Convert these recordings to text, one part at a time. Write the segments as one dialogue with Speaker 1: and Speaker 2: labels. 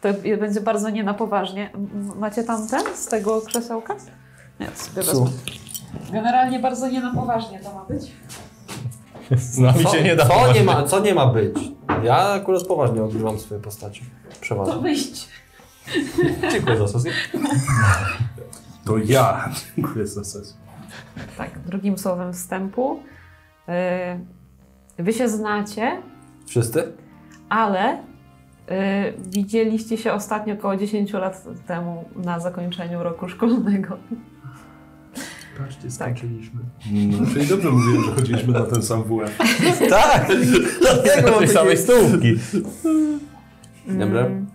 Speaker 1: To będzie bardzo nie na poważnie. M- Macie tam ten z tego krzesełka? Nie, sobie wezmę. Generalnie bardzo nie na poważnie to ma być.
Speaker 2: Z nami
Speaker 3: Co,
Speaker 2: No, się nie da.
Speaker 3: co, nie ma, co nie ma być? Ja akurat poważnie odgrywam swoje postacie.
Speaker 1: To
Speaker 3: Przeważnie.
Speaker 1: wyjść.
Speaker 3: Dziękuję za sesję.
Speaker 4: To ja. Dziękuję za sesję.
Speaker 1: Tak, drugim słowem wstępu. Yy, Wy się znacie,
Speaker 3: Wszyscy?
Speaker 1: ale yy, widzieliście się ostatnio około 10 lat temu na zakończeniu roku szkolnego.
Speaker 4: Patrzcie, skończyliśmy. No, czyli dobrze mówiłem, że chodziliśmy na ten sam WF.
Speaker 3: Tak! Dlatego
Speaker 2: Do
Speaker 3: mam
Speaker 2: tej samej
Speaker 3: takie...
Speaker 2: stołówki.
Speaker 3: Dobra.
Speaker 1: Mm,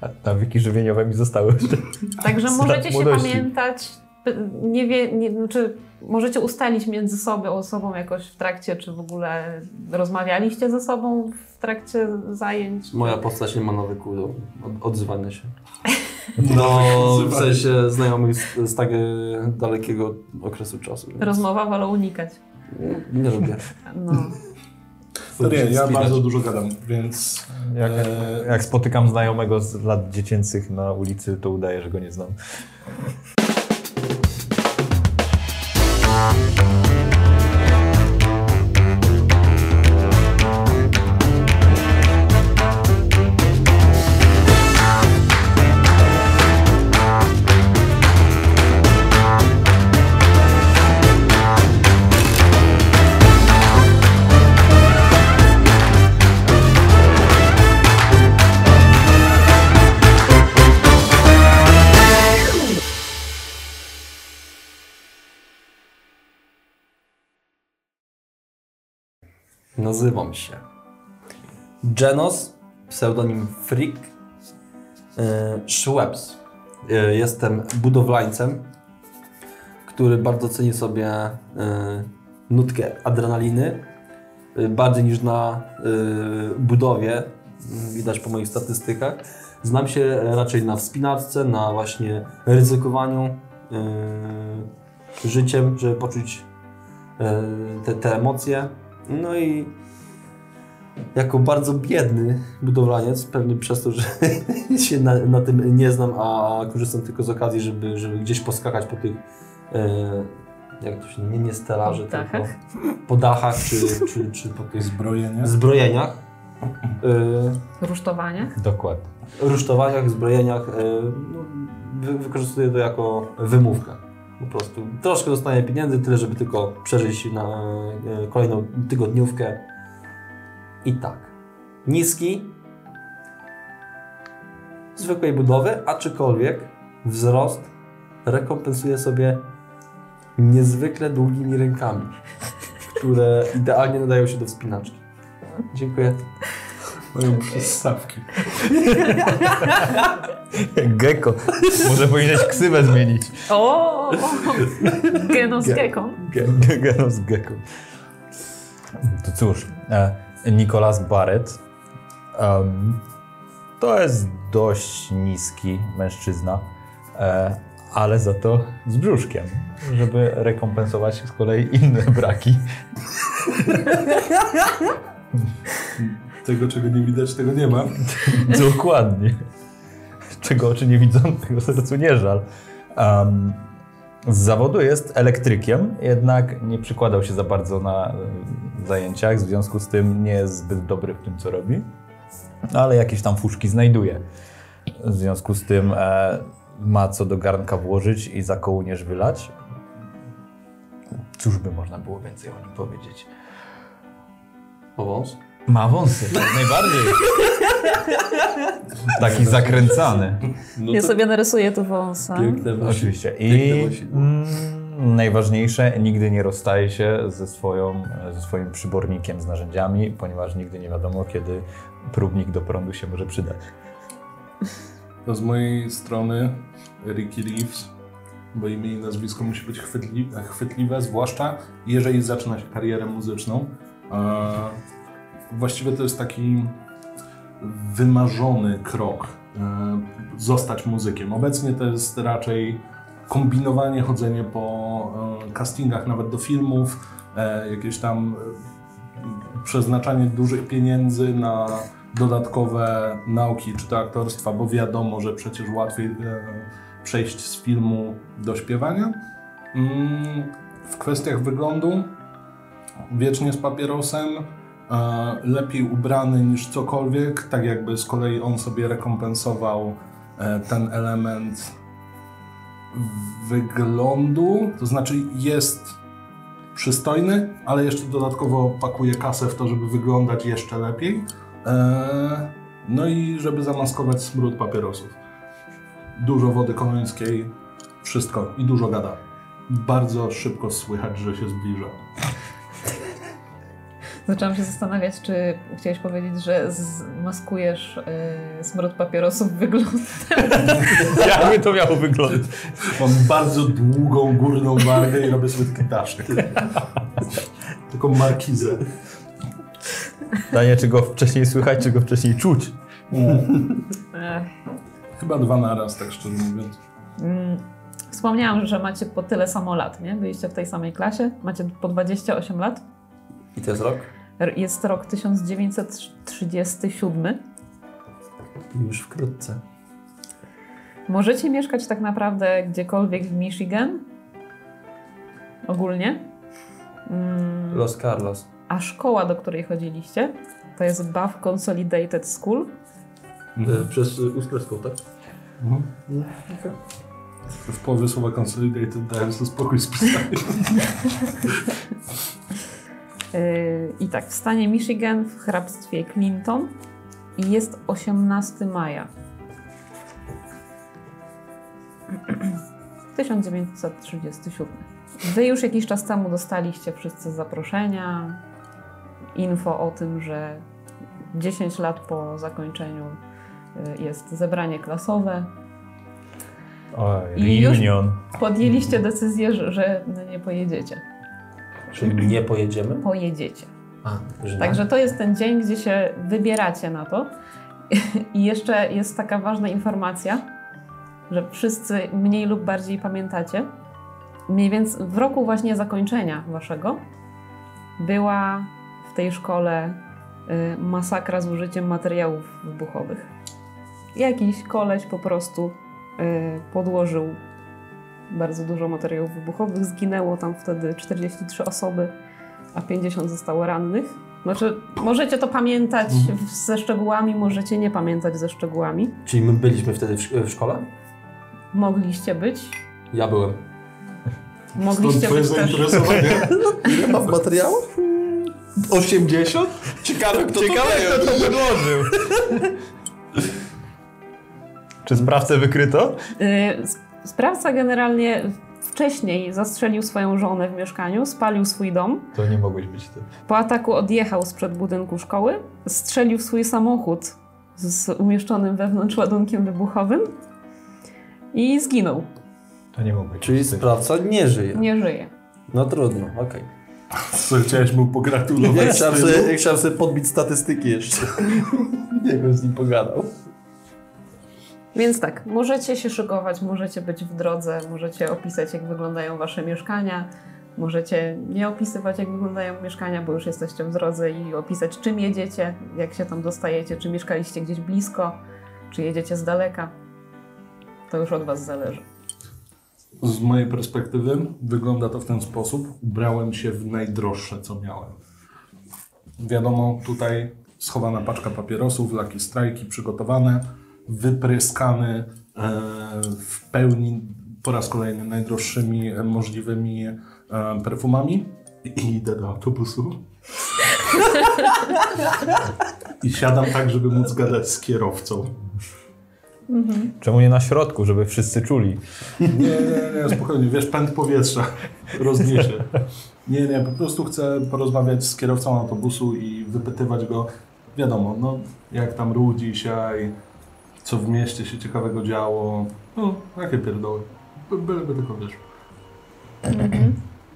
Speaker 2: A Nawyki żywieniowe mi zostały jeszcze.
Speaker 1: Także
Speaker 2: Z
Speaker 1: możecie
Speaker 2: lat
Speaker 1: się
Speaker 2: młodości.
Speaker 1: pamiętać, p- nie wie, nie, znaczy możecie ustalić między sobą, sobą jakoś w trakcie, czy w ogóle rozmawialiście ze sobą w trakcie zajęć.
Speaker 3: Moja postać nie ma nawyku do od- odzywania się. No, w sensie znajomych z, z tak e, dalekiego okresu czasu. więc
Speaker 1: Rozmowa wolą unikać.
Speaker 3: Nie lubię.
Speaker 1: No.
Speaker 4: No nie, ja
Speaker 3: Wspinać.
Speaker 4: bardzo dużo gadam, więc...
Speaker 2: Jak,
Speaker 4: e,
Speaker 2: jak spotykam znajomego z lat dziecięcych na ulicy, to udaję, że go nie znam.
Speaker 3: Nazywam się Genos, pseudonim Frick, e, Schweppes. E, Jestem budowlańcem, który bardzo ceni sobie e, nutkę adrenaliny, e, bardziej niż na e, budowie, widać po moich statystykach. Znam się raczej na wspinaczce, na właśnie ryzykowaniu e, życiem, żeby poczuć e, te, te emocje. No i jako bardzo biedny budowlaniec, pewnie przez to, że się na, na tym nie znam, a korzystam tylko z okazji, żeby, żeby gdzieś poskakać po tych, e, jak to się nie, nie stelaży,
Speaker 1: Po dachach.
Speaker 3: tylko po dachach czy, czy, czy po tych
Speaker 4: Zbrojenie.
Speaker 3: zbrojeniach. E,
Speaker 1: Rusztowanie.
Speaker 2: Dokładnie.
Speaker 3: rusztowaniach, zbrojeniach. e, No, wy, wykorzystuję to jako wymówkę. Po prostu troszkę dostaję pieniędzy, tyle, żeby tylko przeżyć na e, kolejną tygodniówkę. I tak. Niski, zwykłej budowy, aczkolwiek wzrost rekompensuje sobie niezwykle długimi rękami, które idealnie nadają się do wspinaczki. Dziękuję.
Speaker 4: Mają przystawki.
Speaker 2: Gecko. Może powinieneś ksywę zmienić.
Speaker 1: O! Genos
Speaker 2: Ge-
Speaker 1: Gecko.
Speaker 2: Gecko z gecko. To cóż, e, Nicolas Barrett. em, to jest dość niski mężczyzna, e, ale za to z brzuszkiem, żeby rekompensować z kolei inne braki.
Speaker 4: Tego, czego nie widać, tego nie ma.
Speaker 2: Dokładnie. Czego oczy nie widzą, tego sercu nie żal. Em, z zawodu jest elektrykiem, jednak nie przykładał się za bardzo na y, zajęciach, w związku z tym nie jest zbyt dobry w tym, co robi, ale jakieś tam fuszki znajduje. W związku z tym e, ma co do garnka włożyć i za kołnierz wylać. Cóż by można było więcej o nim powiedzieć?
Speaker 3: Powąz.
Speaker 2: Ma wąsy, jak najbardziej. Taki zakręcany.
Speaker 3: No
Speaker 1: Ja sobie narysuję tu wąsa.
Speaker 3: piękne właśnie.
Speaker 2: Tak. No, Oczywiście. I
Speaker 3: Piękne wąsy.
Speaker 2: mm, najważniejsze, nigdy nie rozstaje się ze, swoją, ze swoim przybornikiem z narzędziami, ponieważ nigdy nie wiadomo, kiedy próbnik do prądu się może przydać.
Speaker 4: No z mojej strony Ricky Reeves, bo imię i nazwisko musi być chwytli, chwytliwe, zwłaszcza jeżeli zaczyna się karierę muzyczną. A właściwie to jest taki wymarzony krok e, zostać muzykiem. Obecnie to jest raczej kombinowanie, chodzenie po e, castingach nawet do filmów, e, jakieś tam e, przeznaczanie dużych pieniędzy na dodatkowe nauki czy to aktorstwa, bo wiadomo, że przecież łatwiej e, przejść z filmu do śpiewania. Mm, w kwestiach wyglądu wiecznie z papierosem, e, lepiej ubrany niż cokolwiek, tak jakby z kolei on sobie rekompensował e, ten element wyglądu, to znaczy jest przystojny, ale jeszcze dodatkowo pakuje kasę w to, żeby wyglądać jeszcze lepiej. E, No i żeby zamaskować smród papierosów. Dużo wody komuńskiej, wszystko i dużo gada. Bardzo szybko słychać, że się zbliża.
Speaker 1: Zaczęłam się zastanawiać, czy chciałeś powiedzieć, że zmaskujesz y, smród papierosów wygląd.
Speaker 2: Jakby to miało wyglądać?
Speaker 4: Mam bardzo długą górną wargę i robię sobie taki daszek. Taką markizę.
Speaker 2: Pytanie, czy go wcześniej słychać, czy go wcześniej czuć?
Speaker 1: Ech.
Speaker 4: Chyba dwa na raz, tak szczerze mówiąc.
Speaker 1: Mm, Wspomniałam, że macie po tyle samo lat, nie? Byliście w tej samej klasie, macie po 28 lat.
Speaker 3: I to jest rok?
Speaker 1: R- Jest rok 1937.
Speaker 3: Już wkrótce.
Speaker 1: Możecie mieszkać tak naprawdę gdziekolwiek w Michigan. Ogólnie. Mm,
Speaker 3: Los Carlos.
Speaker 1: A szkoła, do której chodziliście, to jest Buff Consolidated School.
Speaker 3: E, Przez y, ósmeczką, tak?
Speaker 4: Tak. W połowie słowa consolidated dałem sobie spokój z pisaniem.
Speaker 1: Yy, I tak, w stanie Michigan w hrabstwie Clinton i jest 18 maja 1937. Wy już jakiś czas temu dostaliście wszyscy zaproszenia, info o tym, że 10 lat po zakończeniu yy, jest zebranie klasowe.
Speaker 2: Oj,
Speaker 1: I już-
Speaker 2: reunion.
Speaker 1: Podjęliście decyzję, że, że no, nie pojedziecie.
Speaker 3: Czy nie pojedziemy?
Speaker 1: Pojedziecie.
Speaker 3: A, że nie.
Speaker 1: Także to jest ten dzień, gdzie się wybieracie na to. I jeszcze jest taka ważna informacja, że wszyscy mniej lub bardziej pamiętacie. Mniej więcej w roku właśnie zakończenia waszego była w tej szkole y, masakra z użyciem materiałów wybuchowych. Jakiś koleś po prostu y, podłożył bardzo dużo materiałów wybuchowych. Zginęło tam wtedy 43 osoby, a 50 zostało rannych. Znaczy, możecie to pamiętać w- ze szczegółami, możecie nie pamiętać ze szczegółami.
Speaker 3: Czyli my byliśmy wtedy w, sz- w szkole?
Speaker 1: Mogliście być.
Speaker 3: Ja byłem.
Speaker 1: Mogliście być też.
Speaker 4: zainteresowanie.
Speaker 5: Ile ma w materiałach? 80?
Speaker 3: Ciekawe, kto
Speaker 2: Ciekawe, kto to wyłożył. Czy sprawcę wykryto?
Speaker 1: Y, s- Sprawca generalnie wcześniej zastrzelił swoją żonę w mieszkaniu, spalił swój dom.
Speaker 2: To nie mogłeś być ty.
Speaker 1: Po ataku odjechał sprzed budynku szkoły, strzelił w swój samochód z umieszczonym wewnątrz ładunkiem wybuchowym i zginął.
Speaker 2: To nie mogłeś
Speaker 3: Czyli
Speaker 2: być ty.
Speaker 3: sprawca nie żyje.
Speaker 1: Nie żyje.
Speaker 3: No trudno, okej.
Speaker 4: Co, chciałeś mu
Speaker 5: Ja
Speaker 4: pogratulować
Speaker 5: chciałem
Speaker 4: stylu?
Speaker 5: sobie, ja chciałem sobie podbić statystyki jeszcze. Jak bym z nim pogadał.
Speaker 1: Więc tak, możecie się szykować, możecie być w drodze, możecie opisać, jak wyglądają wasze mieszkania, możecie nie opisywać, jak wyglądają mieszkania, bo już jesteście w drodze i opisać, czym jedziecie, jak się tam dostajecie, czy mieszkaliście gdzieś blisko, czy jedziecie z daleka. To już od was zależy.
Speaker 4: Z mojej perspektywy wygląda to w ten sposób. Ubrałem się w najdroższe, co miałem. Wiadomo, tutaj schowana paczka papierosów, laki strajki przygotowane, wypryskany e, w pełni po raz kolejny najdroższymi e, możliwymi e, perfumami. I idę do autobusu. I siadam tak, żeby móc gadać z kierowcą.
Speaker 2: Czemu nie na środku, żeby wszyscy czuli?
Speaker 4: Nie, nie, nie, spokojnie, wiesz, pęd powietrza rozniesie. Nie, nie, po prostu chcę porozmawiać z kierowcą autobusu i wypytywać go, wiadomo, no, jak tam ruch dzisiaj, co w mieście się ciekawego działo, no, jakie pierdoły, By- byleby tylko wiesz.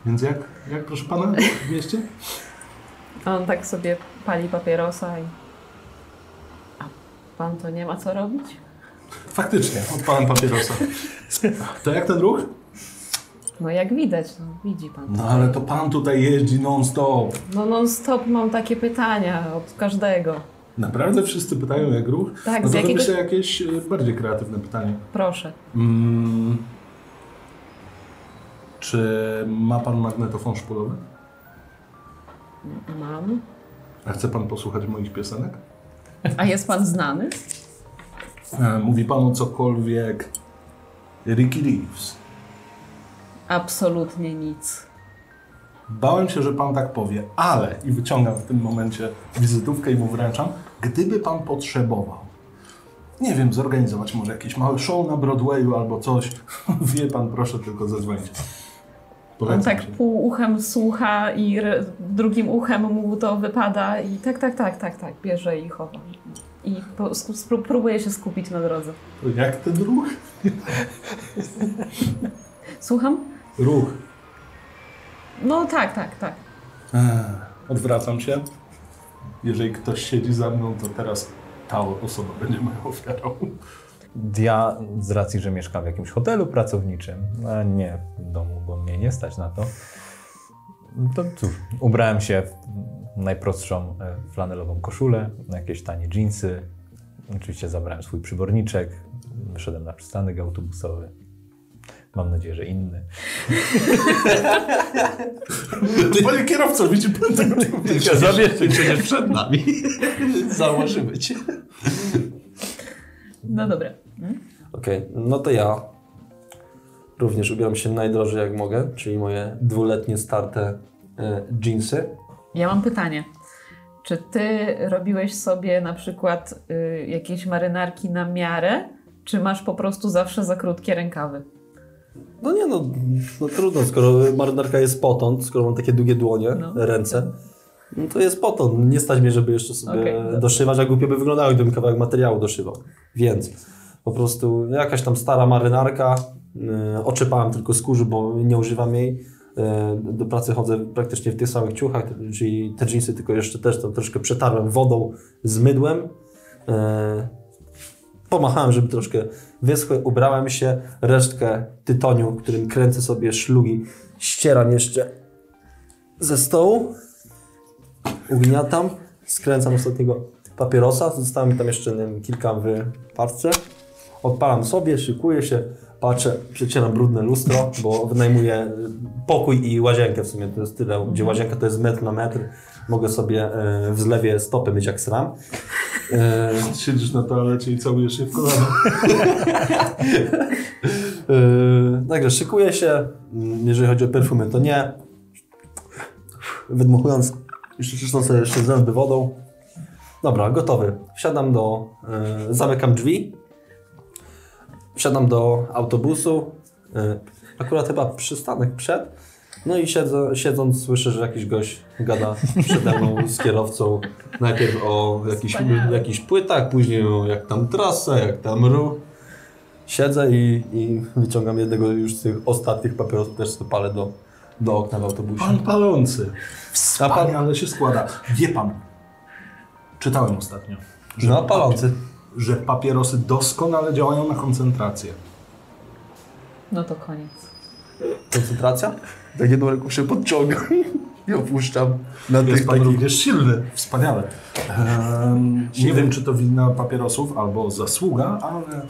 Speaker 4: Więc jak, jak proszę pana, w mieście?
Speaker 1: A on tak sobie pali papierosa i... A pan to nie ma co robić?
Speaker 4: Faktycznie, odpalam papierosa. To jak ten ruch?
Speaker 1: No jak widać, no, widzi pan.
Speaker 4: No, ale to pan tutaj jeździ non-stop.
Speaker 1: No non stop mam takie pytania od każdego.
Speaker 4: Naprawdę wszyscy pytają jak ruch?
Speaker 1: Tak,
Speaker 4: No
Speaker 1: z
Speaker 4: to
Speaker 1: jakiego...
Speaker 4: wymyślę jakieś e, bardziej kreatywne pytanie.
Speaker 1: Proszę.
Speaker 4: Mm. Czy ma pan magnetofon szpulowy?
Speaker 1: Mam.
Speaker 4: A chce pan posłuchać moich piosenek?
Speaker 1: A jest pan znany?
Speaker 4: E, Mówi panu cokolwiek Ricky Reeves.
Speaker 1: Absolutnie nic.
Speaker 4: Bałem się, że pan tak powie, ale i wyciągam w tym momencie wizytówkę i mu wręczam, gdyby pan potrzebował. Nie wiem, zorganizować może jakieś małe show na Broadwayu albo coś. Wie pan, proszę tylko zadzwonić.
Speaker 1: On
Speaker 4: Polecam
Speaker 1: tak
Speaker 4: się.
Speaker 1: pół uchem słucha i re- drugim uchem mu to wypada i tak, tak, tak, tak, tak, bierze i chowa. I po, sku- spró- próbuje się skupić na drodze.
Speaker 4: Jak ten ruch?
Speaker 1: Słucham?
Speaker 4: Ruch.
Speaker 1: No tak, tak, tak.
Speaker 4: Eee, Odwracam się. Jeżeli ktoś siedzi za mną, to teraz ta osoba będzie moją ofiarą.
Speaker 2: Ja z racji, że mieszkam w jakimś hotelu pracowniczym, a nie w domu, bo mnie nie stać na to, to cóż, ubrałem się w najprostszą e, flanelową koszulę, jakieś tanie dżinsy, oczywiście zabrałem swój przyborniczek, wyszedłem na przystanek autobusowy. Mam nadzieję, że inny.
Speaker 4: Panie kierowco, widzi pan tego człowieka?
Speaker 2: Zabierz się przecież
Speaker 3: Przed nami. Założymy cię.
Speaker 1: No dobra.
Speaker 3: Okej, no to ja również ubieram się najdrożej jak mogę, czyli moje dwuletnie starte e, jeansy.
Speaker 1: Ja mam pytanie. Czy ty robiłeś sobie na przykład y, jakieś marynarki na miarę, czy masz po prostu zawsze za krótkie rękawy?
Speaker 3: No nie no, no trudno, skoro marynarka jest potąd, skoro mam takie długie dłonie,
Speaker 1: No.
Speaker 3: ręce, no to jest potąd. Nie stać mnie, żeby jeszcze sobie
Speaker 1: Okej.
Speaker 3: doszywać, a głupio by wyglądało, gdybym kawałek materiału doszywał. Więc po prostu jakaś tam stara marynarka, yy, oczepałem tylko skórz, bo nie używam jej. Yy, Do pracy chodzę praktycznie w tych samych ciuchach, czyli te dżinsy tylko jeszcze też tam troszkę przetarłem wodą z mydłem. Yy, Pomachałem, żeby troszkę wyschły, ubrałem się, resztkę tytoniu, którym kręcę sobie szlugi, ścieram jeszcze ze stołu, ugniatam, skręcam ostatniego papierosa, zostało mi tam jeszcze nie wiem, kilka w parce. Odpalam sobie, szykuję się, patrzę, przecieram brudne lustro, bo wynajmuję pokój i łazienkę w sumie, to jest tyle, gdzie łazienka to jest metr na metr, mogę sobie e, w zlewie stopy myć jak sram. E,
Speaker 4: Siedzisz na toalecie i całujesz się w kolano.
Speaker 3: Yy, także szykuję się. Mm, Jeżeli chodzi o perfumy, to nie. Wydmuchując, jeszcze czyszczą sobie jeszcze zęby wodą. Dobra, gotowy. Wsiadam do. Yy, zamykam drzwi. Wsiadam do autobusu. Yy, akurat chyba przystanek przed. No i siedzę, siedząc słyszę, że jakiś gość gada przede mną z kierowcą. Najpierw o jakichś,
Speaker 1: Wspaniale.
Speaker 3: jakichś płytach, później o jak tam trasa, jak tam ruch. Siedzę i, i wyciągam jednego już z tych ostatnich papierosów, też to palę do, do okna w autobusie.
Speaker 4: Pan palący.
Speaker 3: A
Speaker 4: Wspaniale ale się składa. Wie pan, czytałem ostatnio, że,
Speaker 3: No, palący.
Speaker 4: że papierosy doskonale działają na koncentrację.
Speaker 1: No to koniec.
Speaker 3: Koncentracja?
Speaker 5: Tak jedną ręką się podciągam i opuszczam na
Speaker 4: Jest
Speaker 5: tych
Speaker 4: pan
Speaker 5: takich...
Speaker 4: również silny. Wspaniale. Em, nie wiem, czy to wina papierosów albo zasługa, ale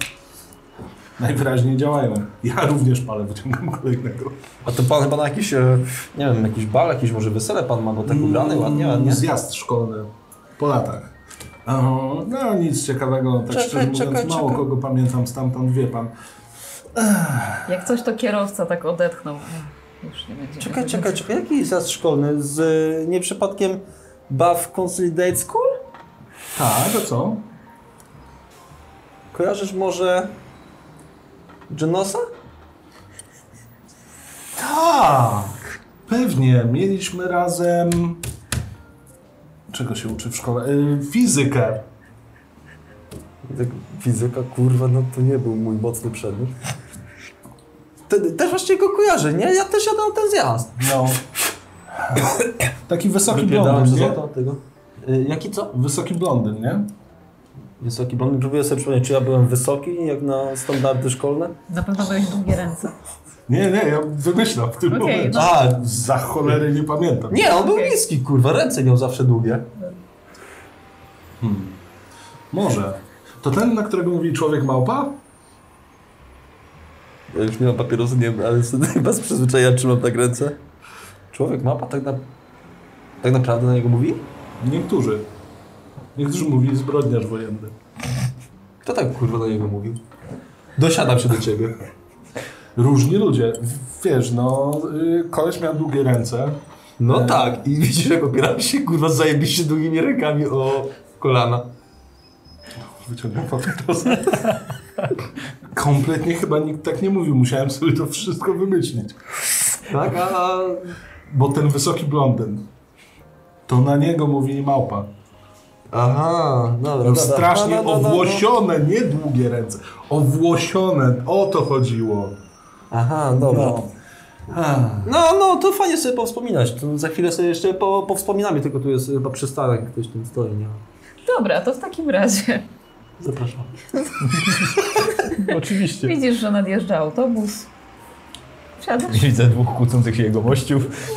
Speaker 4: najwyraźniej działają. Ja również palę, wyciągam kolejnego.
Speaker 3: A to pan chyba na jakiś, e, nie wiem, jakiś bal, jakieś może wesele pan ma, bo tak
Speaker 5: Mm,
Speaker 3: ubrany ładnie, ładnie.
Speaker 4: Mm, Zjazd szkolny po latach. Aha, No nic ciekawego, tak
Speaker 3: Czekaj,
Speaker 4: szczerze mówiąc,
Speaker 3: czekaj,
Speaker 4: mało
Speaker 3: czekaj.
Speaker 4: kogo pamiętam stamtąd, wie pan.
Speaker 1: Jak coś to kierowca tak odetchnął. Ech, Już nie będzie.
Speaker 3: Czekaj, czekaj, czekaj, jaki zjazd szkolny? Z e, nie przypadkiem Buff Consolidate School?
Speaker 4: Tak, to co?
Speaker 3: Kojarzysz może Genosa?
Speaker 4: Tak, pewnie. Mieliśmy razem... Czego się uczy w szkole? Y, Fizykę.
Speaker 3: Tak, fizyka, kurwa, no to nie był mój mocny przedmiot. Te- Też właśnie go kojarzę, nie? Ja też jadę na ten zjazd.
Speaker 4: No. Taki wysoki
Speaker 3: Wypierdałem
Speaker 4: blondyn,
Speaker 3: przez
Speaker 4: nie?
Speaker 3: oto tego. Y, Jaki co?
Speaker 4: Wysoki blondyn, nie?
Speaker 3: Wysoki blondyn. Próbuję sobie przypomnieć, czy ja byłem wysoki, jak na standardy szkolne?
Speaker 1: Na pewno byłeś długie ręce.
Speaker 4: Nie, nie, ja wymyślam w tym
Speaker 1: Okej,
Speaker 4: momencie.
Speaker 1: no.
Speaker 3: A,
Speaker 4: Za cholery nie pamiętam.
Speaker 3: nie, on był
Speaker 1: Okej.
Speaker 3: niski, kurwa, ręce miał zawsze długie.
Speaker 4: Hmm. Może. To ten, na którego mówi człowiek małpa?
Speaker 5: Ja już nie mam papierosu, nie wiem, ale wtedy bez przyzwyczajenia trzymam tak ręce.
Speaker 3: Człowiek mapa tak, na... tak naprawdę na niego mówi?
Speaker 4: Niektórzy. Niektórzy mówili zbrodniarz wojenny.
Speaker 3: Kto tak kurwa do niego mówił? Dosiadam się do ciebie.
Speaker 4: Różni ludzie. W- Wiesz, no, y, koleś miał długie ręce.
Speaker 3: No tak, i widzisz jak opieram się kurwa zajebiście długimi rękami o kolana.
Speaker 4: Wyciągnął papieros. Kompletnie chyba nikt tak nie mówił. Musiałem sobie to wszystko wymyślić.
Speaker 3: Tak, a...
Speaker 4: Bo ten wysoki blondyn, to na niego mówili małpa.
Speaker 3: Aha, dobra,
Speaker 4: Miał
Speaker 3: dobra.
Speaker 4: strasznie
Speaker 3: No, no, no, no, no.
Speaker 4: owłosione, nie długie ręce. Owłosione, o to chodziło.
Speaker 3: Aha, dobra.
Speaker 4: No. Ah.
Speaker 3: No, no, to fajnie sobie powspominać. To za chwilę sobie jeszcze po, powspominamy, tylko tu jest chyba przystanek, ktoś tam stoi, nie?
Speaker 1: Dobra, to w takim razie
Speaker 3: Zapraszam.
Speaker 2: Oczywiście.
Speaker 1: widzisz, że nadjeżdża autobus. Wsiadasz?
Speaker 2: Widzę dwóch kłócących się jego mościów,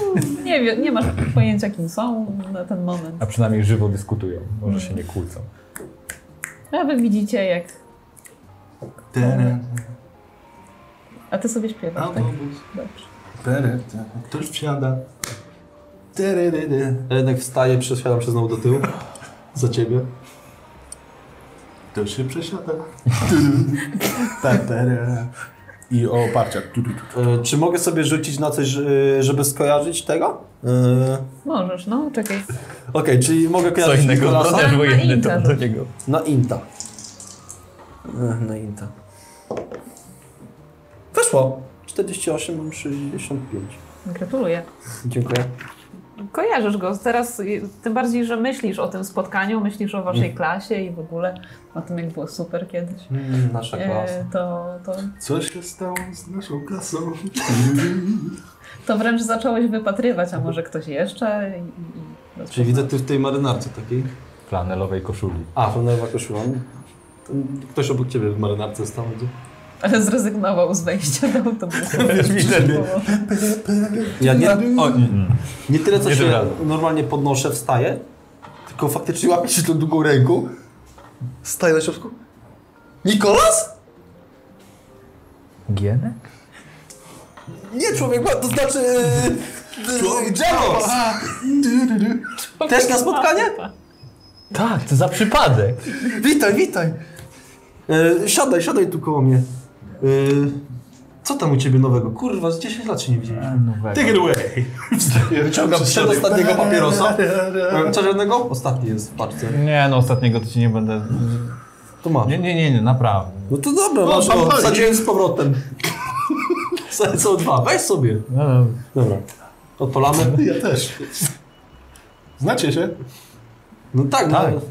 Speaker 1: Nie, wie, nie masz pojęcia, kim są na ten moment.
Speaker 2: a przynajmniej żywo dyskutują. Może się nie kłócą.
Speaker 1: A wy widzicie, jak.
Speaker 4: Tere,
Speaker 1: A ty sobie śpiewasz. Tak?
Speaker 4: autobus,
Speaker 1: Dobrze.
Speaker 4: tere, tere. Ktoś wsiada. Tere, tere, tere.
Speaker 3: Ja jednak wstaję, przesiadam się znowu do tyłu. Za ciebie.
Speaker 4: Ktoś się przesiada. Ta, tere. I o parciach. Tu, tu, tu.
Speaker 3: E, czy mogę sobie rzucić na coś, e, żeby skojarzyć tego? E,
Speaker 1: Możesz, no, czekaj.
Speaker 3: Okej, czyli mogę
Speaker 2: Co
Speaker 3: kojarzyć
Speaker 2: innego
Speaker 3: Nikolasa?
Speaker 2: zbrodniarz
Speaker 1: Na
Speaker 2: wojenny to
Speaker 1: internet.
Speaker 2: do niego.
Speaker 3: Na Inta. E, Na Inta. Weszło. 48 mam 65.
Speaker 1: Gratuluję.
Speaker 3: Dziękuję.
Speaker 1: Kojarzysz go teraz, y, tym bardziej, że myślisz o tym spotkaniu, myślisz o
Speaker 3: Mm.
Speaker 1: waszej klasie i w ogóle o tym, jak było super kiedyś.
Speaker 3: Nasza klasa.
Speaker 1: E, to, to,
Speaker 4: Co się stało z naszą klasą?
Speaker 1: to wręcz zacząłeś wypatrywać, a może ktoś jeszcze? I, i, i
Speaker 3: Czyli widzę ty w tej marynarce takiej.
Speaker 2: Flanelowej koszuli.
Speaker 3: A, flanelowa koszula. To Ktoś obok ciebie w marynarce stał. gdzie?
Speaker 1: Ale zrezygnował z wejścia do autobusu.
Speaker 2: Wiesz, widzę.
Speaker 3: Ja nie,
Speaker 2: O, mm.
Speaker 3: nie tyle, co
Speaker 2: Nie tym
Speaker 3: się
Speaker 2: razem.
Speaker 3: normalnie podnoszę, wstaję, tylko faktycznie łapię się tą długą ręką. Staję na środku. Nikolas?
Speaker 2: Gienę?
Speaker 3: Nie, człowiek ma, to znaczy... Janos! Też na spotkanie?
Speaker 2: Tak, to za przypadek.
Speaker 3: Witaj, witaj! E, siadaj, siadaj tu koło mnie. E, co tam u ciebie nowego? Kurwa, z 10 lat się nie widzieliśmy.
Speaker 4: Take it away.
Speaker 3: Wyciągam przedostatniego papierosa. E, Co żadnego? Ostatni jest w paczce.
Speaker 2: Nie, no ostatniego to ci nie będę...
Speaker 3: To ma.
Speaker 2: Nie, nie, nie, nie naprawdę.
Speaker 3: No to dobra, masz
Speaker 4: tam
Speaker 3: o,
Speaker 4: chodzi.
Speaker 3: wsadziłem z powrotem. Są- Są dwa, weź sobie.
Speaker 2: No, no.
Speaker 3: Dobra. Odpalamy?
Speaker 4: Ja też. Znacie się?
Speaker 3: No tak,
Speaker 2: Tak.
Speaker 3: no.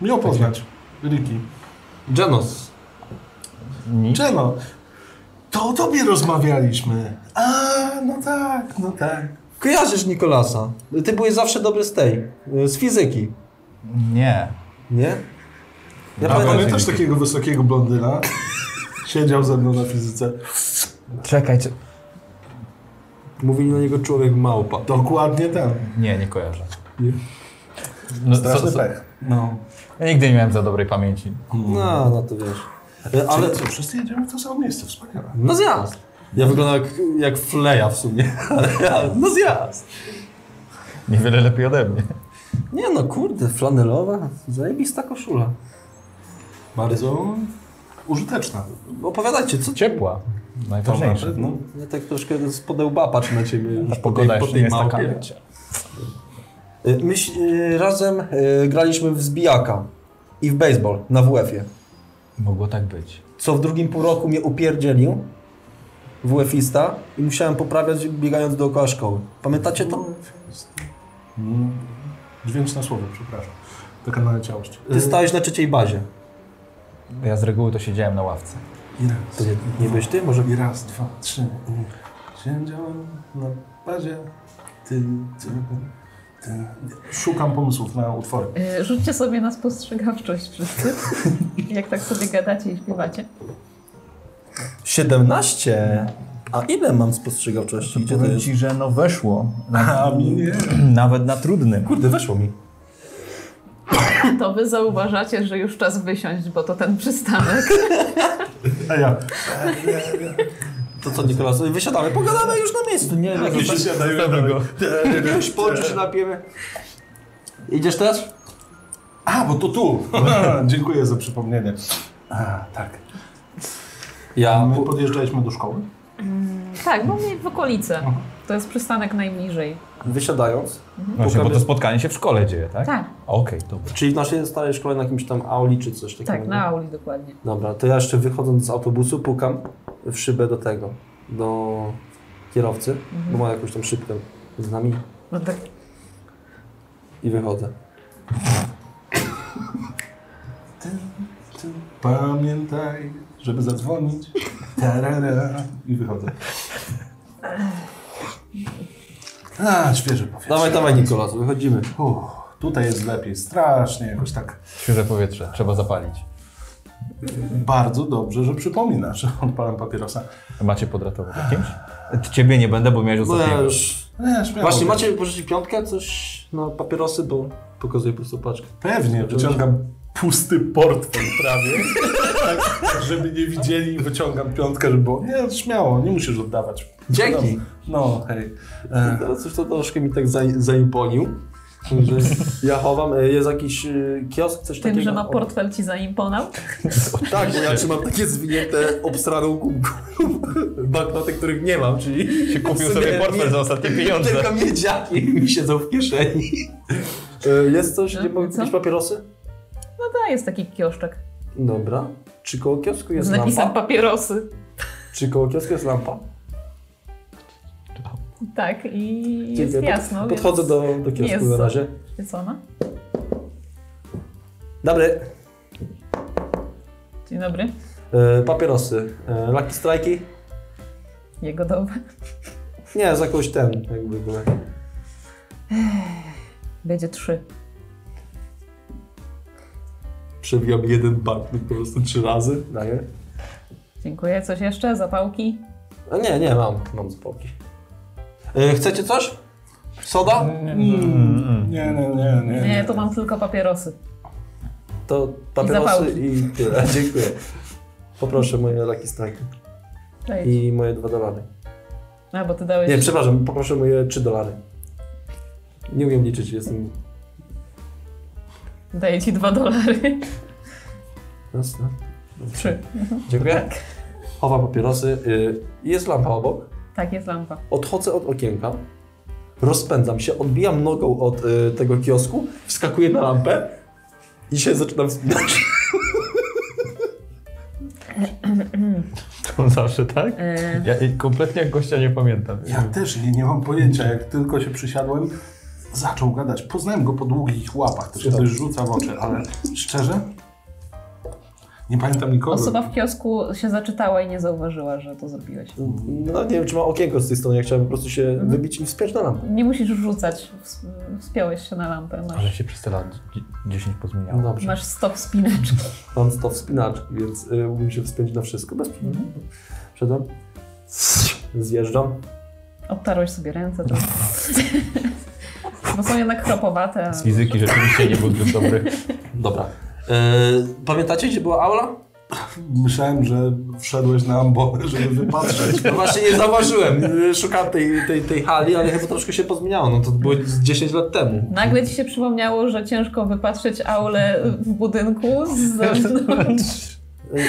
Speaker 4: Miło
Speaker 3: Tak
Speaker 4: poznać. Riki.
Speaker 3: Janos.
Speaker 2: Nic.
Speaker 4: Czego? To o tobie rozmawialiśmy. A, no tak, no tak.
Speaker 3: Kojarzysz Nikolasa. Ty byłeś zawsze dobry z tej, y, z fizyki,
Speaker 2: Nie.
Speaker 3: nie? Ja
Speaker 4: A
Speaker 3: pamiętam,
Speaker 4: pamiętasz
Speaker 2: Dzięki.
Speaker 4: takiego wysokiego blondyna? Siedział ze mną na fizyce.
Speaker 2: Czekaj, czy...
Speaker 3: mówili na niego człowiek małpa.
Speaker 4: Dokładnie ten.
Speaker 2: Nie, nie kojarzę. No,
Speaker 4: Straszny
Speaker 2: co- co-
Speaker 4: pech. No.
Speaker 2: Ja nigdy nie miałem za dobrej pamięci.
Speaker 3: No, no to wiesz. Y,
Speaker 4: No, Ale
Speaker 3: Ale
Speaker 4: co, wszyscy jedziemy w to samo miejsce, wspaniale.
Speaker 3: No zjazd. Ja wyglądam jak, jak fleja w sumie, ale ale no zjazd.
Speaker 2: Niewiele lepiej ode mnie.
Speaker 3: Nie no, kurde, flanelowa, zajebista koszula.
Speaker 4: Bardzo użyteczna.
Speaker 3: Opowiadajcie, co
Speaker 2: Ciepła.
Speaker 4: To na
Speaker 2: Najważniejsze.
Speaker 4: pewno.
Speaker 3: Ja tak troszkę z podełba patrzę na ciebie już po tej,
Speaker 2: no. Pogoda
Speaker 3: po
Speaker 2: jeszcze
Speaker 3: tej
Speaker 2: nie jest taka.
Speaker 3: małpie. Y, Myś, y, razem y, graliśmy w zbijaka i w baseball na WF-ie,
Speaker 2: Mogło tak być.
Speaker 3: co w drugim pół roku mnie upierdzielił WF-ista i musiałem poprawiać biegając dookoła szkoły. Pamiętacie to?
Speaker 4: Mm. Dźwięczne słowo, przepraszam. Taka naleciałość.
Speaker 3: Ty stałeś na trzeciej bazie.
Speaker 2: Ja z reguły to siedziałem na ławce.
Speaker 4: Y, I raz.
Speaker 3: To nie, nie byłeś ty? Może
Speaker 4: I raz, dwa, trzy. Siedziałem na bazie. Ty, ty, ty. Szukam pomysłów na utwory.
Speaker 1: Y, Rzućcie sobie na spostrzegawczość wszyscy, jak tak sobie gadacie i śpiewacie.
Speaker 3: 17? A ile mam spostrzegawczości? Gdzie to
Speaker 2: Powiem
Speaker 3: jest?
Speaker 2: ci, że no weszło.
Speaker 4: A mi nie.
Speaker 2: Nawet na trudnym.
Speaker 3: Kurde, weszło mi.
Speaker 1: to wy zauważacie, że już czas wysiąść, bo to ten przystanek.
Speaker 4: A ja.
Speaker 3: To co, Nikolas? Wysiadamy, pogadamy już na miejscu, nie? Jakieś-
Speaker 2: Zostawmy go.
Speaker 3: Jakiegoś poczu się napijemy. Idziesz też?
Speaker 4: A, bo to tu! Dziękuję za przypomnienie. A, tak. A
Speaker 3: Ja.
Speaker 4: my podjeżdżaliśmy do szkoły?
Speaker 1: tak, bo mniej w okolicy. To jest przystanek najbliżej.
Speaker 3: Wysiadając,
Speaker 2: Właśnie, bo to spotkanie się w szkole dzieje, tak?
Speaker 1: Tak,
Speaker 2: Okej, dobra.
Speaker 3: czyli w naszej starej szkole na jakimś tam auli czy coś takiego.
Speaker 1: tak, na auli dokładnie.
Speaker 3: Dobra, to ja jeszcze wychodząc z autobusu pukam w szybę do tego, do kierowcy,
Speaker 1: Mhm.
Speaker 3: bo ma jakąś tam szybkę z nami
Speaker 1: No tak,
Speaker 3: i wychodzę.
Speaker 4: Pamiętaj, żeby zadzwonić. Tarara. I wychodzę. A, świeże powietrze.
Speaker 3: Dawaj, dawaj Nikolas, wychodzimy.
Speaker 4: Uff, tutaj jest lepiej, strasznie jakoś tak
Speaker 2: Świeże powietrze, trzeba zapalić.
Speaker 4: bardzo dobrze, że przypominasz. Odpalam papierosa. E,
Speaker 2: Macie podratować jakimś? Ciebie nie będę, bo miałeś
Speaker 3: No ja
Speaker 2: ostatniego.
Speaker 3: już...
Speaker 4: Nie, śmiało.
Speaker 3: Właśnie, macie pożyczyć piątkę, coś na papierosy, bo pokazuję po prostu paczkę.
Speaker 4: Pewnie, wyciągam pusty portfel prawie, tak, żeby nie widzieli wyciągam piątkę, żeby było, nie, śmiało, nie musisz oddawać.
Speaker 3: Dzięki.
Speaker 4: No, hej. E,
Speaker 3: Teraz już to troszkę mi tak za, zaimponił. że Ja chowam, e, jest jakiś e, kiosk, coś
Speaker 1: tym,
Speaker 3: takiego.
Speaker 1: że ma
Speaker 3: O,
Speaker 1: portfel ci zaimponał.
Speaker 3: Tak, bo ja trzymam takie zwinięte obstraną kółką. Banknoty, których nie mam, czyli...
Speaker 2: Się kupił
Speaker 3: w sumie
Speaker 2: sobie portfel
Speaker 3: nie-
Speaker 2: za ostatnie pieniądze.
Speaker 3: Tylko miedziaki mi siedzą w kieszeni. E, Jest coś, gdzie
Speaker 1: No,
Speaker 3: mogę
Speaker 1: co?
Speaker 3: kupić papierosy?
Speaker 1: No tak, jest taki kioszczek
Speaker 3: Dobra. Czy koło kiosku
Speaker 1: z
Speaker 3: jest
Speaker 1: napisem
Speaker 3: lampa?
Speaker 1: papierosy.
Speaker 3: Czy koło kiosku jest lampa?
Speaker 1: Tak, i jest
Speaker 3: Dziękuję. Pod-
Speaker 1: jasno.
Speaker 3: Podchodzę
Speaker 1: więc...
Speaker 3: do, do kiosku
Speaker 1: jest
Speaker 3: na
Speaker 1: co.
Speaker 3: razie.
Speaker 1: Świecona.
Speaker 3: Dobry.
Speaker 1: Dzień dobry.
Speaker 3: E, papierosy. E, Lucky Strike'i?
Speaker 1: Jego doba.
Speaker 3: Nie, za kogoś ten, jakby byle.
Speaker 1: Będzie trzy.
Speaker 3: Przewijam jeden banknot po prostu trzy razy. Daję.
Speaker 1: Dziękuję. Coś jeszcze? Zapałki?
Speaker 3: A nie, nie, mam. Mam spokój. E, chcecie coś? Soda?
Speaker 4: mm, nie, nie, nie, nie.
Speaker 1: Nie, to mam tylko papierosy.
Speaker 3: To papierosy
Speaker 1: zapałki.
Speaker 3: i, tyle. Dziękuję. Poproszę moje Lucky Strike'i
Speaker 1: Daj.
Speaker 3: i moje dwa dolary.
Speaker 1: A, bo ty dałeś...
Speaker 3: Nie, przepraszam, poproszę moje trzy dolary. Nie umiem liczyć, jestem...
Speaker 1: Daję ci dwa dolary.
Speaker 3: Jasne.
Speaker 1: Trzy.
Speaker 3: Dziękuję. Chowa papierosy. y, Jest lampa obok.
Speaker 1: Tak, jest lampa.
Speaker 3: Odchodzę od okienka. Rozpędzam się, odbijam nogą od y, tego kiosku, wskakuję na lampę i się zaczynam wspinać.
Speaker 2: To zawsze tak?
Speaker 1: Yy,
Speaker 2: Ja kompletnie gościa nie pamiętam.
Speaker 4: Ja też nie, nie mam pojęcia, jak tylko się przysiadłem, zaczął gadać. Poznałem go po długich łapach, to się coś rzuca w oczy, ale szczerze? Nie pamiętam nikogo.
Speaker 1: osoba w kiosku się zaczytała i nie zauważyła, że to zrobiłeś.
Speaker 3: No nie wiem, czy ma okienko z tej strony, ja chciałem po prostu się wybić i wspiąć na lampę.
Speaker 1: Nie musisz rzucać. Ws- Wspiąłeś się na lampę.
Speaker 2: Ale
Speaker 1: Masz,
Speaker 2: się przez te lat dzi- 10 pozmieniało.
Speaker 3: Dobrze.
Speaker 1: masz stop spinaczki.
Speaker 3: Mam 100 wspinaczki, więc y, umiem się wspiąć na wszystko bez problemu. Przedam. Zjeżdżam.
Speaker 1: Obtarłeś sobie ręce. To... Bo są jednak chropowate. a-
Speaker 2: Z fizyki rzeczywiście nie był zbyt dobry.
Speaker 3: Dobra. Y, pamiętacie, gdzie była aula?
Speaker 4: Myślałem, że wszedłeś na ambonę, żeby wypatrzeć.
Speaker 3: No właśnie nie zauważyłem. Y, Szukałem tej, tej, tej hali, ale chyba troszkę się pozmieniało. No to było z 10 lat temu.
Speaker 1: Nagle ci się przypomniało, że ciężko wypatrzeć aulę w budynku z zewnątrz.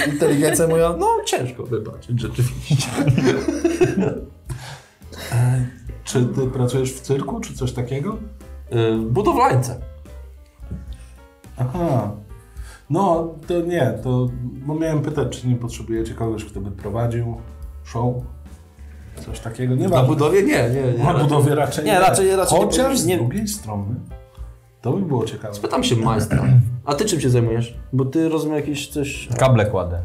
Speaker 3: Y, Inteligencja moja, no ciężko wybaczyć rzeczywiście.
Speaker 4: Czy ty pracujesz w cyrku, czy coś takiego?
Speaker 3: Y, budowlańce.
Speaker 4: Aha. No, to nie, to bo miałem pytać, czy nie potrzebujecie kogoś, kto by prowadził show? Coś takiego nie
Speaker 3: Na
Speaker 4: ma.
Speaker 3: budowie nie, nie, nie.
Speaker 4: Na budowie raczej
Speaker 3: Nie, raczej- raczej nie
Speaker 4: Chociaż
Speaker 3: powinien-
Speaker 4: z drugiej strony, to by było ciekawe.
Speaker 3: Pytam się majstra. A ty czym się zajmujesz? Bo ty rozumiem jakieś coś...
Speaker 2: Kable kładę.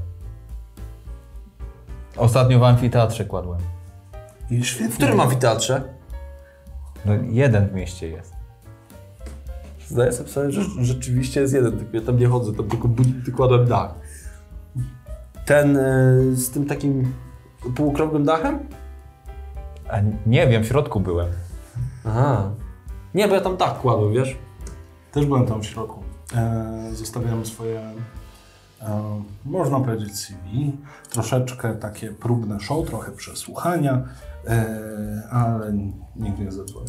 Speaker 2: Ostatnio w amfiteatrze kładłem.
Speaker 4: I
Speaker 3: W
Speaker 4: świetnie.
Speaker 3: którym amfiteatrze?
Speaker 2: No, jeden w mieście jest.
Speaker 3: Zdaję sobie sprawę, że rzeczywiście jest jeden, tylko ja tam nie chodzę, tam tylko bud- tylko kładłem dach. Ten y, z tym takim półokrągłym dachem?
Speaker 2: A nie wiem, w środku byłem.
Speaker 3: Aha. Nie, bo ja tam dach kładłem, wiesz?
Speaker 4: Też byłem tam w środku. E, Zostawiam swoje, e, można powiedzieć, CV, troszeczkę takie próbne show, trochę przesłuchania, e, ale nikt nie zadzwoni.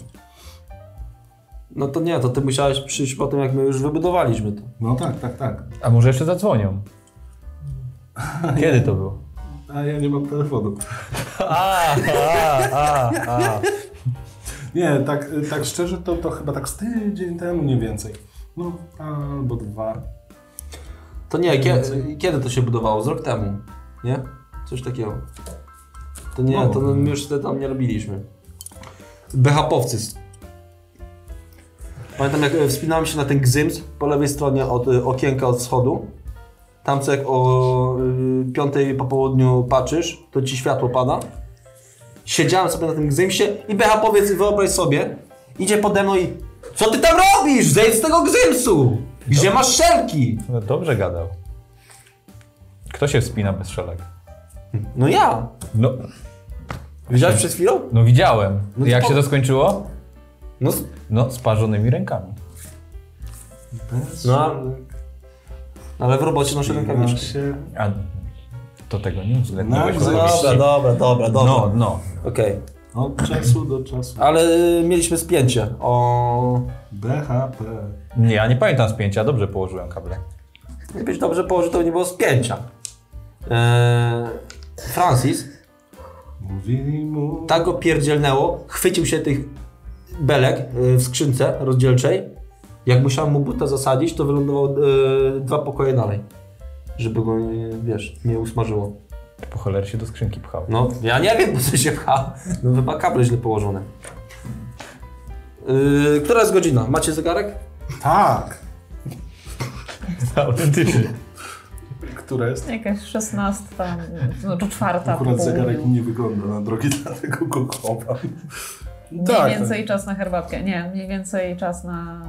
Speaker 3: No to nie, to ty musiałeś przyjść po tym, jak my już wybudowaliśmy to.
Speaker 4: No tak, tak, tak.
Speaker 2: A może jeszcze zadzwonią? Kiedy to było?
Speaker 4: A ja nie mam telefonu.
Speaker 2: A, a, a, a.
Speaker 4: Nie, tak, tak szczerze, to, to chyba tak z tydzień temu, nie więcej. No, albo dwa.
Speaker 3: To nie, kiedy, kiedy to się budowało? Z rok temu, nie? Coś takiego. To nie,
Speaker 4: No.
Speaker 3: to my już te tam nie robiliśmy. BHP-owcy. Pamiętam jak e, wspinałem się na ten gzyms po lewej stronie od e, okienka od schodu. Tam co jak o y, piątej po południu patrzysz, to ci światło pada. Siedziałem sobie na tym gzymsie i BHP-owiec, wyobraź sobie, idzie pode mną i co ty tam robisz? Zejdź z tego gzymsu! Gdzie masz szelki?
Speaker 2: No dobrze gadał. Kto się wspina bez szelek?
Speaker 3: No ja.
Speaker 2: No,
Speaker 3: Widziałeś przed chwilą?
Speaker 2: no widziałem.
Speaker 3: No to
Speaker 2: Jak
Speaker 3: po-
Speaker 2: się to skończyło?
Speaker 3: No.
Speaker 2: No, z parzonymi rękami.
Speaker 3: no. Ale w robocie noszę
Speaker 4: No
Speaker 3: rękawiczki.
Speaker 4: się...
Speaker 2: A to tego nie uwzględniłeś.
Speaker 4: No,
Speaker 2: oczywiście.
Speaker 3: Dobra, dobra, dobra, dobra.
Speaker 2: no, no.
Speaker 3: Okej.
Speaker 4: Od czasu do czasu.
Speaker 3: Ale y, mieliśmy spięcie o...
Speaker 4: BHP.
Speaker 2: Nie, ja nie pamiętam spięcia, dobrze położyłem kable.
Speaker 3: Gdybyś dobrze położył, to by nie było spięcia. Eee, Francis
Speaker 4: Mówili mu...
Speaker 3: tak go pierdzielnęło, chwycił się tych belek y, w skrzynce rozdzielczej. Jak musiałem mu buta zasadzić, to wylądował y, dwa pokoje dalej. Żeby go, nie, wiesz, nie usmażyło.
Speaker 2: Po cholerę się do skrzynki pchał.
Speaker 3: No, ja nie wiem, po co się pcha. No, chyba kable źle położone. Yy, która jest godzina? Macie zegarek?
Speaker 4: Tak!
Speaker 2: Autentycznie.
Speaker 4: Która jest?
Speaker 1: Jakaś szesnasta, znaczy czwarta. po
Speaker 4: Akurat zegarek
Speaker 1: południu.
Speaker 4: nie wygląda na drogi, dlatego go chowam.
Speaker 1: Mniej
Speaker 4: Tak,
Speaker 1: więcej czas na herbatkę. Nie, mniej więcej czas na,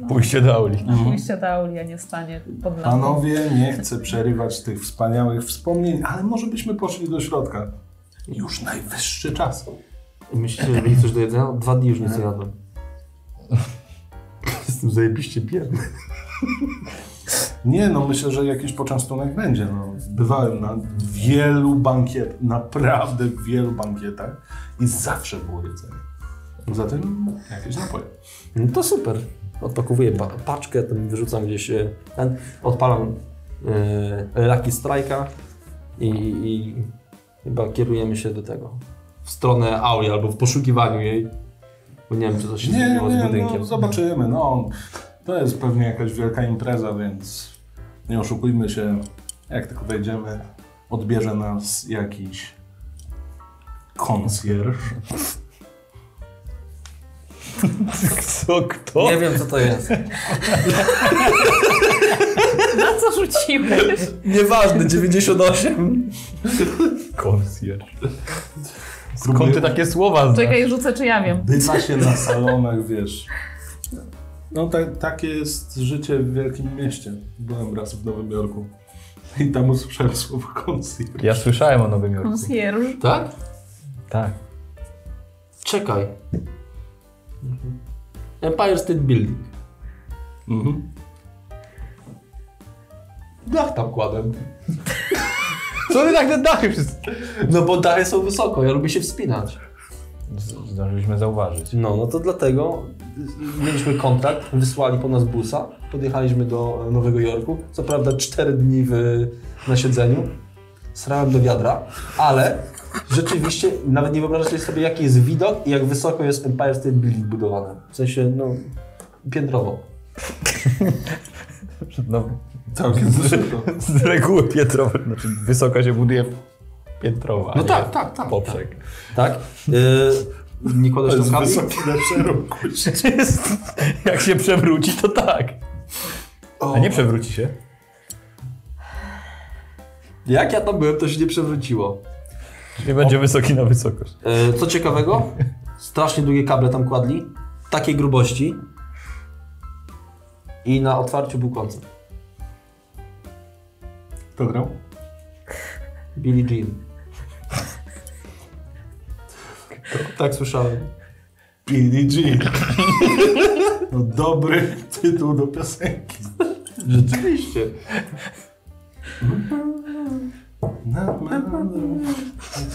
Speaker 1: no,
Speaker 2: Pójście do auli.
Speaker 4: Mhm.
Speaker 1: na pójście do auli, a nie stanie pod lampą.
Speaker 4: Panowie, nie chcę przerywać tych wspaniałych wspomnień, ale może byśmy poszli do środka. Już najwyższy czas.
Speaker 3: Myślicie, że będzie coś do jedzenia? Dwa dni już nic nie jadłem. Jestem zajebiście biedny.
Speaker 4: Nie, no myślę, że jakiś poczęstunek będzie. No, bywałem na wielu bankietach, naprawdę wielu bankietach i zawsze było jedzenie. Poza tym jakieś napoje.
Speaker 3: No to super. Odpakowuję pa paczkę, tam wyrzucam gdzieś, e, ten, odpalam yy, Lucky Strike'a i, i chyba kierujemy się do tego. W stronę auli albo w poszukiwaniu jej. Bo nie wiem, czy to się
Speaker 4: Nie,
Speaker 3: zmieniło z
Speaker 4: nie,
Speaker 3: budynkiem.
Speaker 4: no zobaczymy. No, to jest pewnie jakaś wielka impreza, więc nie oszukujmy się. Jak tylko wejdziemy, odbierze nas jakiś koncjerż.
Speaker 2: Co, kto?
Speaker 3: nie wiem, co to jest.
Speaker 1: Na co rzuciłeś?
Speaker 3: Nieważne, 98.
Speaker 2: Konsjerz. Skąd ty takie słowa znasz?
Speaker 1: Czekaj, rzucę, czy ja wiem.
Speaker 4: Bywa się na salonach, wiesz. No tak, takie jest życie w wielkim mieście. Byłem raz w Nowym Jorku i tam usłyszałem słowo koncjerż.
Speaker 2: Ja słyszałem o Nowym Jorku.
Speaker 1: Konsjerż.
Speaker 3: Tak?
Speaker 2: Tak.
Speaker 3: Czekaj. Empire State Building.
Speaker 4: Mhm.
Speaker 3: Dach tam kładłem.
Speaker 2: Co ty tak te dachy wszyscy...
Speaker 3: No bo dachy są wysoko, ja lubię się wspinać.
Speaker 2: Z- Zdążyliśmy zauważyć.
Speaker 3: No, no to dlatego y, mieliśmy kontrakt, wysłali po nas busa, podjechaliśmy do Nowego Jorku. Co prawda 4 dni w, na siedzeniu, srałem do wiadra, ale rzeczywiście nawet nie wyobrażacie sobie jaki jest widok i jak wysoko jest Empire State Building budowane. W sensie, no, piętrowo.
Speaker 2: No,
Speaker 4: Całkiem szybko.
Speaker 2: z reguły piętrowe, znaczy wysoka się buduje piętrowa.
Speaker 3: No
Speaker 2: nie
Speaker 3: tak, tak, tak.
Speaker 2: Poprzek.
Speaker 3: Tak? Y, nie
Speaker 4: To
Speaker 3: kładasz
Speaker 4: jest
Speaker 3: tam kabli?
Speaker 4: wysoki na szeroku.
Speaker 2: Jak się przewróci, to tak. A nie przewróci się.
Speaker 3: Jak ja tam byłem, to się nie przewróciło.
Speaker 2: Nie będzie wysoki na wysokość.
Speaker 3: E, Co ciekawego, strasznie długie kable tam kładli, takiej grubości. I na otwarciu był koncert.
Speaker 4: Kto grał?
Speaker 3: Billie Jean. Tak słyszałem.
Speaker 4: Billie Jean. No dobry tytuł do piosenki.
Speaker 5: Rzeczywiście.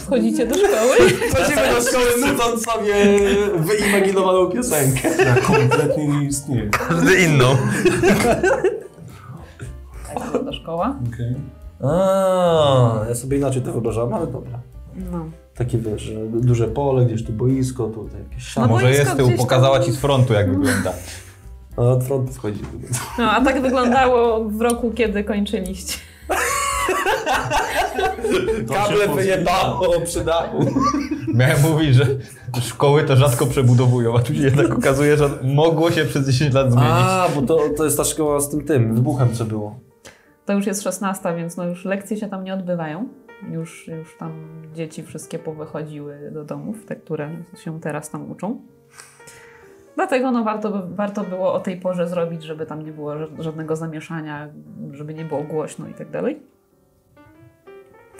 Speaker 1: Wchodzicie do szkoły?
Speaker 5: Chodzimy do szkoły nucąc sobie wyimaginowaną piosenkę.
Speaker 4: Ja kompletnie nie istnieje.
Speaker 2: Każdy inną.
Speaker 1: Tak, wygląda szkoła.
Speaker 4: Okej.
Speaker 3: A, ja sobie inaczej to wyobrażałem, ale dobra.
Speaker 1: No.
Speaker 3: Takie wiesz, że duże pole, gdzieś tu boisko, tutaj jakieś
Speaker 1: No
Speaker 3: szamy.
Speaker 2: Może
Speaker 1: boisko
Speaker 2: jest z tyłu,
Speaker 1: gdzieś tam-
Speaker 2: pokazała ci z frontu jak wygląda.
Speaker 3: A od frontu wchodzi.
Speaker 1: no, a tak wyglądało w roku, kiedy kończyliście.
Speaker 5: Kable wyjebało przy dachu.
Speaker 2: Miałem mówić, że szkoły to rzadko przebudowują, a tu się jednak okazuje, że mogło się przez 10 lat zmienić.
Speaker 3: A, bo to, to jest ta szkoła z tym tym wybuchem, co było.
Speaker 1: To już jest 16, więc no już lekcje się tam nie odbywają. Już, już tam dzieci wszystkie powychodziły do domów, te, które się teraz tam uczą. Dlatego no, warto, by, warto było o tej porze zrobić, żeby tam nie było ża- żadnego zamieszania, żeby nie było głośno i tak dalej.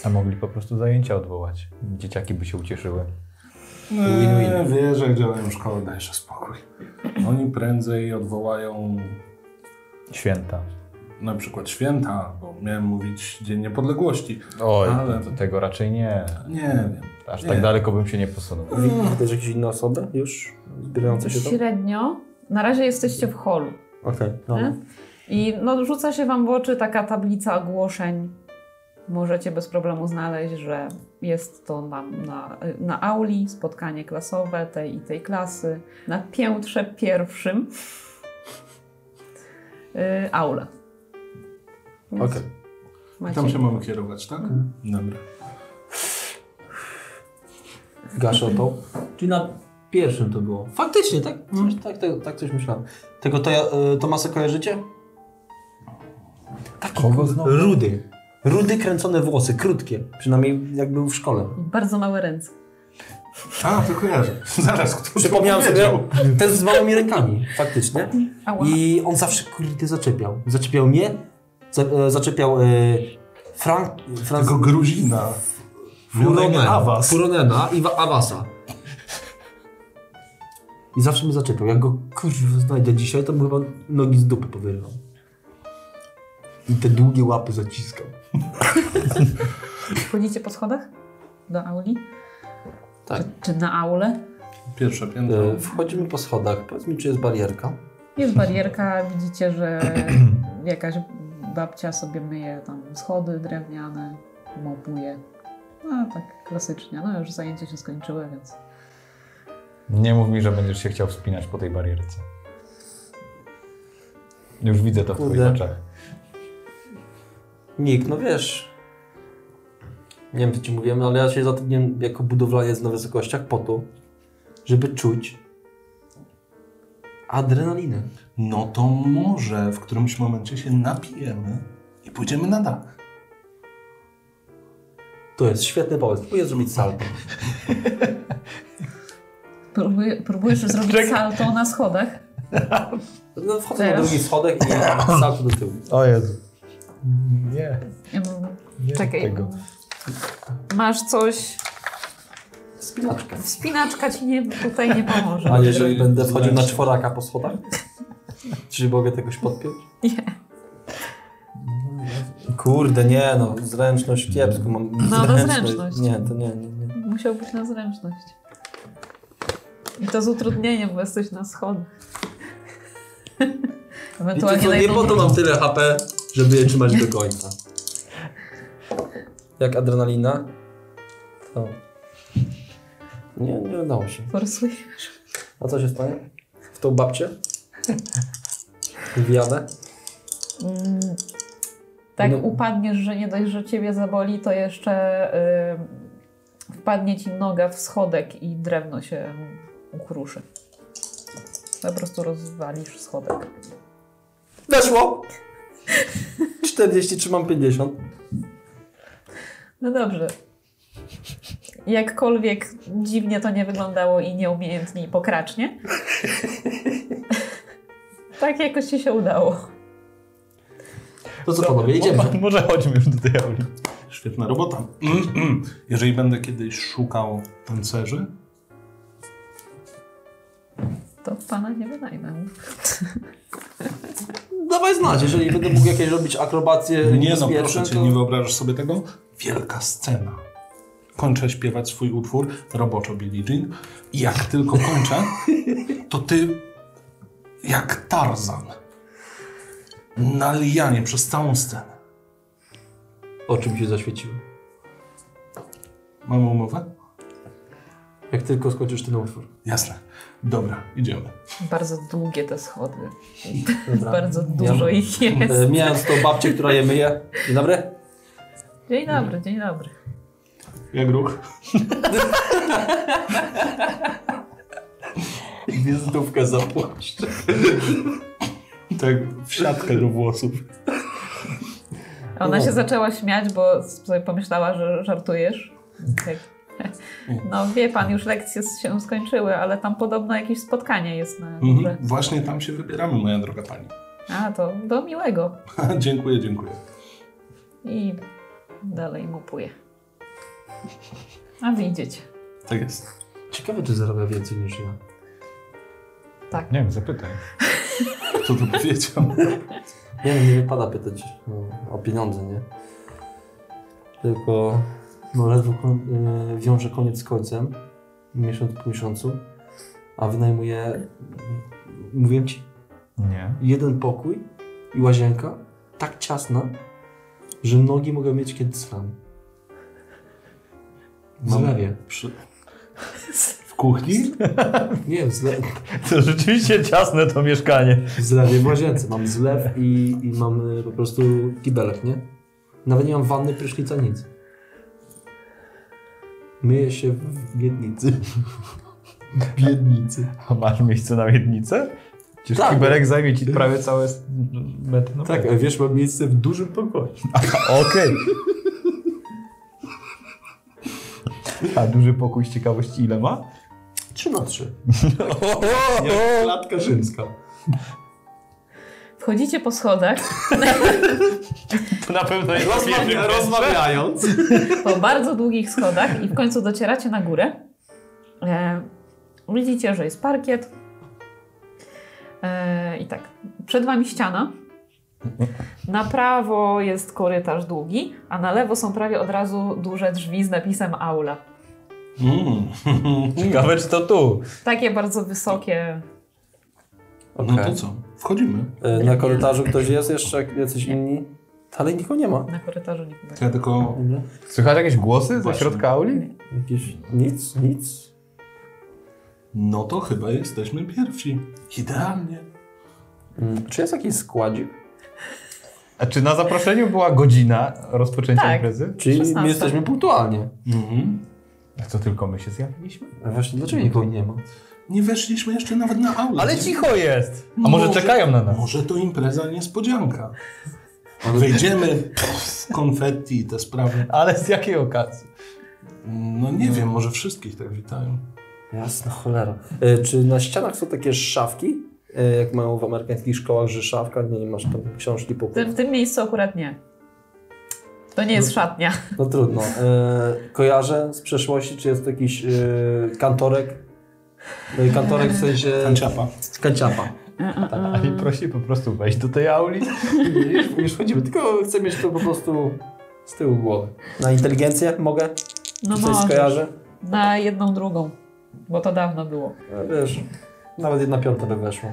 Speaker 2: A mogli po prostu zajęcia odwołać. Dzieciaki by się ucieszyły.
Speaker 4: Nie, No, wiesz, jak działają szkoły, dajże spokój. Oni prędzej odwołają
Speaker 2: Święta.
Speaker 4: na przykład święta, bo miałem mówić Dzień Niepodległości.
Speaker 2: Oj,
Speaker 4: Ale-
Speaker 2: to, tego raczej nie.
Speaker 4: Nie wiem.
Speaker 2: Aż
Speaker 4: Nie.
Speaker 2: tak daleko bym się nie posunął.
Speaker 3: Widzicie też jakieś inne osoby już zbierające się tam?
Speaker 1: Średnio. Na razie jesteście w holu.
Speaker 3: Okej,
Speaker 1: Nie?
Speaker 3: dobra.
Speaker 1: E? I no, rzuca się Wam w oczy taka tablica ogłoszeń. Możecie bez problemu znaleźć, że jest to na, na, na auli, spotkanie klasowe tej i tej klasy, na piętrze pierwszym yy, aula. Więc
Speaker 3: Okej.
Speaker 1: macie-
Speaker 4: Tam się mamy kierować, tak? Dobra.
Speaker 3: Gaszę tą. Czyli na pierwszym to było. Faktycznie, tak?
Speaker 2: Mhm.
Speaker 3: Coś, tak, tak, tak coś myślałem. Tego to, y, Tomasa kojarzycie? Taki
Speaker 2: Kogo
Speaker 3: kur-
Speaker 2: znowu?
Speaker 3: Rudy. Rudy kręcone włosy, krótkie. Przynajmniej jak był w szkole.
Speaker 1: Bardzo małe ręce.
Speaker 4: A, to kojarzę. Zaraz, kto to
Speaker 3: Przypomniałem sobie,
Speaker 4: powiedział?
Speaker 3: ten z małymi rękami, faktycznie.
Speaker 1: Ała.
Speaker 3: I on zawsze kurde zaczepiał. Zaczepiał mnie, za, e, zaczepiał e, Frank... Franz,
Speaker 4: Tego Gruzina. Mionek
Speaker 3: Furonena,
Speaker 4: Awas.
Speaker 3: Furonena i Wa- Awasa. I zawsze mnie zaczepiał. Jak go kurwa znajdę dzisiaj, to mu chyba nogi z dupy powyrwał. I te długie łapy zaciskał.
Speaker 1: Wchodzicie po schodach do auli?
Speaker 3: Tak.
Speaker 1: Czy, czy na aulę?
Speaker 4: Pierwsze piętro.
Speaker 3: E, wchodzimy po schodach. Powiedz mi, czy jest barierka?
Speaker 1: Jest barierka, widzicie, że jakaś babcia sobie myje tam schody drewniane, mopuje. No tak klasycznie, no już zajęcia się skończyły, więc...
Speaker 2: Nie mów mi, że będziesz się chciał wspinać po tej barierce. Już widzę to w twoich
Speaker 3: Kurde.
Speaker 2: oczach.
Speaker 3: Nikt, no wiesz. Nie wiem, czy ci mówiłem, ale ja się zatrudniłem jako budowlaniec na wysokościach po to, żeby czuć adrenalinę.
Speaker 4: No to może w którymś momencie się napijemy i pójdziemy na dach.
Speaker 3: To jest świetny pomysł. Próbuję zrobić salto.
Speaker 1: Próbuj, próbujesz zrobić salto na schodach.
Speaker 3: No, wchodzę na
Speaker 1: Teraz?
Speaker 3: drugi schodek i salto do tyłu.
Speaker 2: O Jezu. Nie,
Speaker 1: Em,
Speaker 2: nie
Speaker 1: Czekaj.
Speaker 2: tego.
Speaker 1: Masz coś...
Speaker 3: Spinaczka.
Speaker 1: Wspinaczka ci nie, tutaj nie pomoże.
Speaker 3: A jeżeli będę wchodził na czworaka po schodach? Czy mogę tego podpiąć?
Speaker 1: Nie.
Speaker 3: Kurde, nie no, zręczność kiepsko mam.
Speaker 1: No, no, zręczność. No
Speaker 3: Nie, to nie, nie, nie.
Speaker 1: Musiał być na zręczność. I to z utrudnieniem, bo jesteś na schodach.
Speaker 3: Wiecie co, nie po to
Speaker 1: najtrudniej-
Speaker 3: mam tyle HP, żeby je trzymać do końca. Jak adrenalina? To... Nie, nie udało się.
Speaker 1: Forsujesz.
Speaker 3: A co się stanie? W tą babcię? Wjadę?
Speaker 1: Mm, tak
Speaker 3: No.
Speaker 1: upadniesz, że nie dość, że ciebie zaboli, to jeszcze y, wpadnie ci noga w schodek i drewno się ukruszy. Po prostu rozwalisz schodek.
Speaker 3: Weszło! 40, trzymam 50.
Speaker 1: No dobrze. Jakkolwiek dziwnie to nie wyglądało i nieumiejętnie i pokracznie. tak jakoś ci się udało.
Speaker 3: To co panowie, idziemy.
Speaker 2: Mo- Może chodźmy już do tej auli.
Speaker 4: Świetna robota. Mm, mm. Jeżeli będę kiedyś szukał tancerzy,
Speaker 1: to pana nie wynajmę.
Speaker 3: Dawaj znać, jeżeli będę mógł jakieś robić akrobacje
Speaker 4: Nie no,
Speaker 3: niebezpieczne,
Speaker 4: proszę cię,
Speaker 3: E, to-
Speaker 4: nie wyobrażasz sobie tego? Wielka scena. Kończę śpiewać swój utwór, roboczo Billie Jean. I jak tylko kończę, to ty jak Tarzan. Nalijanie przez całą scenę.
Speaker 3: O czym się zaświeciło?
Speaker 4: Mamy umowę?
Speaker 3: Jak tylko skończysz ten utwór.
Speaker 4: Jasne. Dobra, idziemy.
Speaker 1: Bardzo długie te schody.
Speaker 3: Dobra.
Speaker 1: Bardzo dużo
Speaker 3: Ja,
Speaker 1: ich jest.
Speaker 3: e, mijając tą babcię, która je myje. Dzień dobry.
Speaker 1: Dzień dobry, dzień dobry.
Speaker 4: Jak ruch?
Speaker 3: Gwiazdówkę zapłaszcz.
Speaker 4: Tak, w siatkę do włosów.
Speaker 1: A Ona się zaczęła śmiać, bo sobie pomyślała, że żartujesz. Tak. No wie pan, już lekcje się skończyły, ale tam podobno jakieś spotkanie jest na górze.
Speaker 4: Mhm. Właśnie tam się wybieramy, moja droga pani.
Speaker 1: A, to do miłego.
Speaker 4: dziękuję, dziękuję.
Speaker 1: I dalej mopuje. A widzieć.
Speaker 4: Tak jest.
Speaker 3: Ciekawe, czy zarabia więcej niż ja.
Speaker 1: Tak.
Speaker 2: Nie wiem, zapytaj.
Speaker 4: Co to powiedział?
Speaker 3: Nie wiem, nie wypada pytać no, o pieniądze, nie? Tylko no, ledwo kon- y, wiąże koniec z końcem, miesiąc po miesiącu, a wynajmuje, mówiłem ci,
Speaker 2: Nie.
Speaker 3: jeden pokój i łazienka tak ciasna, że nogi mogę mieć kiedy sram. W
Speaker 4: Mam-
Speaker 3: zlewie.
Speaker 4: Przy... W kuchni?
Speaker 3: Nie, w, zle...
Speaker 2: To rzeczywiście ciasne to mieszkanie.
Speaker 3: w zlewie w łazience. Mam zlew i, i mam y, po prostu kibelek, nie? Nawet nie mam wanny, prysznica, nic. Myję się w biednicy. biednicy.
Speaker 2: A masz miejsce na miednicę? Przecież
Speaker 3: Tak.
Speaker 2: kibelek zajmie ci prawie całe s- metr na
Speaker 3: Tak,
Speaker 2: metr.
Speaker 3: a wiesz, mam miejsce w dużym pokoju.
Speaker 2: Okej. A duży pokój z ciekawości ile ma?
Speaker 3: Trzy na trzy.
Speaker 2: Nie.
Speaker 3: Klatka rzymska.
Speaker 1: Wchodzicie po schodach
Speaker 2: To na pewno jest
Speaker 3: Rozmawia, rozmawiając.
Speaker 1: po bardzo długich schodach i w końcu docieracie na górę. E, widzicie, że jest parkiet. E, I tak, przed wami ściana. Na prawo jest korytarz długi, a na lewo są prawie od razu duże drzwi z napisem aula.
Speaker 4: Mm.
Speaker 2: Ciekawe czy to tu.
Speaker 1: Takie bardzo wysokie.
Speaker 4: No to co? Wchodzimy.
Speaker 3: E, Na korytarzu ktoś jest jeszcze, jacyś inni? Dalej nikogo nie ma.
Speaker 1: Na korytarzu nie widać.
Speaker 4: Ja tylko
Speaker 3: Dobra.
Speaker 2: Słychać jakieś głosy ze
Speaker 4: Właśnie.
Speaker 2: środka auli?
Speaker 3: Jakieś nic, nic.
Speaker 4: No to chyba jesteśmy pierwsi. Idealnie.
Speaker 3: Mm, Czy jest jakiś składzik?
Speaker 2: A czy na zaproszeniu była godzina rozpoczęcia
Speaker 1: Tak.
Speaker 2: imprezy?
Speaker 3: Czyli
Speaker 1: 16.
Speaker 3: my jesteśmy punktualnie.
Speaker 4: Mhm.
Speaker 2: A co tylko my się zjawiliśmy?
Speaker 3: A właśnie dlaczego nikogo nie ma?
Speaker 4: Nie weszliśmy jeszcze nawet na aulę.
Speaker 2: Ale cicho jest! A może czekają na nas?
Speaker 4: Może to impreza niespodzianka. Wejdziemy pff, konfetti i te sprawy.
Speaker 2: Ale z jakiej okazji?
Speaker 4: No nie wiem, może wszystkich tak witają.
Speaker 3: Jasna cholera. E, Czy na ścianach są takie szafki? E, Jak mają w amerykańskich szkołach, że szafka, nie masz tam książki po
Speaker 1: W tym, w tym miejscu akurat nie. To nie jest szatnia.
Speaker 3: No trudno. E, Kojarzę z przeszłości, czy jest jakiś e, kantorek? E, Kantorek w sensie...
Speaker 4: Kanciapa.
Speaker 3: Kanciapa.
Speaker 2: A i prosi po prostu wejść do tej auli.
Speaker 3: Już, już chodzimy, tylko chcę mieć to po prostu z tyłu głowy. Na inteligencję mogę?
Speaker 1: No
Speaker 3: Czy coś
Speaker 1: może.
Speaker 3: skojarzę?
Speaker 1: Na jedną drugą, bo to dawno było.
Speaker 3: E, Wiesz, nawet jedna piąta by weszło.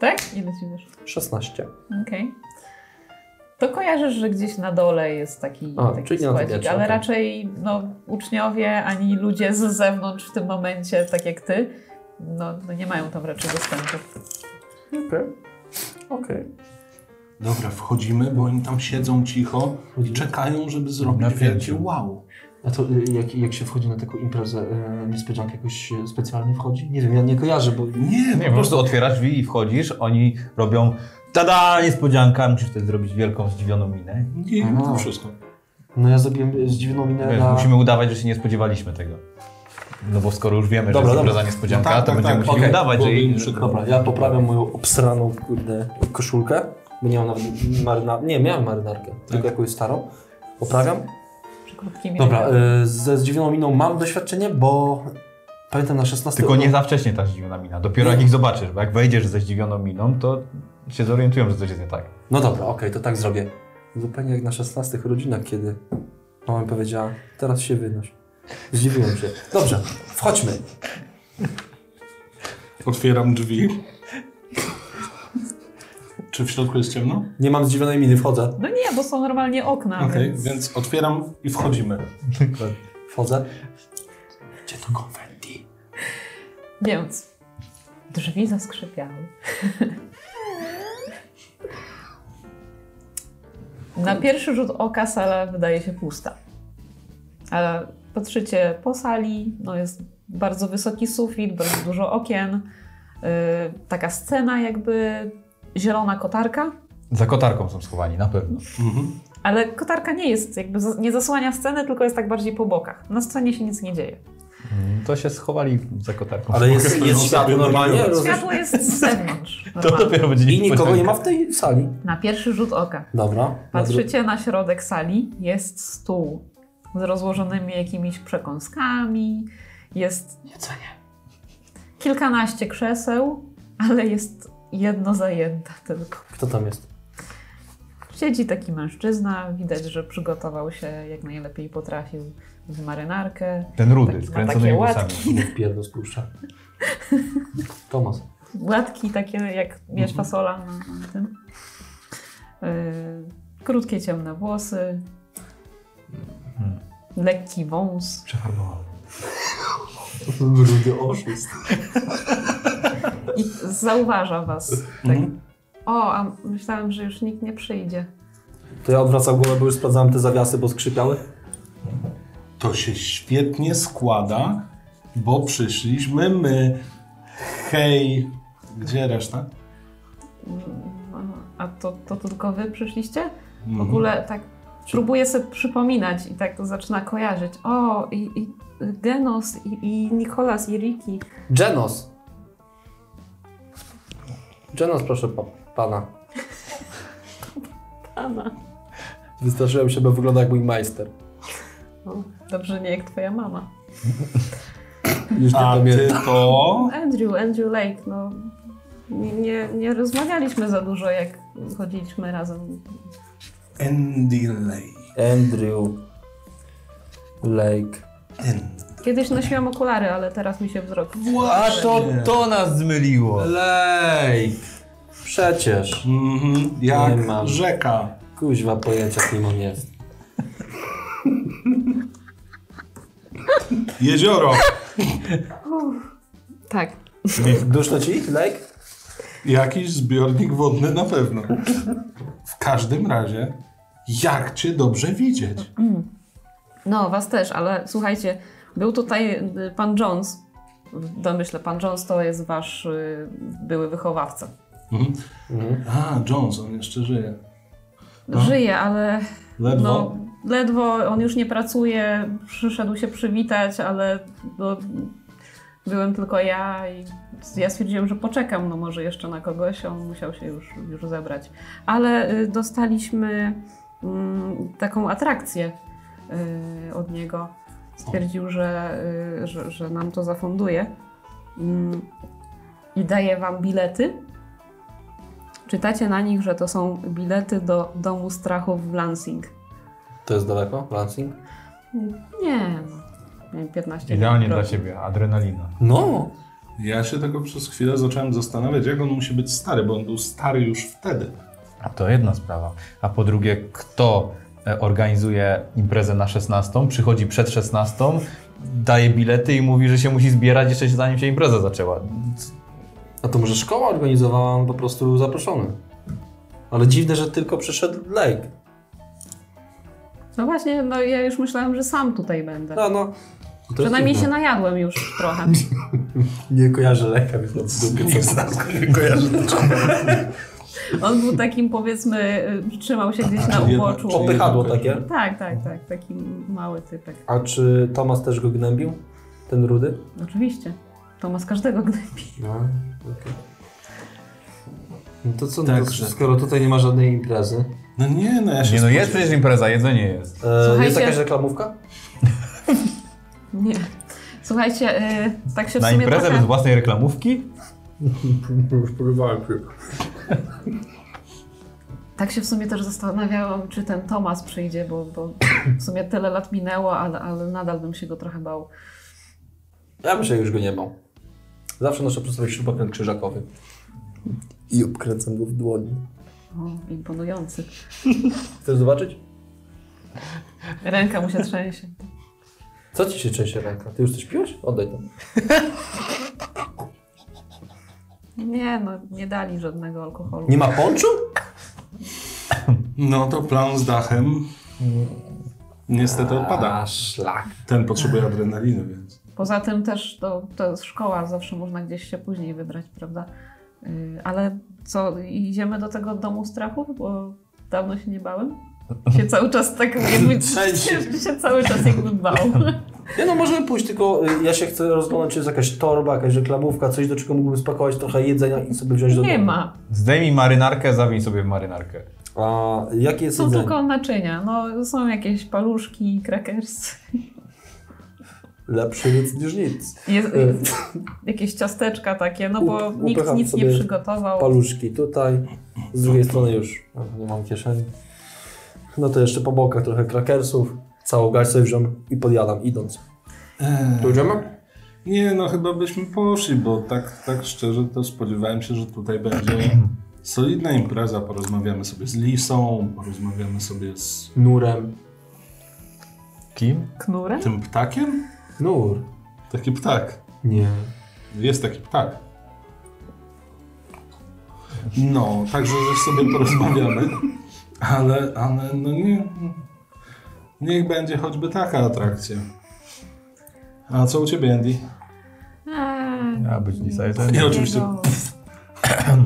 Speaker 1: Tak? Ile ci wyszło?
Speaker 3: 16.
Speaker 1: Okej. To kojarzysz, że gdzieś na dole jest taki,
Speaker 3: A,
Speaker 1: taki
Speaker 3: czyli nie na
Speaker 1: składzik,
Speaker 3: tybiecie,
Speaker 1: ale
Speaker 3: okej.
Speaker 1: raczej no, uczniowie ani ludzie z zewnątrz w tym momencie, tak jak ty, no, no nie mają tam raczej dostępu.
Speaker 3: Okej. Okej.
Speaker 4: Dobra, wchodzimy, bo oni tam siedzą cicho i czekają, żeby zrobić
Speaker 2: Napięcie.
Speaker 4: wielkie wow.
Speaker 3: A to y, jak, jak się wchodzi na taką imprezę, y, niespodziankę jakoś się specjalnie wchodzi? Nie wiem, ja nie kojarzę, bo...
Speaker 4: Nie, no,
Speaker 2: Nie, po prostu otwierasz drzwi i wchodzisz, oni robią tada, niespodzianka, musisz wtedy zrobić wielką zdziwioną minę.
Speaker 4: nie, to wszystko.
Speaker 3: No ja zrobiłem zdziwioną minę
Speaker 2: Wiesz,
Speaker 3: na...
Speaker 2: Musimy udawać, że się nie spodziewaliśmy tego. No bo skoro już wiemy,
Speaker 3: Dobra,
Speaker 2: że jest
Speaker 3: dobra.
Speaker 2: impreza niespodzianka,
Speaker 4: No tak,
Speaker 2: to
Speaker 4: tak,
Speaker 2: będziemy
Speaker 4: tak,
Speaker 2: musieli
Speaker 4: okej.
Speaker 2: udawać, że
Speaker 4: Byłoby
Speaker 2: jej...
Speaker 4: im przykro.
Speaker 3: Dobra, ja poprawiam moją obsraną, kurde, koszulkę, bo nie mam nawet maryna... Nie, miałem marynarkę, tylko jakąś starą. Poprawiam.
Speaker 1: Przy krótkimi
Speaker 3: Dobra, e,
Speaker 1: rękawami.
Speaker 3: y, ze zdziwioną miną mam doświadczenie, bo Pamiętam na 16
Speaker 2: Tylko nie za wcześnie ta zdziwiona mina. Dopiero jak ich zobaczysz, bo jak wejdziesz ze zdziwioną miną, to się zorientują, że coś jest nie tak.
Speaker 3: No dobra, okej, to tak zrobię. Zupełnie jak na 16 rodzinach, kiedy mama mi powiedziała, teraz się wynoś. Zdziwiłem się. Dobrze, wchodźmy.
Speaker 4: Otwieram drzwi. Czy w środku jest ciemno?
Speaker 3: Nie mam zdziwionej miny, wchodzę.
Speaker 1: No nie, bo są normalnie okna,
Speaker 4: Okej,
Speaker 1: więc...
Speaker 4: więc otwieram i wchodzimy.
Speaker 3: Wchodzę. Gdzie to konfetti?
Speaker 1: Więc drzwi zaskrzypiały. Na pierwszy rzut oka sala wydaje się pusta. Ale patrzycie po sali, no jest bardzo wysoki sufit, bardzo dużo okien. Yy, taka scena jakby zielona kotarka,
Speaker 2: Za kotarką są schowani, na pewno.
Speaker 4: Mhm.
Speaker 1: ale kotarka nie jest jakby zas- nie zasłania sceny, tylko jest tak bardziej po bokach. Na scenie się nic nie dzieje.
Speaker 2: Mm, To się schowali za kotarką.
Speaker 3: Ale jest,
Speaker 4: Mogę
Speaker 3: jest
Speaker 4: sobie
Speaker 3: światło normalnie?
Speaker 4: nagrać.
Speaker 3: rozumiesz?
Speaker 1: Światło jest z zewnątrz.
Speaker 2: To
Speaker 1: normalnie.
Speaker 2: dopiero będzie
Speaker 3: I nikogo nie ma
Speaker 2: niespodzianka.
Speaker 3: w tej sali.
Speaker 1: Na pierwszy rzut oka.
Speaker 3: Dobra. na dru-
Speaker 1: Patrzycie na środek sali, jest stół z rozłożonymi jakimiś przekąskami, jest kilkanaście krzeseł, ale jest jedno zajęte tylko.
Speaker 3: Kto tam jest?
Speaker 1: Siedzi taki mężczyzna, widać, że przygotował się jak najlepiej potrafił w marynarkę.
Speaker 2: Ten rudy,
Speaker 1: Taki-
Speaker 2: z
Speaker 1: ma
Speaker 2: kręconymi
Speaker 1: takie
Speaker 2: włosami.
Speaker 1: łatki.
Speaker 3: Nie pierdol spuszcza. Tomas.
Speaker 1: Gładki takie jak miecz fasola na, na tym. Yy, krótkie ciemne włosy. Lekki wąs.
Speaker 2: Przefarbował.
Speaker 3: Rudy oszust.
Speaker 1: I zauważa was. Tak.
Speaker 4: Mhm.
Speaker 1: O, a myślałem, że już nikt nie przyjdzie.
Speaker 3: To ja odwracam głowę, bo już sprawdzałem te zawiasy, bo skrzypiały.
Speaker 4: To się świetnie składa, bo przyszliśmy my. Hej, gdzie reszta?
Speaker 1: No, A to, to tylko wy przyszliście? W
Speaker 4: Mhm.
Speaker 1: ogóle tak próbuję sobie przypominać i tak zaczyna kojarzyć. O, i, i Genos, i, i Nikolas, i Riki.
Speaker 3: Genos. Genos, proszę pa pana.
Speaker 1: Ana.
Speaker 3: Wystraszyłem się, bo wygląda jak mój majster.
Speaker 1: No, dobrze, nie jak twoja mama.
Speaker 3: Już nie
Speaker 4: A ty
Speaker 3: pamiętam.
Speaker 4: to...
Speaker 1: Andrew, Andrew Lake, no... Nie, nie, nie rozmawialiśmy za dużo, jak chodziliśmy razem.
Speaker 4: Andy Lake.
Speaker 3: Andrew. Lake.
Speaker 1: Kiedyś nosiłam okulary, ale teraz mi się wzrok...
Speaker 2: A to to nas zmyliło.
Speaker 3: Lake. Przecież.
Speaker 4: Mhm.
Speaker 3: Nie
Speaker 4: Jak
Speaker 3: mam.
Speaker 4: rzeka.
Speaker 3: Kuźwa pojęcia z nim on jest.
Speaker 4: Jezioro.
Speaker 1: Tak,
Speaker 3: Duszno ci? Lake?
Speaker 4: Jakiś zbiornik wodny na pewno. W każdym razie, jak cię dobrze widzieć.
Speaker 1: No, was też, ale słuchajcie, był tutaj y, pan Jones. W domyśle, pan Jones to jest wasz y, były wychowawca.
Speaker 4: Mhm. A, Johnson jeszcze żyje. No.
Speaker 1: Żyje, ale
Speaker 4: Ledwo.
Speaker 1: no, ledwo on już nie pracuje, przyszedł się przywitać, ale no, byłem tylko ja i ja stwierdziłem, że poczekam, no może jeszcze na kogoś, on musiał się już, już zebrać. Ale y, dostaliśmy mm, taką atrakcję y, od niego. Stwierdził, że, y, że, że nam to zafunduje Mm, i daje wam bilety. Czytacie na nich, że to są bilety do Domu Strachów w Lansing.
Speaker 3: To jest daleko? Lansing?
Speaker 1: Nie, no. nie, 15 minut
Speaker 2: Idealnie dla
Speaker 1: drogi.
Speaker 2: ciebie, adrenalina.
Speaker 3: No.
Speaker 4: Ja się tego przez chwilę zacząłem zastanawiać, jak on musi być stary, bo on był stary już wtedy.
Speaker 2: A to jedna sprawa. A po drugie, kto e, organizuje imprezę na 16, przychodzi przed 16, daje bilety i mówi, że się musi zbierać jeszcze zanim się impreza zaczęła. C-
Speaker 3: A to może szkoła organizowała, on po prostu był zaproszony. Ale dziwne, że tylko przyszedł Lake.
Speaker 1: No właśnie, no ja już myślałem, że sam tutaj będę.
Speaker 3: No, no. To
Speaker 1: Przynajmniej
Speaker 3: jest
Speaker 1: się
Speaker 3: dziwne.
Speaker 1: najadłem już trochę.
Speaker 3: Nie kojarzę Lake'a, więc na dupie co znam.
Speaker 1: On był takim powiedzmy, y, trzymał się gdzieś na
Speaker 4: Czyli jednak-
Speaker 1: uboczu.
Speaker 4: czyli
Speaker 3: Popychadło
Speaker 4: jednak-
Speaker 3: takie.
Speaker 1: Tak, tak, tak, taki mały typek.
Speaker 3: A czy Tomas też go gnębił? Ten rudy?
Speaker 1: Oczywiście. To ma z każdego gnębi.
Speaker 3: No, okej. No to co, no to,
Speaker 4: Także.
Speaker 3: skoro tutaj nie ma żadnej imprezy. E,
Speaker 4: No nie, no ja się
Speaker 2: Nie no, jest
Speaker 4: spodziewałem.
Speaker 2: przecież impreza, jedzenie jest.
Speaker 3: E, jest
Speaker 1: Słuchajcie.
Speaker 3: jakaś reklamówka?
Speaker 1: Nie. Słuchajcie, y, tak się w
Speaker 2: Na
Speaker 1: sumie
Speaker 2: imprezę
Speaker 1: trochę...
Speaker 2: bez własnej reklamówki?
Speaker 4: Próbowałem się.
Speaker 1: Tak się w sumie też zastanawiałam, czy ten Tomas przyjdzie, bo, bo w sumie tyle lat minęło, ale, ale nadal bym się go trochę bał.
Speaker 3: Ja bym się już go nie bał. Zawsze noszę przy sobie śrubokręt krzyżakowy.
Speaker 5: I obkręcam go w dłoni.
Speaker 1: O, imponujący.
Speaker 3: Chcesz zobaczyć?
Speaker 1: Ręka mu się trzęsie.
Speaker 3: Co ci się trzęsie ręka? Ty już coś piłeś? Oddaj to.
Speaker 1: Nie, no nie dali żadnego alkoholu.
Speaker 3: Nie ma ponczu?
Speaker 4: No to plan z dachem niestety odpada.
Speaker 3: A szlak.
Speaker 4: Ten potrzebuje adrenaliny, więc.
Speaker 1: Poza tym też to, to jest szkoła, zawsze można gdzieś się później wybrać, prawda? Y, ale co, idziemy do tego domu strachu? Bo dawno się nie bałem. Się cały czas tak jakby...
Speaker 3: Trzęsie.
Speaker 1: się, się cały czas jakby bał.
Speaker 3: Nie no, możemy pójść, tylko y, ja się chcę rozglądać, czy jest jakaś torba, jakaś reklamówka, coś, do czego mógłbym spakować trochę jedzenia i sobie wziąć do
Speaker 1: Nie
Speaker 3: domu.
Speaker 1: ma.
Speaker 2: Zdejmij marynarkę, zawiń sobie w marynarkę.
Speaker 3: A jakie jest
Speaker 1: Są
Speaker 3: jedzenie?
Speaker 1: No tylko naczynia. No, są jakieś paluszki, crackers.
Speaker 3: Lepsze nic niż nic.
Speaker 1: Jest,
Speaker 3: Y,
Speaker 1: jakieś ciasteczka takie, no bo
Speaker 3: Up-
Speaker 1: nikt
Speaker 3: upycham
Speaker 1: nic nie
Speaker 3: sobie
Speaker 1: przygotował.
Speaker 3: Paluszki tutaj, z drugiej strony już nie mam kieszeni. No to jeszcze po bokach trochę krakersów, całą garść sobie wziąłem i podjadam idąc.
Speaker 5: To idziemy?
Speaker 4: Nie, no chyba byśmy poszli, bo tak, tak szczerze to spodziewałem się, że tutaj będzie solidna impreza. Porozmawiamy sobie z Lisą, porozmawiamy sobie z
Speaker 3: Nurem.
Speaker 2: Kim?
Speaker 1: Knurem?
Speaker 4: tym ptakiem.
Speaker 3: Nur?
Speaker 4: Taki ptak.
Speaker 3: Nie.
Speaker 4: Jest taki tak. ptak. No, także że sobie porozmawiamy, ale, ale no nie. Niech będzie choćby taka atrakcja. A co u ciebie, Andy?
Speaker 1: Eee,
Speaker 2: A być Lisa jest.
Speaker 4: Nie, oczywiście.
Speaker 1: jego- no.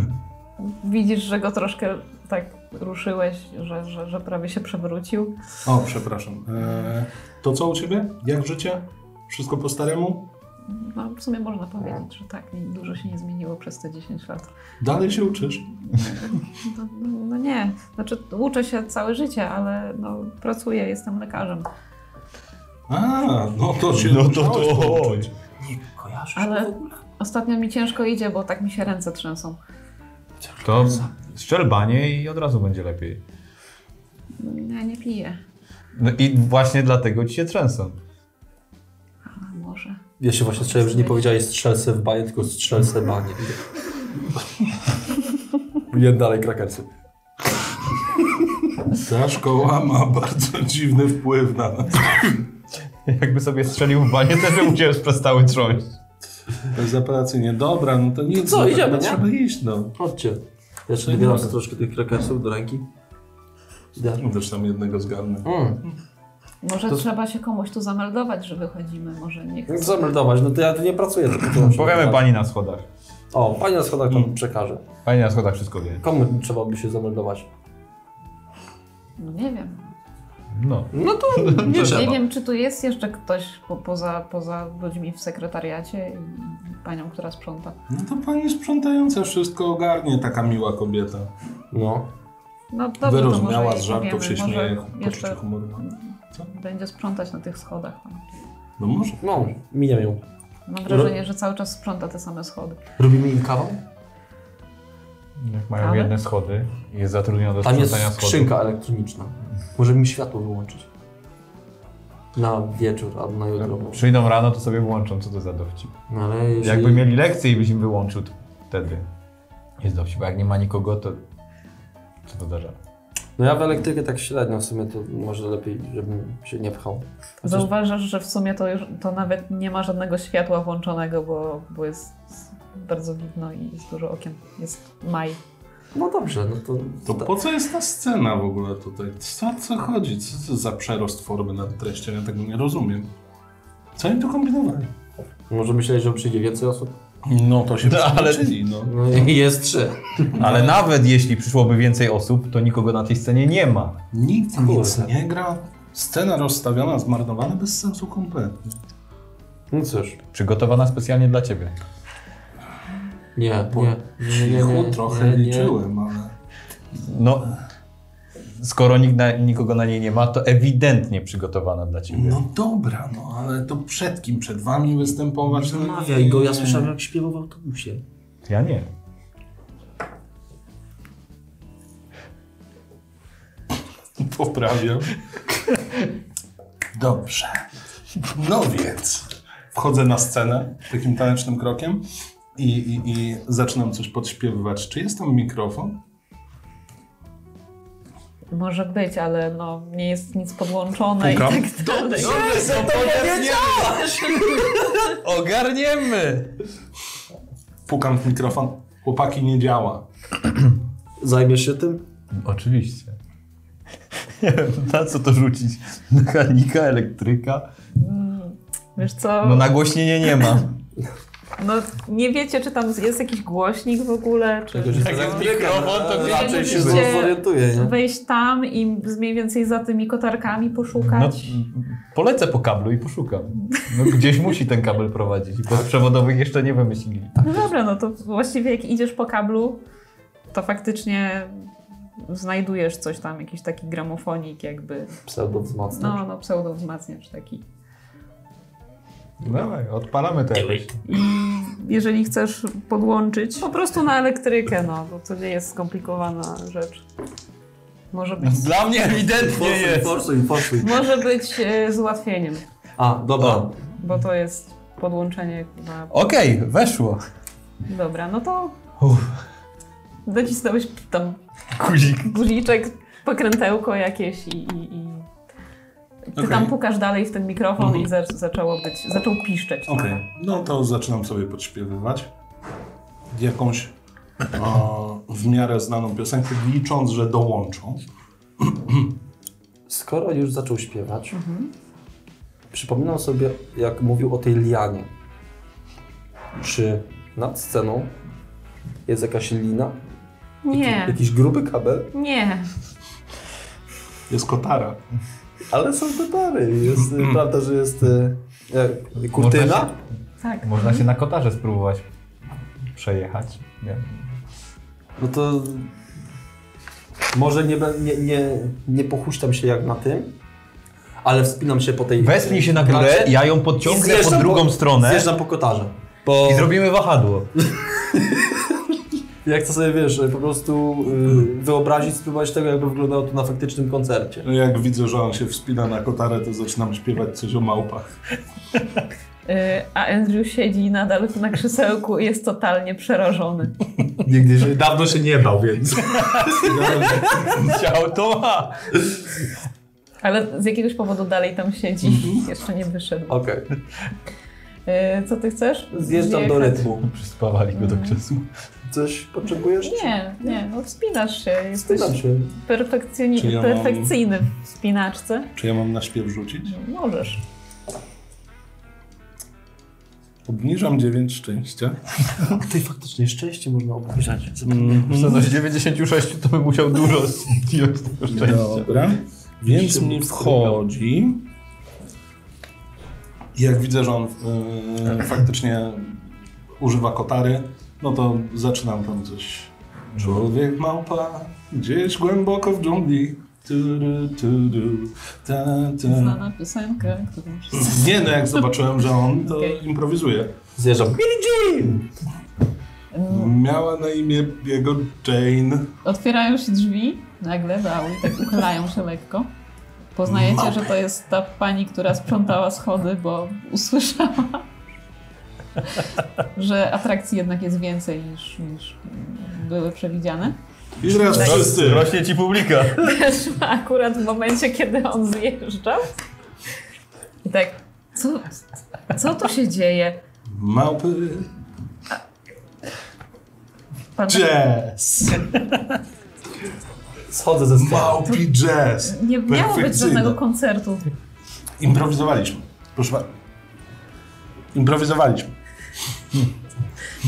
Speaker 1: Widzisz, że go troszkę tak ruszyłeś, że, że, że prawie się przewrócił.
Speaker 4: O, przepraszam. Eee, to co u ciebie? Jak życie? Wszystko po staremu?
Speaker 1: No, w sumie można powiedzieć, że tak, nie- dużo się nie zmieniło przez te 10 lat.
Speaker 4: Dalej się uczysz?
Speaker 1: No, no, no nie, znaczy uczę się całe życie, ale no, pracuję, jestem lekarzem.
Speaker 4: A, no to się
Speaker 2: No to
Speaker 4: musiałeś
Speaker 2: to-
Speaker 4: pouczyć.
Speaker 3: Kojarzysz
Speaker 1: Ale-
Speaker 3: to w ogóle?
Speaker 1: Ostatnio mi ciężko idzie, bo tak mi się ręce trzęsą.
Speaker 2: To strzelbanie i od razu będzie lepiej.
Speaker 1: Ja nie piję,
Speaker 2: No i właśnie dlatego ci się trzęsą.
Speaker 1: ale może.
Speaker 3: Ja się właśnie strzeliłem, że nie powiedziałeś strzelce w banie, tylko strzelce banie. Jem dalej krakersy.
Speaker 4: Ta szkoła ma bardzo dziwny wpływ na nas.
Speaker 2: Jakby sobie strzelił w banie, też by mu się przestały trząść.
Speaker 4: Bezapelacyjnie. Dobra, no to nic.
Speaker 3: co,
Speaker 4: no,
Speaker 3: idziemy,
Speaker 4: no,
Speaker 3: nie?
Speaker 4: Trzeba iść, no.
Speaker 3: Chodźcie. Ja jeszcze
Speaker 4: No i
Speaker 3: dobieram
Speaker 4: dobra.
Speaker 3: sobie troszkę tych krakersów do ręki. Idę.
Speaker 4: Też tam jednego zgarnę.
Speaker 3: Mm.
Speaker 1: Może
Speaker 3: To-
Speaker 1: trzeba się komuś tu zameldować, że wychodzimy, może nie
Speaker 3: Jak
Speaker 1: chcę.
Speaker 3: to zameldować? No to ja tu nie pracuję. tylko-
Speaker 2: Powiemy pani Mm. na schodach.
Speaker 3: O, pani na schodach tam przekaże.
Speaker 2: Pani na schodach wszystko wie.
Speaker 3: Komu trzeba by się zameldować?
Speaker 1: No nie wiem.
Speaker 2: No.
Speaker 3: No to nie
Speaker 1: Nie
Speaker 3: trzeba.
Speaker 1: wiem, czy tu jest jeszcze ktoś po, poza, poza ludźmi w sekretariacie i panią, która sprząta.
Speaker 4: No to pani sprzątająca wszystko ogarnie, taka miła kobieta.
Speaker 3: No.
Speaker 1: No dobrze, to
Speaker 4: Wyrozumiała
Speaker 1: może
Speaker 4: z
Speaker 1: jej
Speaker 4: żartów, się
Speaker 1: powiemy,
Speaker 4: śmieje,
Speaker 1: może
Speaker 4: poczucie
Speaker 1: jeszcze
Speaker 4: humoru. ma.
Speaker 1: będzie sprzątać na tych schodach.
Speaker 4: No może.
Speaker 3: No, miniam ją.
Speaker 1: Mam wrażenie, że cały czas sprząta te same schody.
Speaker 3: Robimy im kawał?
Speaker 2: Jak mają
Speaker 1: Ale?
Speaker 2: jedne schody i jest zatrudniona do
Speaker 3: Tam jest
Speaker 2: sprzątania schodów.
Speaker 3: skrzynka elektroniczna. Możemy mi światło wyłączyć. Na wieczór albo na jutro. bo-
Speaker 2: Przyjdą rano, to sobie włączą, co to za dowcip.
Speaker 3: No ale jeżeli...
Speaker 2: Jakby mieli lekcję i byś im wyłączył, to wtedy jest dowcip. Bo jak nie ma nikogo, to co to zdarza?
Speaker 3: No ja w elektrykę tak średnio w sumie to może lepiej, żebym się nie pchał. Chociaż
Speaker 1: Zauważasz, że w sumie to już to nawet nie ma żadnego światła włączonego, bo, bo jest bardzo widno i jest dużo okien. Jest maj.
Speaker 3: No dobrze, no to...
Speaker 4: To po co jest ta scena w ogóle tutaj? Co, co chodzi? Co to za przerost formy nad treścią? Ja tego nie rozumiem. Co oni tu kombinowali?
Speaker 3: Może myśleć, że przyjdzie więcej osób?
Speaker 4: No to się
Speaker 2: No, ale-
Speaker 4: przeznaczyli, no.
Speaker 3: No i jest trzy.
Speaker 2: Ale nawet jeśli przyszłoby więcej osób, to nikogo na tej scenie nie ma.
Speaker 4: Nikt nic
Speaker 3: Kurde.
Speaker 4: nie gra. Scena rozstawiona, zmarnowana, bez sensu kompletnie.
Speaker 3: No cóż.
Speaker 2: Przygotowana specjalnie dla ciebie.
Speaker 3: Nie, nie. nie, nie, nie,
Speaker 4: Cichu
Speaker 3: nie,
Speaker 4: trochę
Speaker 3: nie, nie.
Speaker 4: liczyłem, ale...
Speaker 2: No, skoro nikt na, nikogo na niej nie ma, to ewidentnie przygotowana dla ciebie.
Speaker 4: No dobra, no ale to przed kim? Przed wami występować? No
Speaker 6: Namawiaj go, ja słyszałem jak śpiewał w autobusie.
Speaker 2: Ja nie.
Speaker 4: Poprawiam. Dobrze. No więc wchodzę na scenę takim tanecznym krokiem i, i, i zaczynam coś podśpiewywać. Czy jest tam mikrofon?
Speaker 1: Może być, ale no, nie jest nic podłączone
Speaker 4: Pukam.
Speaker 1: i tak dalej.
Speaker 2: Ogarniemy!
Speaker 4: Pukam w mikrofon. Chłopaki, nie działa.
Speaker 3: Zajmiesz się tym?
Speaker 2: Oczywiście. Nie wiem, na co to rzucić? Mechanika, elektryka?
Speaker 1: Wiesz co,
Speaker 2: No nagłośnienie nie ma.
Speaker 1: no nie wiecie, czy tam jest jakiś głośnik w ogóle, czy...
Speaker 2: mikrofon, to
Speaker 1: raczej się
Speaker 3: Się
Speaker 1: będzie.
Speaker 3: zorientuję, nie?
Speaker 1: Wejść tam i z mniej więcej za tymi kotarkami
Speaker 2: No,
Speaker 1: poszukać.
Speaker 2: polecę po kablu i poszukam. No, gdzieś musi ten kabel prowadzić. Bo przewodowych jeszcze nie wymyślili.
Speaker 1: No dobra, no to właściwie jak idziesz po kablu, to faktycznie znajdujesz coś tam, jakiś taki gramofonik jakby,
Speaker 3: Pseudo wzmacniam.
Speaker 1: no, no pseudowzmacniacz taki.
Speaker 2: Dawaj, odpalamy to jakoś.
Speaker 1: I jeżeli chcesz podłączyć, po prostu na elektrykę, no, bo to nie jest skomplikowana rzecz. Może być,
Speaker 2: Dla mnie ewidentnie
Speaker 3: Forsuj,
Speaker 2: jest.
Speaker 3: forsuj, forsuj.
Speaker 1: może być e, z ułatwieniem,
Speaker 3: A, dobra.
Speaker 2: O.
Speaker 1: bo to jest podłączenie na...
Speaker 2: Okej, weszło.
Speaker 1: Dobra, no to
Speaker 2: Uff,
Speaker 1: nacisnąłeś tam
Speaker 2: guzik.
Speaker 1: guziczek, pokrętełko jakieś i... i, i... Ty tam pukasz dalej w ten mikrofon i
Speaker 3: Mhm.
Speaker 1: za, zaczęło być, zaczął piszczeć.
Speaker 4: Okej, no to zaczynam sobie podśpiewywać jakąś o, w miarę znaną piosenkę, licząc, że dołączą.
Speaker 3: Skoro już zaczął śpiewać, przypominam sobie, jak mówił o tej lianie. Czy nad sceną jest jakaś lina?
Speaker 1: Nie,
Speaker 3: Jakiś gruby kabel?
Speaker 1: nie.
Speaker 4: Jest kotara.
Speaker 3: Ale są kotary. Jest, y, prawda, że jest y, e, kurtyna?
Speaker 2: Można
Speaker 1: Tak.
Speaker 2: Można się na kotarze spróbować przejechać. Nie.
Speaker 3: No to może nie, be- nie, nie, nie pochuśtam się jak na tym, ale wspinam się po tej...
Speaker 2: Wespnij się na górę, ja ją podciągnę pod
Speaker 3: zjeżdżam
Speaker 2: drugą
Speaker 3: po,
Speaker 2: stronę
Speaker 3: Zjeżdżam po kotarze. Bo
Speaker 2: i zrobimy wahadło.
Speaker 3: jak to sobie, wiesz, po prostu y, wyobrazić, spróbować tego, jakby wyglądało to na faktycznym koncercie.
Speaker 4: No Jak widzę, że on się wspina na kotarę, to zaczynam śpiewać coś o małpach.
Speaker 1: Y, A Andrew siedzi nadal na krzesełku i jest totalnie przerażony.
Speaker 3: Nigdy się, dawno się nie bał, więc...
Speaker 2: Chciał to ma.
Speaker 1: Ale z jakiegoś powodu dalej tam siedzi.
Speaker 3: Mhm.
Speaker 1: Jeszcze nie wyszedł.
Speaker 3: Okej,
Speaker 1: Y, Co ty chcesz?
Speaker 3: zjeżdżam do
Speaker 1: Zjechać?
Speaker 3: rytmu.
Speaker 2: Przyspawali go do krzesła.
Speaker 3: Coś potrzebujesz?
Speaker 1: Nie, nie, no wspinasz się. Jesteś
Speaker 3: Wspinam się.
Speaker 1: perfekcjoni-
Speaker 4: Czy ja mam-
Speaker 1: perfekcyjny w wspinaczce.
Speaker 4: Czy ja mam na śpiew rzucić?
Speaker 1: Możesz.
Speaker 4: Obniżam 9 szczęścia.
Speaker 3: Ty faktycznie szczęście można obniżać.
Speaker 2: Z 96 to bym musiał dużo zdjąć tego szczęścia.
Speaker 4: Dobra. Więc mi wchodzi. I Jak widzę, że on e, faktycznie używa kotary, no to zaczynam tam coś. Człowiek małpa, gdzieś głęboko w dżungli. Tudu, tudu, ta, ta.
Speaker 1: Znana piosenka, którą wszyscy...
Speaker 4: Nie no, jak zobaczyłem, że on to
Speaker 1: Okej.
Speaker 4: improwizuje.
Speaker 3: Zjeżdżam.
Speaker 4: Miała na imię jego Jane.
Speaker 1: Otwierają się drzwi, nagle dały, tak uchylają się lekko. Poznajecie, że to jest ta pani, która sprzątała schody, bo usłyszała, że atrakcji jednak jest więcej niż, niż były przewidziane.
Speaker 4: I teraz wszyscy.
Speaker 2: Tak. Rośnie ci publika.
Speaker 1: Weszła akurat w momencie, kiedy on zjeżdżał. I tak, co, co tu się dzieje?
Speaker 4: Małpy.
Speaker 1: Pan tak,
Speaker 4: Jazz.
Speaker 3: Schodzę ze sceny.
Speaker 4: Małpi jazz.
Speaker 1: nie miało być
Speaker 4: Perfekcyjna.
Speaker 1: żadnego koncertu.
Speaker 4: Improwizowaliśmy. Proszę bardzo. Improwizowaliśmy.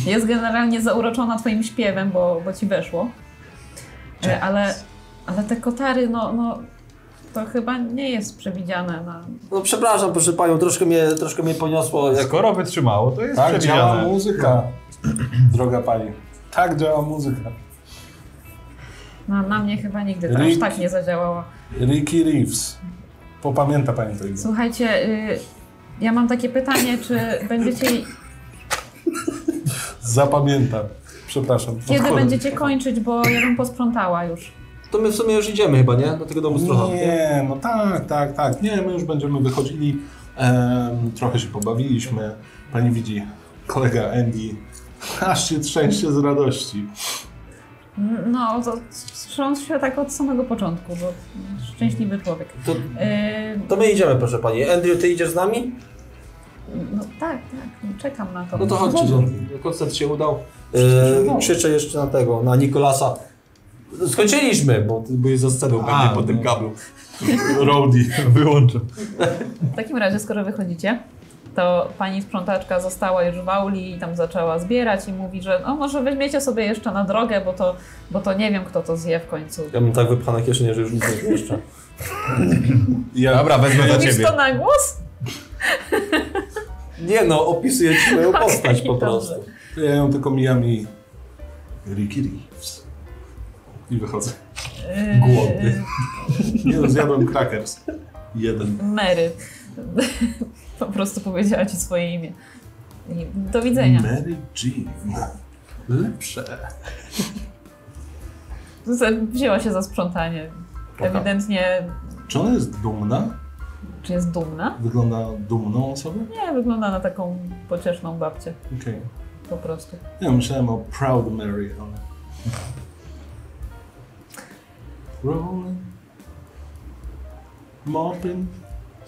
Speaker 1: Jest generalnie zauroczona twoim śpiewem, bo, bo ci weszło. E, Ale, ale te kotary, no, no to chyba nie jest przewidziane na...
Speaker 3: No przepraszam, proszę panią, troszkę mnie, troszkę mnie poniosło. Jak...
Speaker 2: Skoro wytrzymało, to jest
Speaker 4: Tak działa
Speaker 2: przewidziane.
Speaker 4: muzyka, droga pani. Tak działa muzyka.
Speaker 1: No, na mnie chyba nigdy to aż
Speaker 4: Rick.
Speaker 1: tak nie zadziałało.
Speaker 4: Ricky Reeves. Popamięta pani to imię.
Speaker 1: Słuchajcie, y, ja mam takie pytanie, czy będziecie,
Speaker 4: Zapamięta. Przepraszam.
Speaker 1: kiedy
Speaker 4: Odchodzę.
Speaker 1: będziecie kończyć, bo ja bym posprzątała już.
Speaker 3: To my w sumie już idziemy chyba, nie? Do tego domu z trochę.
Speaker 4: Nie, no tak, tak, tak. Nie, my już będziemy wychodzili. Em, trochę się pobawiliśmy. Pani widzi, kolega Andy aż się trzęsie z radości.
Speaker 1: No, to wstrząs się tak od samego początku, bo szczęśliwy człowiek.
Speaker 3: To,
Speaker 1: Y,
Speaker 3: to my idziemy, proszę pani. Andrew, ty idziesz z nami?
Speaker 1: no tak, tak, czekam na to.
Speaker 3: No to chodźcie.
Speaker 1: Dobrze.
Speaker 3: No. Koncert się udał. Yy, krzyczę jeszcze na tego, na Nikolasa. Skończyliśmy, bo ty byłeś za sceną
Speaker 4: A,
Speaker 3: pewnie po tym
Speaker 4: no.
Speaker 3: kablu.
Speaker 4: Roadie.
Speaker 2: Wyłączę.
Speaker 1: W takim razie, skoro wychodzicie, to pani sprzątaczka została już w auli i tam zaczęła zbierać i mówi, że no może weźmiecie sobie jeszcze na drogę, bo to, bo to nie wiem, kto to zje w końcu.
Speaker 3: Ja mam tak wypchane kieszenie, że już nic nie jeszcze.
Speaker 4: Ja,
Speaker 2: Dobra, wezmę za
Speaker 1: Mówisz
Speaker 2: ciebie.
Speaker 1: to na głos?
Speaker 3: Nie no, opisuję ci moją postać po
Speaker 1: dobrze.
Speaker 3: prostu.
Speaker 4: ja ją tylko mijam i... Ricky Reeves. I wychodzę.
Speaker 1: Yy,
Speaker 3: Głodny.
Speaker 4: Nie no, zjadłem crackers. Jeden.
Speaker 1: Mary. po prostu powiedziała ci swoje imię. I do widzenia.
Speaker 4: Mary Jean. Lepsze.
Speaker 1: Z- Wzięła się za sprzątanie. Ewidentnie,
Speaker 4: Czy ona jest dumna?
Speaker 1: czy jest dumna?
Speaker 4: Wygląda dumną osobą?
Speaker 1: Nie, wygląda na taką pocieszną babcię
Speaker 4: Okej.
Speaker 1: po prostu.
Speaker 4: Ja myślałem o Proud Mary, ale... Rolling. Mopping.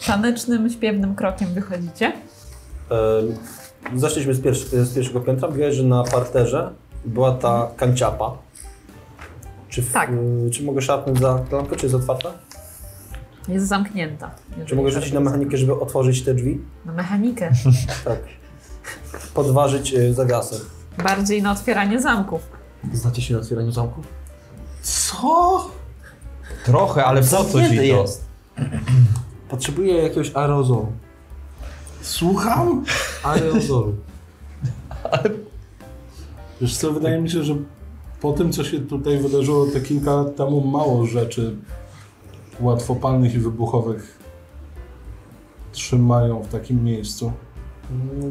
Speaker 1: Tanecznym, śpiewnym krokiem wychodzicie.
Speaker 3: Em, Zeszliśmy z, pierwszy, z pierwszego piętra, mówiłaś, że na parterze była ta kanciapa. Czy, w,
Speaker 1: Tak.
Speaker 3: y, czy mogę szarpnąć za klamkę, czy jest otwarta?
Speaker 1: Jest zamknięta.
Speaker 3: Czy
Speaker 1: jeżeli
Speaker 3: mogę
Speaker 1: tak
Speaker 3: rzucić na
Speaker 1: jest.
Speaker 3: mechanikę, żeby otworzyć te drzwi?
Speaker 1: Na mechanikę.
Speaker 3: Tak. Podważyć y, zawiasem.
Speaker 1: Bardziej na otwieranie zamków.
Speaker 6: Znacie się na otwieraniu zamków?
Speaker 3: Co?
Speaker 2: Trochę, ale po co ci to?
Speaker 3: Zamknięte jest. Potrzebuję jakiegoś aerozolu.
Speaker 4: Słucham?
Speaker 3: Aerozolu.
Speaker 4: Wiesz co, wydaje mi się, że po tym, co się tutaj wydarzyło te kilka lat temu, mało rzeczy łatwopalnych i wybuchowych trzymają w takim miejscu.
Speaker 6: No,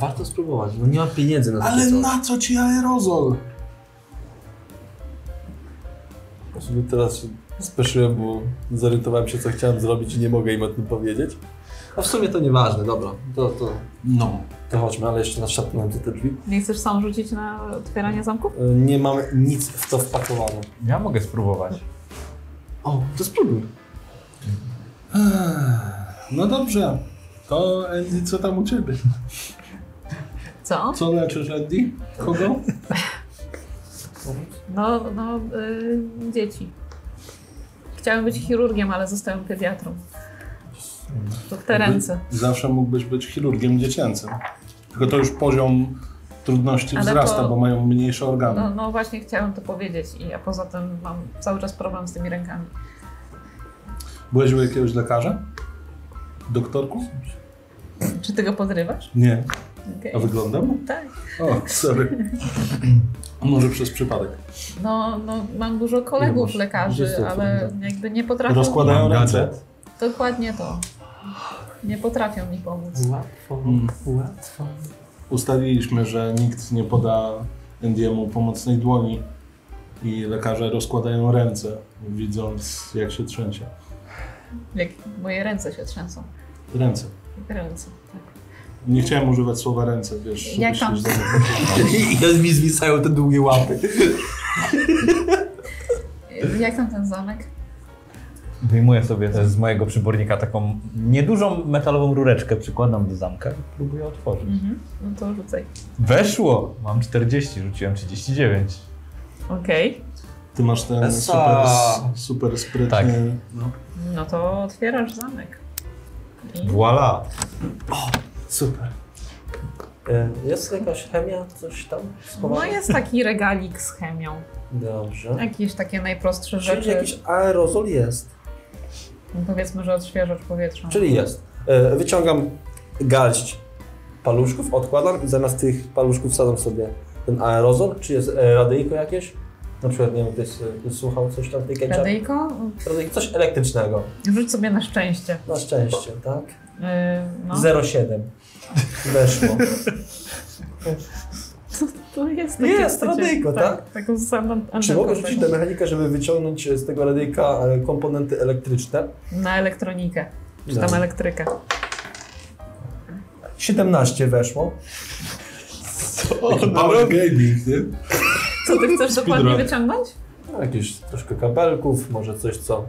Speaker 6: warto spróbować. No nie mam pieniędzy na takie
Speaker 4: Ale
Speaker 6: coś.
Speaker 4: na co ci aerozol?
Speaker 3: Sobie teraz się spieszyłem, bo zorientowałem się, co chciałem zrobić i nie mogę im o tym powiedzieć. A w sumie to nieważne, dobra. To, to,
Speaker 4: No.
Speaker 3: to chodźmy, ale jeszcze naszapnąłem te drzwi.
Speaker 1: Nie chcesz sam rzucić na otwieranie zamków?
Speaker 3: Y, Nie mam nic w to wpakowane.
Speaker 2: Ja mogę spróbować.
Speaker 3: O, to spróbuj.
Speaker 4: No dobrze. To Andy, co tam u ciebie?
Speaker 1: Co?
Speaker 4: Co leczysz, Andy? Kogo?
Speaker 1: No, no, y, dzieci. Chciałem być chirurgiem, ale zostałem pediatrą. To w te ręce.
Speaker 4: Zawsze mógłbyś być chirurgiem dziecięcym. Tylko to już poziom trudności
Speaker 1: Ale
Speaker 4: wzrasta,
Speaker 1: to-
Speaker 4: bo mają mniejsze organy.
Speaker 1: No, no właśnie chciałem to powiedzieć i ja poza tym mam cały czas problem z tymi rękami.
Speaker 4: Byłeś u jakiegoś lekarza? Doktorku?
Speaker 1: Czy ty go podrywasz?
Speaker 4: Nie.
Speaker 1: Okej.
Speaker 4: A wyglądam?
Speaker 1: Tak.
Speaker 4: O, sorry. Może przez przypadek.
Speaker 1: No, no, mam dużo
Speaker 3: Nie
Speaker 1: kolegów
Speaker 3: masz- gdzie
Speaker 1: lekarzy,
Speaker 3: to
Speaker 1: ale jakby nie potrafią...
Speaker 4: Rozkładają
Speaker 2: Mam
Speaker 4: ręce.
Speaker 2: gadżet.
Speaker 1: Dokładnie to. Nie potrafią mi pomóc.
Speaker 6: Łatwo,
Speaker 4: Mm.
Speaker 6: łatwo.
Speaker 4: Ustaliliśmy, że nikt nie poda Andiemu pomocnej dłoni i lekarze rozkładają ręce, widząc jak się trzęsie.
Speaker 1: Jak moje ręce się trzęsą.
Speaker 4: Ręce.
Speaker 1: Ręce, tak.
Speaker 4: Nie chciałem używać słowa ręce, wiesz, żebyś
Speaker 1: Jak tam?
Speaker 4: się źle nie poczuł.
Speaker 3: I mi zwisają te długie łapy.
Speaker 1: Jak tam ten zamek?
Speaker 2: Wyjmuję sobie też z mojego przybornika taką niedużą metalową rureczkę, przykładam do zamka i próbuję otworzyć.
Speaker 1: Mhm. No to rzucaj.
Speaker 2: Weszło! Mam 40, rzuciłem 39.
Speaker 1: Okej.
Speaker 4: Ty masz ten
Speaker 3: Esa.
Speaker 4: super, super sprytny...
Speaker 2: Tak.
Speaker 1: No to otwierasz zamek. I...
Speaker 2: Voila!
Speaker 3: Super. E, Jest jakaś chemia, coś tam
Speaker 1: No
Speaker 3: schowane?
Speaker 1: jest taki regalik z chemią.
Speaker 3: Dobrze.
Speaker 1: Jakieś takie najprostsze
Speaker 3: Czyli
Speaker 1: rzeczy. No
Speaker 3: jakiś aerozol jest.
Speaker 1: Powiedzmy, że odświeżacz powietrza.
Speaker 3: Czyli jest. E, Wyciągam garść paluszków, odkładam i zamiast tych paluszków wsadzam sobie ten aerozol. Czy jest e, radyjko jakieś? Na przykład, nie wiem, ktoś y, słuchał coś tam, tej ketchup.
Speaker 1: Radyjko?
Speaker 3: Coś elektrycznego.
Speaker 1: Rzuć sobie na szczęście.
Speaker 3: Na szczęście, tak?
Speaker 1: Yy, no.
Speaker 3: 0,7. Weszło.
Speaker 1: To jest
Speaker 3: takie Jest,
Speaker 1: przecież,
Speaker 3: radyjko, tak?
Speaker 1: Taką samą
Speaker 3: Czy
Speaker 1: antenką
Speaker 3: mogę rzucić na mechanikę, żeby wyciągnąć z tego radyjka e, komponenty elektryczne?
Speaker 1: Na elektronikę. Czy tam
Speaker 3: Tak.
Speaker 1: elektrykę.
Speaker 3: 17 weszło.
Speaker 4: Power gaming, nie?
Speaker 1: Co ty chcesz dokładnie
Speaker 4: Speedrun.
Speaker 1: wyciągnąć?
Speaker 3: No, Jakieś troszkę kabelków, może coś, co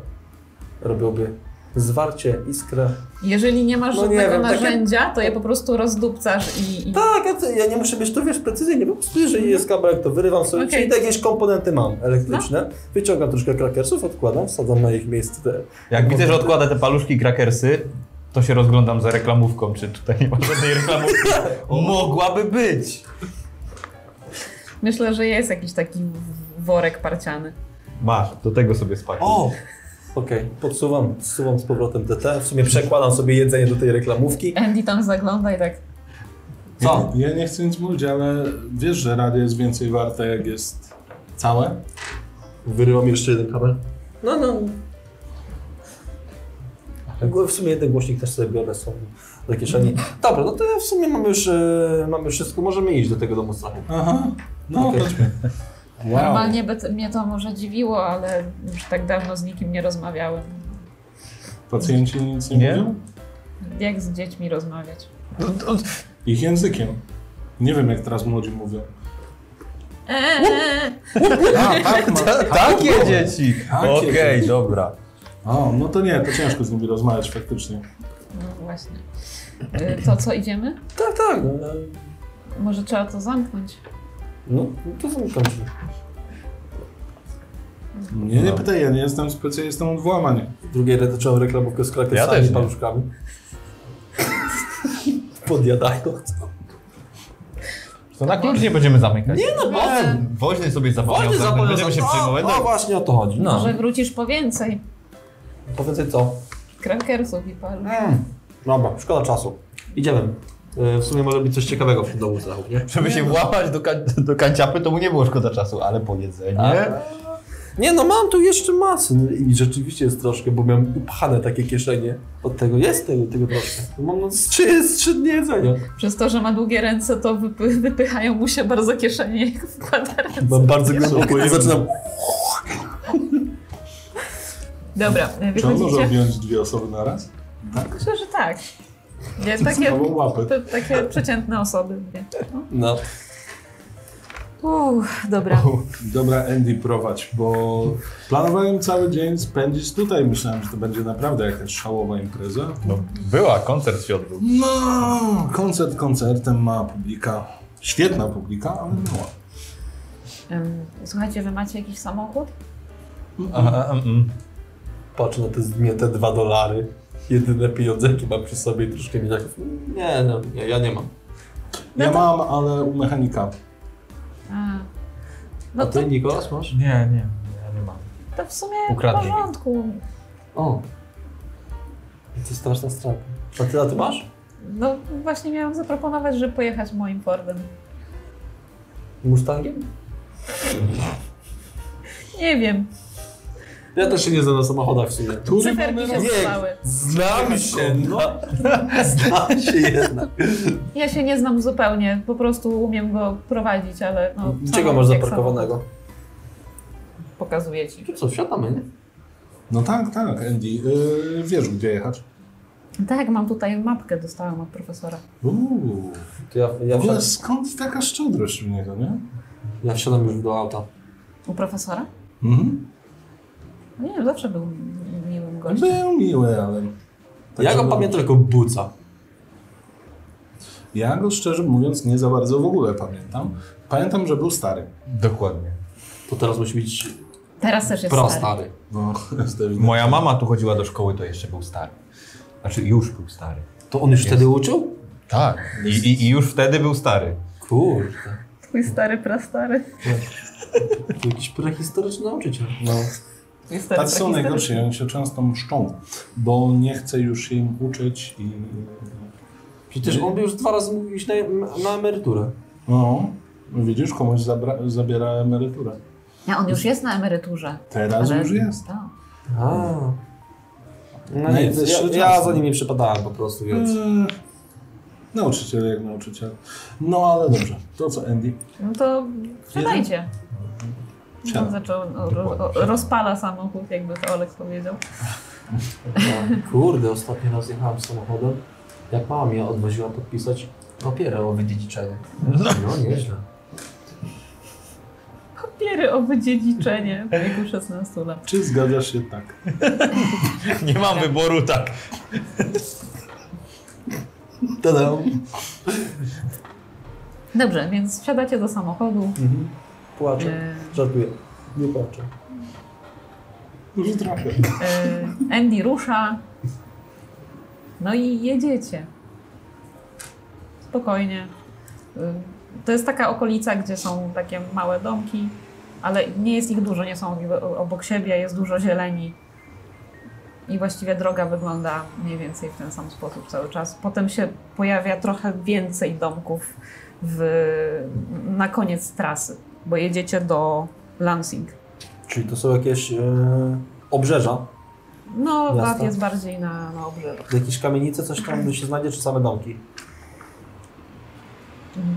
Speaker 3: robiłoby zwarcie, iskrę.
Speaker 1: Jeżeli nie masz
Speaker 3: No nie
Speaker 1: żadnego
Speaker 3: wiem, takie-
Speaker 1: narzędzia, to je po prostu rozdupcasz i... i...
Speaker 3: Tak, ja, to- ja nie muszę mieć to wiesz precyzyjnie, po prostu jeżeli jest kabelek, to wyrywam sobie,
Speaker 1: Okej.
Speaker 3: czyli tak jakieś komponenty mam elektryczne, wyciągam troszkę krakersów, odkładam, wsadzam na ich miejsce te...
Speaker 2: Jak widzę, że odkłada te paluszki i krakersy, to się rozglądam za reklamówką, czy tutaj nie ma żadnej reklamówki. Mogłaby być!
Speaker 1: Myślę, że jest jakiś taki w- worek parciany.
Speaker 2: Masz, do tego sobie spakuj.
Speaker 3: O! Okej, podsuwam, zsuwam z powrotem DT, w sumie przekładam sobie jedzenie do tej reklamówki.
Speaker 1: Andy tam zagląda i tak...
Speaker 3: Co?
Speaker 4: Ja nie chcę nic mówić, ale wiesz, że radio jest więcej warte, jak jest całe?
Speaker 3: Wyrywam jeszcze jeden kabel. No, no. W sumie jeden głośnik też sobie biorę są do kieszeni. Dobra, no to ja w sumie mam już, e, mam już wszystko, możemy iść do tego domu strachu.
Speaker 4: Aha, no
Speaker 3: Okej.
Speaker 4: chodźmy. Wow.
Speaker 1: Normalnie by t- mnie to może dziwiło, ale już tak dawno z nikim nie rozmawiałem.
Speaker 4: Pacjenci nic nie,
Speaker 2: Nie?
Speaker 4: mówią?
Speaker 1: Jak z dziećmi rozmawiać?
Speaker 4: Ich językiem. Nie wiem, jak teraz młodzi mówią.
Speaker 1: Eee,
Speaker 4: A, tak, ma...
Speaker 2: Takie dzieci!
Speaker 4: Takie
Speaker 2: Okej,
Speaker 4: dzieci.
Speaker 2: dobra.
Speaker 4: O, no to nie, to ciężko z nimi rozmawiać faktycznie.
Speaker 1: no właśnie. Y, To co, idziemy?
Speaker 3: Tak, tak. No, e,
Speaker 1: Może trzeba to zamknąć.
Speaker 3: No, no to zamykam się.
Speaker 4: Mnie nie pytaj, ja nie jestem specjalistą od włamań.
Speaker 3: W drugiej zacząłem reklamówkę z
Speaker 2: Ja
Speaker 3: krakersami
Speaker 2: też
Speaker 3: i
Speaker 2: nie.
Speaker 3: paluszkami. Podjadając.
Speaker 2: To na klucz nie będziemy zamykać.
Speaker 3: Nie no,
Speaker 1: Może,
Speaker 2: Woźny sobie zapomniał,
Speaker 3: Wojny
Speaker 2: zamknąć,
Speaker 3: zapowiadał.
Speaker 2: będziemy się przejmować.
Speaker 3: No właśnie o to chodzi. No.
Speaker 1: może wrócisz po więcej
Speaker 3: Powiedzcie co?
Speaker 1: krakersów i paru.
Speaker 3: E. Dobra, szkoda czasu. Idziemy. E, W sumie może być coś ciekawego w tym domu strachu, nie?
Speaker 2: Żeby się włamać do, kan- do kanciapy, to mu nie było szkoda czasu, ale po jedzeniu.
Speaker 3: Tak. Nie no, mam tu jeszcze masę. No I rzeczywiście jest troszkę, bo miałem upchane takie kieszenie. Od tego jest tego, tego troszkę. Mam no, z trzy, z trzy dni jedzenia.
Speaker 1: Przez to, że ma długie ręce, to wypy, wypychają mu się bardzo kieszenie, jak wkłada ręce.
Speaker 3: Mam bardzo głęboko i zaczynam...
Speaker 1: Dobra,
Speaker 4: Czy on może
Speaker 1: wychodzicie.
Speaker 4: objąć dwie osoby na raz?
Speaker 1: Myślę, że tak. Nie, takie,
Speaker 4: Albo łapy.
Speaker 1: to, takie przeciętne osoby. Nie?
Speaker 3: No.
Speaker 1: No. Uff, dobra.
Speaker 4: Dobra, Andy, prowadź, bo planowałem cały dzień spędzić tutaj. Myślałem, że to będzie naprawdę jakaś szałowa impreza.
Speaker 2: No, była, koncert się odbył.
Speaker 4: No, koncert koncertem, mała publika. Świetna publika, ale mała.
Speaker 1: Ym, Słuchajcie, wy macie jakiś samochód?
Speaker 2: Aha, mm, mm.
Speaker 3: Patrz na te zmięte dwa dolary. Jedyne pieniądze, jakie mam przy sobie i troszkę mi tak... Nie no, nie, ja nie mam.
Speaker 1: No
Speaker 4: Ja mam, ale u mechanika.
Speaker 1: A.
Speaker 3: A
Speaker 1: No to,
Speaker 3: ty, Nikolas, masz?
Speaker 2: Nie, nie, ja nie mam.
Speaker 1: to w sumie
Speaker 2: Ukradli
Speaker 1: w
Speaker 2: mi.
Speaker 1: porządku.
Speaker 3: O. To straszna strata. A ty, a ty masz?
Speaker 1: No właśnie miałam zaproponować, żeby pojechać moim Fordem.
Speaker 3: Mustangiem?
Speaker 1: Nie wiem,
Speaker 3: Ja też się nie znam na samochodach w sumie.
Speaker 4: Który
Speaker 1: cyferki się
Speaker 4: numer?
Speaker 1: zdały.
Speaker 3: Znam się, no. Znam się jednak.
Speaker 1: Ja się nie znam zupełnie, po prostu umiem go prowadzić, ale no...
Speaker 3: Czego
Speaker 1: samochód
Speaker 3: masz
Speaker 1: jak
Speaker 3: zaparkowanego?
Speaker 1: samochód. Pokazuję ci.
Speaker 3: To co, wsiadamy, nie?
Speaker 4: No tak, tak, Andy. Yy, wiesz, gdzie jechać.
Speaker 1: Tak, mam tutaj mapkę, dostałam od profesora.
Speaker 4: Uuu.
Speaker 3: To ja,
Speaker 4: W
Speaker 3: ja,
Speaker 4: ogóle
Speaker 3: wsiadam,
Speaker 4: skąd taka szczodrość u niego, nie?
Speaker 3: ja wsiadam już do auta.
Speaker 1: U profesora? No
Speaker 4: Mhm.
Speaker 1: Nie wiem, zawsze był miłym gościem.
Speaker 4: Był miły, ale... tak
Speaker 3: ja go
Speaker 4: żeby-
Speaker 3: pamiętam jako buca.
Speaker 4: Ja go szczerze mówiąc nie za bardzo w ogóle pamiętam. Pamiętam, że był stary.
Speaker 2: Dokładnie.
Speaker 3: To teraz musi być
Speaker 1: Teraz też jest stary.
Speaker 3: prostary.
Speaker 4: No,
Speaker 2: Moja mama tu chodziła do szkoły, to jeszcze był stary. Znaczy, już był stary.
Speaker 3: To on już wtedy uczył?
Speaker 2: Tak. I, i, i już wtedy był stary.
Speaker 3: Kurde.
Speaker 1: Twój stary, prastary.
Speaker 3: To jakiś prehistoryczny nauczyciel.
Speaker 4: No,
Speaker 1: Twój stary,
Speaker 4: tacy są najgorsi, oni się często mszczą, bo nie chce już się im uczyć i...
Speaker 3: Przecież on by już dwa razy mógł iść na, na emeryturę.
Speaker 4: No, widzisz, komuś zabra- zabiera emeryturę.
Speaker 1: Nie, on już jest na emeryturze.
Speaker 4: Teraz
Speaker 1: ale-
Speaker 4: już jest.
Speaker 1: Tak.
Speaker 3: A. No,
Speaker 4: No
Speaker 3: nie,
Speaker 4: jest
Speaker 3: ja,
Speaker 4: jeszcze
Speaker 3: ja
Speaker 4: czas.
Speaker 3: za nim nie przepadałem po prostu, więc...
Speaker 1: Hmm.
Speaker 4: Eee, Nauczyciel jak nauczyciel. No ale dobrze, to co Andy?
Speaker 1: No to wsiadajcie.
Speaker 4: Siadam.
Speaker 1: On zaczął, o, ro, o, rozpala samochód, jakby to Olek powiedział.
Speaker 3: No, kurde, ostatni raz jechałem samochodem. Jak mama mnie odwoziła podpisać papierę o wydziedziczeniu. No nieźle.
Speaker 1: Papiery o wydziedziczenie w wieku 16 lat.
Speaker 4: Czy zgadzasz się tak?
Speaker 2: Nie mam wyboru, tak.
Speaker 3: Tada.
Speaker 1: Dobrze, więc wsiadacie do samochodu.
Speaker 3: Płaczę.
Speaker 1: E,
Speaker 3: Żartuję. Nie płaczę.
Speaker 4: Już trochę.
Speaker 1: e, Andy rusza. No i jedziecie. Spokojnie. E, To jest taka okolica, gdzie są takie małe domki, ale nie jest ich dużo, nie są jakby o- obok siebie, jest dużo zieleni. I właściwie droga wygląda mniej więcej w ten sam sposób cały czas. Potem się pojawia trochę więcej domków w, na koniec trasy, bo jedziecie do Lansing.
Speaker 3: Czyli to są jakieś e, obrzeża,
Speaker 1: No, lat
Speaker 3: Miasta?
Speaker 1: jest bardziej na, na obrzeżu.
Speaker 3: jakieś kamienice, coś tam się znajdzie, czy same domki?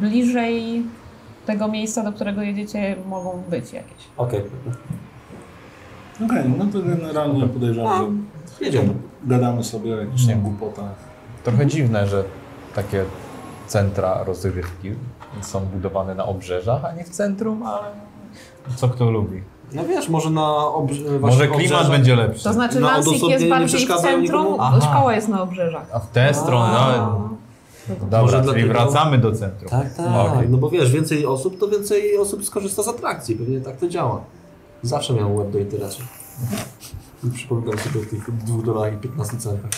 Speaker 1: Bliżej tego miejsca, do którego jedziecie, mogą być jakieś.
Speaker 3: Okej,
Speaker 4: Okej, no to generalnie podejrzewam,
Speaker 3: jedziemy.
Speaker 4: że gadamy sobie o jakichś tam głupotach.
Speaker 2: Trochę dziwne, że takie centra rozrywki są budowane na obrzeżach, a nie w centrum, ale co kto lubi.
Speaker 3: No wiesz, może na obrze-
Speaker 2: Może
Speaker 3: właśnie
Speaker 2: klimat
Speaker 3: obrzeża-
Speaker 2: będzie lepszy.
Speaker 1: To znaczy,
Speaker 3: Na
Speaker 1: Lansing
Speaker 3: odosobnienie
Speaker 1: jest
Speaker 3: nie
Speaker 1: bardziej w
Speaker 3: przeszkadzają
Speaker 1: centrum,
Speaker 3: nikomu?
Speaker 2: Aha.
Speaker 1: szkoła jest na obrzeżach.
Speaker 2: A w tę stronę, no. Dobra,
Speaker 3: Może
Speaker 2: czyli
Speaker 3: dlatego-
Speaker 2: wracamy do centrum.
Speaker 3: Tak, tak.
Speaker 2: Okej.
Speaker 3: No bo wiesz, więcej osób, to więcej osób skorzysta z atrakcji. Pewnie tak to działa. Zawsze miałem łeb do interesu. I przypominam sobie o tych 2 dolarach i 15 centach.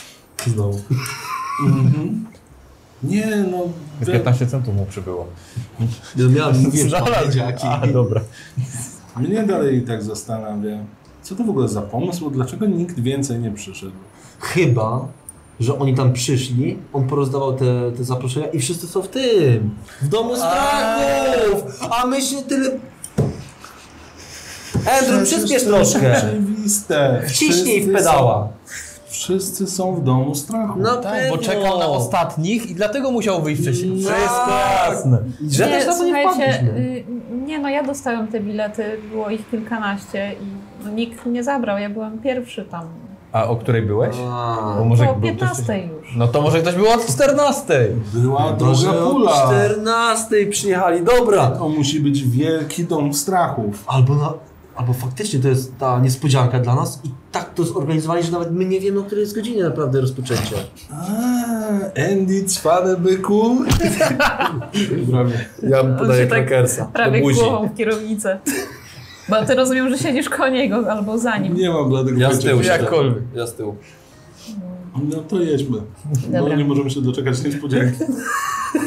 Speaker 3: Znowu.
Speaker 4: Nie, no.
Speaker 2: Z
Speaker 4: że-
Speaker 2: 15 centów mu przybyło.
Speaker 3: Ja miałem, mówię, powiedziaki.
Speaker 2: A, dobra.
Speaker 4: Mnie dalej tak zastanawia, co to w ogóle za pomysł, dlaczego nikt więcej nie przyszedł?
Speaker 3: Chyba, że oni tam przyszli, on porozdawał te, te zaproszenia i wszyscy są w tym. W domu strachów! A my się tyle... Andrew, przyspiesz troszkę.
Speaker 4: Przejwiste.
Speaker 3: Wciśnij w
Speaker 4: Wszyscy
Speaker 3: pedała. No.
Speaker 4: są- Wszyscy są w domu strachu.
Speaker 3: Na
Speaker 2: Tak,
Speaker 3: pewno.
Speaker 2: ostatnich i dlatego musiał wyjść wcześniej.
Speaker 3: No.
Speaker 2: Wszystko jasne.
Speaker 3: Że też na to nie
Speaker 1: słuchajcie,
Speaker 3: wpadliśmy.
Speaker 1: y, nie no, ja dostałem te bilety, było ich kilkanaście i no, nikt nie zabrał, ja byłem pierwszy tam.
Speaker 2: A o której byłeś? Bo
Speaker 3: A,
Speaker 2: może
Speaker 1: Po
Speaker 2: był ktoś-
Speaker 1: 15 już.
Speaker 2: No to może ktoś był od 14.
Speaker 4: Była
Speaker 3: Dobrze,
Speaker 4: duża pula.
Speaker 3: 14 przyjechali, dobra.
Speaker 4: To musi być wielki dom strachów.
Speaker 3: Albo, na, albo faktycznie to jest ta niespodzianka dla nas i tak to zorganizowali, że nawet my nie wiemy, o której jest godzinie naprawdę rozpoczęcia.
Speaker 4: A, Andy, cwane byku.
Speaker 3: Ja bym
Speaker 1: podaję się tak
Speaker 3: krakersa
Speaker 1: Prawie głową w kierownicę. Bo ty rozumiem, że siedzisz koło niego albo za nim.
Speaker 4: Nie mam dla tego
Speaker 3: Ja z
Speaker 4: pojęcia.
Speaker 3: tyłu siedzę.
Speaker 2: Jakkolwiek.
Speaker 3: Ja z tyłu.
Speaker 4: No to jedźmy.
Speaker 1: Dobra.
Speaker 4: Bo nie możemy się doczekać niespodzianki.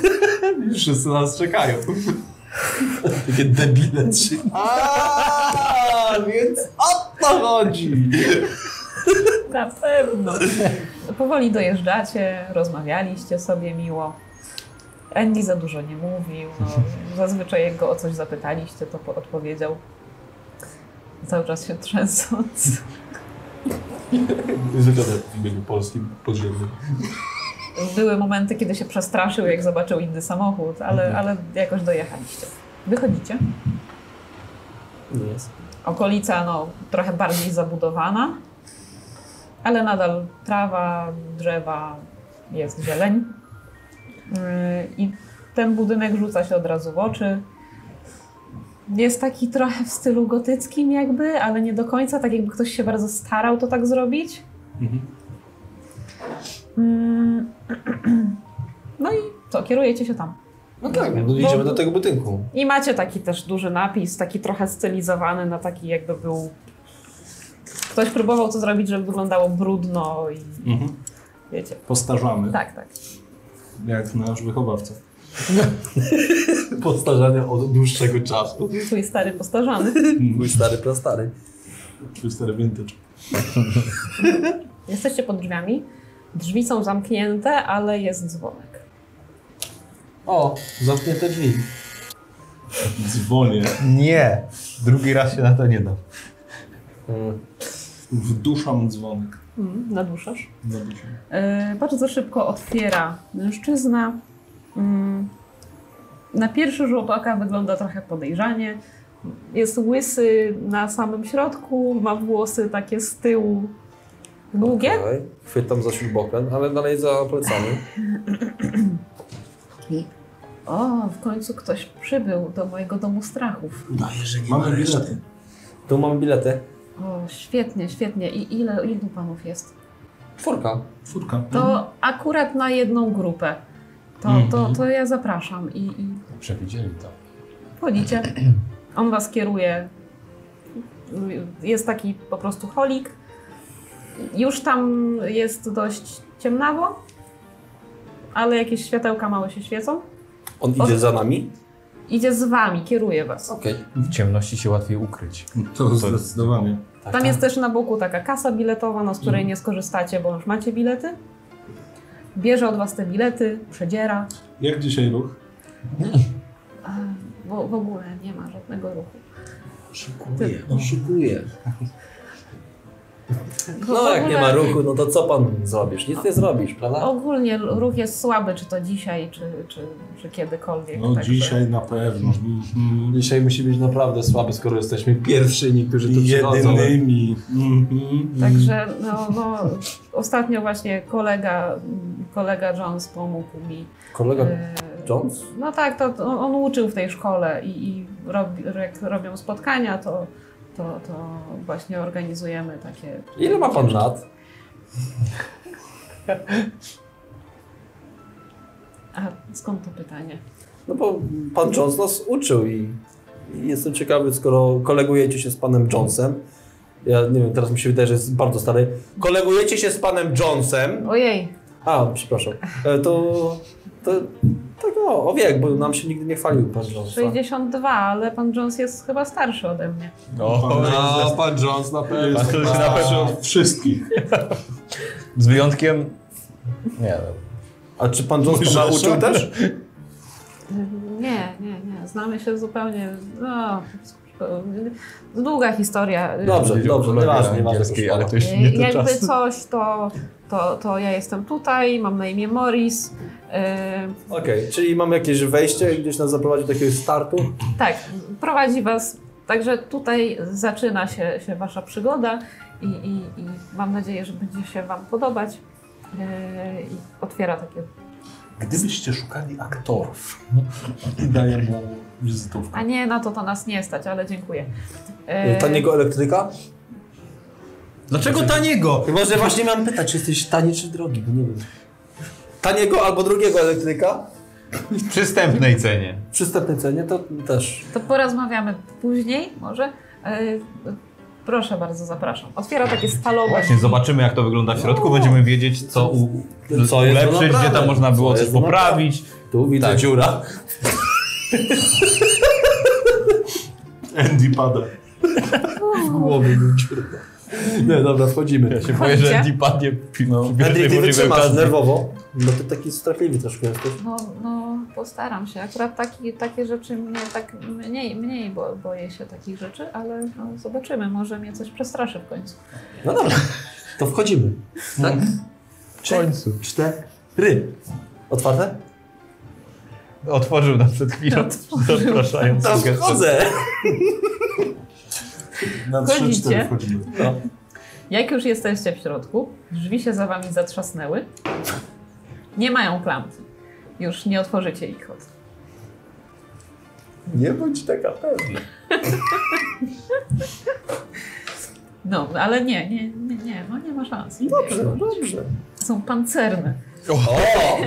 Speaker 3: Wszyscy na nas czekają. Takie debile trzy. A, więc o to chodzi.
Speaker 1: Na pewno. Powoli dojeżdżacie, rozmawialiście sobie miło. Andy za dużo nie mówił. No, zazwyczaj jak go o coś zapytaliście, to po- odpowiedział. Cały czas się trzęsąc.
Speaker 4: Zagadam w imieniu polskim podziemnym.
Speaker 1: Były momenty, kiedy się przestraszył, jak zobaczył inny samochód, ale, ale jakoś dojechaliście. Wychodzicie.
Speaker 3: Nie jest.
Speaker 1: Okolica no, trochę bardziej zabudowana, ale nadal trawa, drzewa, jest zieleń. Yy, I ten budynek rzuca się od razu w oczy. Jest taki trochę w stylu gotyckim, jakby, ale nie do końca, tak jakby ktoś się bardzo starał to tak zrobić. Mm, No i co, kierujecie się tam.
Speaker 3: No tak, no idziemy do tego budynku.
Speaker 1: I macie taki też duży napis, taki trochę stylizowany na taki jakby był... Ktoś próbował to zrobić, żeby wyglądało brudno i
Speaker 4: Mhm.
Speaker 1: wiecie.
Speaker 4: Postarzamy,
Speaker 1: Tak, tak.
Speaker 4: jak nasz wychowawca.
Speaker 3: Postarzania od dłuższego czasu.
Speaker 1: Twój stary postarzany.
Speaker 3: Mój stary, prastary.
Speaker 4: Twój stary vintage.
Speaker 1: Jesteście pod drzwiami. Drzwi są zamknięte, ale jest dzwonek.
Speaker 3: O, zamknięte drzwi.
Speaker 4: Dzwonię.
Speaker 2: Nie, drugi raz się na to nie da.
Speaker 4: Wduszam dzwonek. No
Speaker 1: Mm, Naduszasz.
Speaker 4: Na duszę.
Speaker 1: E, bardzo szybko otwiera mężczyzna. Mm, Na pierwszy rzut oka wygląda trochę podejrzanie. Jest łysy na samym środku, ma włosy takie z tyłu długie.
Speaker 3: Okej. Chwytam za śrubokręt, ale dalej za plecami.
Speaker 1: O, w końcu ktoś przybył do mojego domu strachów.
Speaker 4: Mamy bilety.
Speaker 3: Tu mam bilety.
Speaker 1: O, świetnie, świetnie. I ile, ilu panów jest?
Speaker 3: Czwórka.
Speaker 4: Czwórka.
Speaker 1: To akurat na jedną grupę. To, to, to ja zapraszam i, i
Speaker 7: Przewidzieli to.
Speaker 1: Chodzicie. On was kieruje. Jest taki po prostu holik. Już tam jest dość ciemnawo, ale jakieś światełka małe się świecą.
Speaker 3: On idzie
Speaker 1: Och.
Speaker 3: za nami?
Speaker 1: Idzie z wami, kieruje was.
Speaker 3: Okej.
Speaker 7: W ciemności się łatwiej ukryć.
Speaker 4: To zdecydowanie.
Speaker 3: Tak,
Speaker 1: Tam
Speaker 3: tak.
Speaker 1: jest też na boku taka kasa biletowa, no, z której nie skorzystacie, bo już macie bilety. Bierze od was te bilety, przedziera.
Speaker 4: Jak dzisiaj ruch?
Speaker 1: A, Bo w ogóle nie ma żadnego ruchu.
Speaker 3: Oszukuje, oszukuje.
Speaker 1: W
Speaker 3: No jak nie
Speaker 1: ogóle-
Speaker 3: ma ruchu, no to co pan zrobisz? Nic nie zrobisz, prawda?
Speaker 1: Ogólnie ruch jest słaby, czy to dzisiaj, czy, czy, czy kiedykolwiek.
Speaker 4: No
Speaker 1: także-
Speaker 4: dzisiaj na pewno. Mhm.
Speaker 3: Dzisiaj musi być naprawdę słaby, skoro jesteśmy pierwsi, niektórzy tu przychodzą.
Speaker 4: Jedynymi. Mhm.
Speaker 1: Także no, no, ostatnio właśnie kolega, kolega Jones pomógł mi.
Speaker 3: Kolega
Speaker 1: e,
Speaker 3: Jones?
Speaker 1: No tak, to, to on- on uczył w tej szkole i, i robi, jak robią spotkania, to, to, to właśnie organizujemy takie.
Speaker 3: Ile ma pan lat?
Speaker 1: A skąd to pytanie?
Speaker 3: No bo pan Jones nas uczył i i jestem ciekawy, skoro kolegujecie się z panem Jonesem. Ja nie wiem, teraz mi się wydaje, że jest bardzo stary. Kolegujecie się z panem Jonesem.
Speaker 1: Ojej,
Speaker 3: A, przepraszam. E, To. to tak, no, o wiek, bo nam się nigdy nie chwalił pan Jones.
Speaker 1: 62, ale pan Jones jest chyba starszy ode mnie.
Speaker 2: O,
Speaker 3: No.
Speaker 8: pan Jones na pewno.
Speaker 2: Pan Jones na pewno.
Speaker 4: Wszystkich.
Speaker 2: z wyjątkiem... Nie, no,
Speaker 3: A czy pan Jones pana uczył też?
Speaker 1: Nie, nie, nie. Znamy się zupełnie. No, długa historia.
Speaker 3: Dobrze,
Speaker 2: powiedział
Speaker 3: dobrze,
Speaker 2: kolega
Speaker 3: nieważne, nieważne.
Speaker 2: angielskiej, ale to już
Speaker 1: Y,
Speaker 2: nie ten
Speaker 1: Jakby
Speaker 2: czas.
Speaker 1: coś, to, to, to ja jestem tutaj, mam na imię Morris. Y,
Speaker 3: Okej, czyli mamy jakieś wejście, gdzieś nas zaprowadzi do jakiegoś startu.
Speaker 1: tak, prowadzi was. Także tutaj zaczyna się, się wasza przygoda i, i, i mam nadzieję, że będzie się wam podobać. Y, I otwiera takie.
Speaker 4: Gdybyście szukali aktorów, i daję mu wizytówkę.
Speaker 1: A nie, na to to nas nie stać, ale dziękuję. Y,
Speaker 3: Taniego elektryka?
Speaker 2: Dlaczego taniego?
Speaker 3: Chyba, że właśnie miałem pytać, czy jesteś tani czy drogi, bo nie wiem. Taniego albo drugiego elektryka?
Speaker 2: W przystępnej cenie.
Speaker 3: W przystępnej cenie to też.
Speaker 1: To porozmawiamy później, może. Y, Proszę bardzo, zapraszam. Otwiera takie stalowe.
Speaker 2: Właśnie, zobaczymy jak to wygląda w środku, będziemy wiedzieć co, u,
Speaker 3: Co jest do
Speaker 2: ulepszyć, gdzie tam
Speaker 3: naprawy.
Speaker 2: można było
Speaker 3: Co
Speaker 2: coś
Speaker 3: jest do
Speaker 2: poprawić.
Speaker 3: Tu widzę
Speaker 2: Tak.
Speaker 3: dziura.
Speaker 4: Andy pada.
Speaker 3: W głowie był dziura. Nie, dobra, wchodzimy.
Speaker 2: Ja się boję, że
Speaker 1: Chodźcie.
Speaker 2: Andy padnie przy no.
Speaker 3: Henry,
Speaker 2: pierwszej
Speaker 3: ty
Speaker 2: możliwej
Speaker 3: wytrzymasz
Speaker 2: okazji.
Speaker 3: nerwowo, bo ty taki strachliwy troszkę jesteś.
Speaker 1: No, no postaram się. Akurat taki, takie rzeczy mnie tak mniej, mniej bo, boję się takich rzeczy, ale no, zobaczymy, może mnie coś przestraszy w końcu.
Speaker 3: No dobra, to wchodzimy. Tak? W
Speaker 2: końcu.
Speaker 3: Cztery. Otwarte?
Speaker 2: Otworzył nam przed chwilą, zapraszając
Speaker 3: Tam
Speaker 2: sugestię.
Speaker 3: wchodzę.
Speaker 4: Na trzy,
Speaker 1: Chodzicie.
Speaker 4: cztery wchodzimy.
Speaker 1: Jak już jesteście w środku, drzwi się za wami zatrzasnęły. Nie mają klamki. Już nie otworzycie ich od.
Speaker 3: Nie bądź taka pewna.
Speaker 1: No, ale nie, nie, nie, nie, no nie ma szans.
Speaker 3: Dobrze, dobrze.
Speaker 1: Są pancerne.
Speaker 2: O!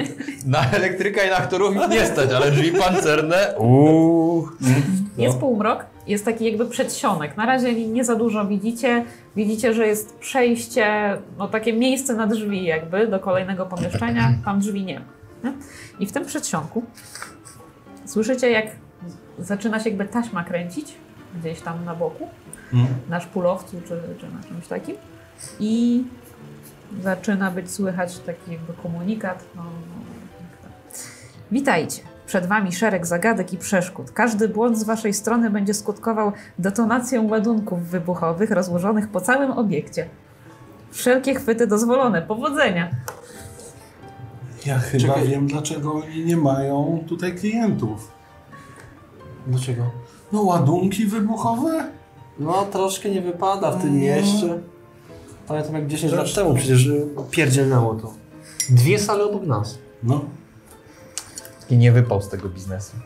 Speaker 2: Na elektryka i na aktorów ich nie stać, ale drzwi pancerne. Uuu.
Speaker 1: Jest półmrok, jest taki jakby przedsionek. Na razie nie za dużo widzicie. Widzicie, że jest przejście, no takie miejsce na drzwi jakby do kolejnego pomieszczenia. Tam drzwi nie ma. nie? I w tym przedsionku słyszycie, jak zaczyna się jakby taśma kręcić gdzieś tam na boku,
Speaker 4: Hmm?
Speaker 1: na szpulowcu czy, czy na czymś takim. I zaczyna być słychać taki jakby komunikat. No, no, tak. no, Witajcie. Przed wami szereg zagadek i przeszkód. Każdy błąd z waszej strony będzie skutkował detonacją ładunków wybuchowych rozłożonych po całym obiekcie. Wszelkie chwyty dozwolone. Powodzenia!
Speaker 4: Ja chyba
Speaker 3: Czekaj.
Speaker 4: wiem, dlaczego oni nie mają tutaj klientów.
Speaker 3: Dlaczego?
Speaker 4: No ładunki wybuchowe?
Speaker 3: No, troszkę nie wypada w tym mieście. Pamiętam jak 10 lat
Speaker 4: Zresztą.
Speaker 3: temu przecież y, pierdzielnęło to. Dwie sale obok nas.
Speaker 4: No.
Speaker 9: I nie wypał z tego biznesu.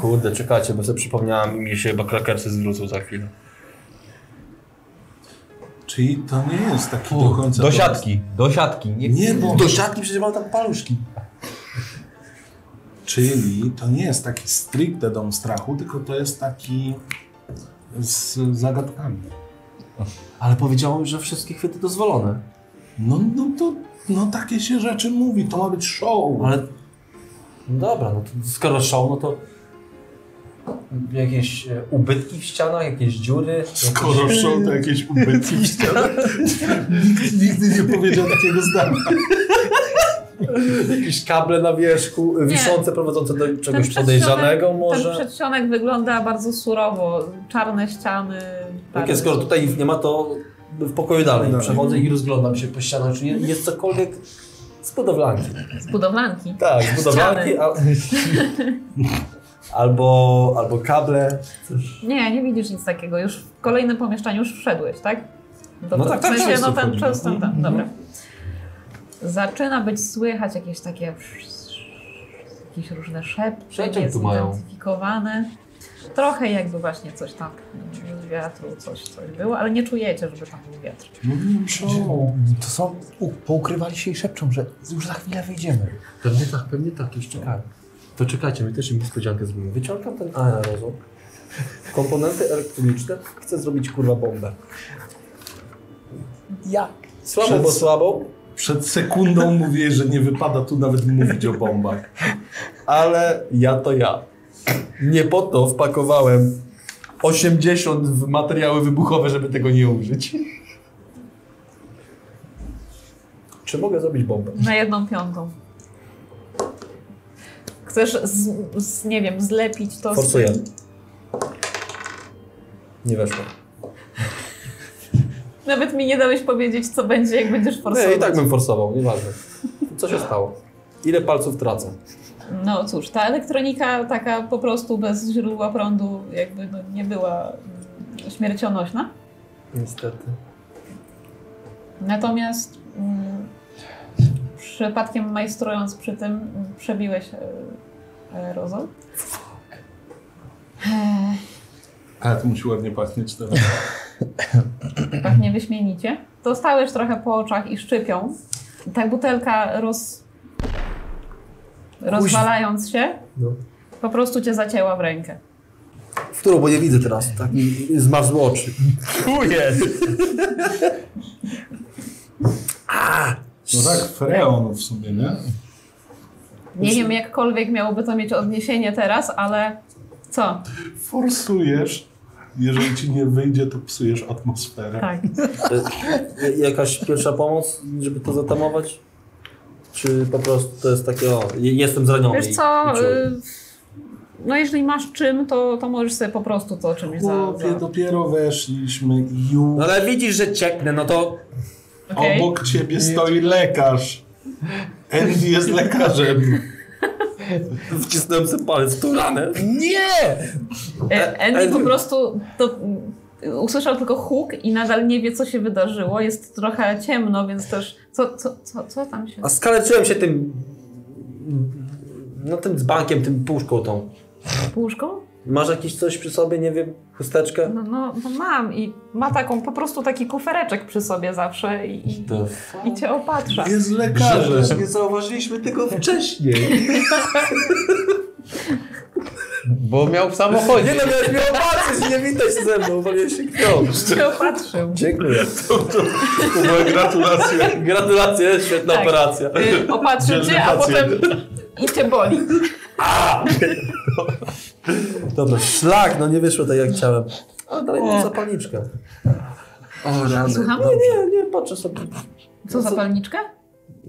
Speaker 10: Kurde, czekajcie, bo sobie przypomniałam i mi się chyba krakersy zwrócą za chwilę.
Speaker 4: Czyli to nie jest taki do końca...
Speaker 9: Do siatki, do siatki. Nie,
Speaker 4: Nie, bo...
Speaker 3: Do siatki przecież mam tam paluszki.
Speaker 4: Czyli to nie jest taki stricte dom strachu, tylko to jest taki z zagadkami.
Speaker 3: Ale powiedziałem, że wszystkie chwyty dozwolone.
Speaker 4: No, no to... No takie się rzeczy mówi, to ma być show.
Speaker 3: Ale... No dobra, no to skoro show, no to... Jakieś e, ubytki w ścianach, jakieś dziury. jakieś-
Speaker 4: Skoro show to jakieś ubytki w ścianach. Nikt nigdy nie powiedział takiego zdania.
Speaker 3: Jakieś kable na wierzchu, y, wiszące, prowadzące do czegoś
Speaker 1: przedsionek-
Speaker 3: podejrzanego
Speaker 1: Ten
Speaker 3: może.
Speaker 1: przedsionek wygląda bardzo surowo. Czarne ściany.
Speaker 3: Takie, Tak, skoro tutaj ich nie ma, to w pokoju dalej.
Speaker 4: Dalej.
Speaker 3: Przechodzę i rozglądam się po ścianach, czy nie- jest cokolwiek z budowlanki.
Speaker 1: Z budowlanki.
Speaker 3: Tak, z budowlanki. Al... albo, albo kable.
Speaker 1: Nie, nie widzisz nic takiego. Już w kolejnym pomieszczeniu już wszedłeś, tak? Do,
Speaker 3: No tak,
Speaker 1: w
Speaker 3: tak,
Speaker 1: sensie,
Speaker 3: tak,
Speaker 1: no ten
Speaker 3: wchodzi.
Speaker 1: przez ten, ten, dobra. Zaczyna być słychać jakieś takie jakieś różne szepty,
Speaker 3: Przeciąg tu mają.
Speaker 1: niezidentyfikowane. Trochę jakby właśnie coś tam z wiatru, coś, coś było, ale nie czujecie, żeby tam był wiatr.
Speaker 2: To są, u, poukrywali się i szepczą, że już za chwilę wyjdziemy.
Speaker 3: Pewnie tak, pewnie tak, już czekamy. To czekajcie, my też im niespodziankę zrobimy. Wyciągam ten aerozol, komponenty elektroniczne, chcę zrobić kurwa bombę. Jak? Słabo,
Speaker 4: Przez-
Speaker 3: bo słabo,
Speaker 4: Przed sekundą mówię, że nie wypada tu nawet mówić o bombach.
Speaker 3: ale ja to ja. Nie po to wpakowałem 80 w materiały wybuchowe, żeby tego nie użyć. Czy mogę zrobić bombę?
Speaker 1: Na jedną piątą. Chcesz, z, z, nie wiem, zlepić to
Speaker 3: Forsuję.
Speaker 1: z...
Speaker 3: Nie weszło.
Speaker 1: Nawet mi nie dałeś powiedzieć, co będzie, jak będziesz forsować.
Speaker 3: Nie, i tak bym forsował, nieważne. Co się stało? Ile palców tracę?
Speaker 1: No cóż, ta elektronika taka po prostu bez źródła prądu jakby no, nie była mm, śmiercionośna.
Speaker 3: Niestety.
Speaker 1: Natomiast mm, przypadkiem majstrując przy tym mm, przebiłeś e, aerozol.
Speaker 4: Ale to musi ładnie pachnieć teraz.
Speaker 1: Pachnie tak wyśmienicie. Dostałeś trochę po oczach i szczypią. Ta butelka roz... rozwalając się
Speaker 3: No.
Speaker 1: po prostu cię zacięła w rękę.
Speaker 3: W którą, bo nie widzę teraz, tak? Zmarzł oczy.
Speaker 9: Chuje!
Speaker 4: No tak, freon w sumie, nie?
Speaker 1: Nie wiem, jakkolwiek miałoby to mieć odniesienie teraz, ale co?
Speaker 4: Forsujesz. Jeżeli ci nie wyjdzie, to psujesz atmosferę.
Speaker 1: Tak.
Speaker 3: Jakaś pierwsza pomoc, żeby to zatamować? Czy po prostu to jest takie, o, je- jestem zraniony.
Speaker 1: Wiesz
Speaker 3: i-
Speaker 1: co,
Speaker 3: i czuję.
Speaker 1: y, no jeżeli masz czym, to, to możesz sobie po prostu to czymś za... za...
Speaker 4: Chłopie, dopiero weszliśmy i już
Speaker 3: No ale widzisz, że cieknę, no to...
Speaker 1: Okej.
Speaker 4: obok ciebie stoi lekarz. Andy jest lekarzem.
Speaker 3: Wcisnąłem sobie palec w tą ranę.
Speaker 1: E, Andy
Speaker 3: Andy-
Speaker 1: po prostu to, y, usłyszał tylko huk i nadal nie wie, co się wydarzyło. Jest trochę ciemno, więc też co, co, co, co tam się...
Speaker 3: A skaleczyłem się tym... No tym dzbankiem, tym puszką tą.
Speaker 1: Puszką?
Speaker 3: Masz jakieś coś przy sobie, nie wiem, chusteczkę?
Speaker 1: No, no, no mam i ma taką po prostu taki kufereczek przy sobie zawsze i, i, i cię opatrza.
Speaker 4: Jest lekarzem.
Speaker 3: Nie zauważyliśmy tego wcześniej.
Speaker 9: Bo miał w
Speaker 3: Nie
Speaker 9: samochodzie.
Speaker 3: no, miałeś mi opatrzyć, nie witaj się ze mną, bo mnie się kwią.
Speaker 1: Cię opatrzył.
Speaker 3: Dziękuję.
Speaker 4: Moje gratulacje.
Speaker 3: Gratulacje, świetna
Speaker 1: Tak.
Speaker 3: operacja.
Speaker 1: Y, Opatrzył
Speaker 4: Dzielny
Speaker 1: cię, a potem
Speaker 4: pacjent.
Speaker 1: i cię boli.
Speaker 3: Dobra, szlak, no nie wyszło tak jak chciałem. A dalej mam zapalniczkę.
Speaker 1: Słucham?
Speaker 3: Nie, nie, patrzę sobie.
Speaker 1: Co, zapalniczkę?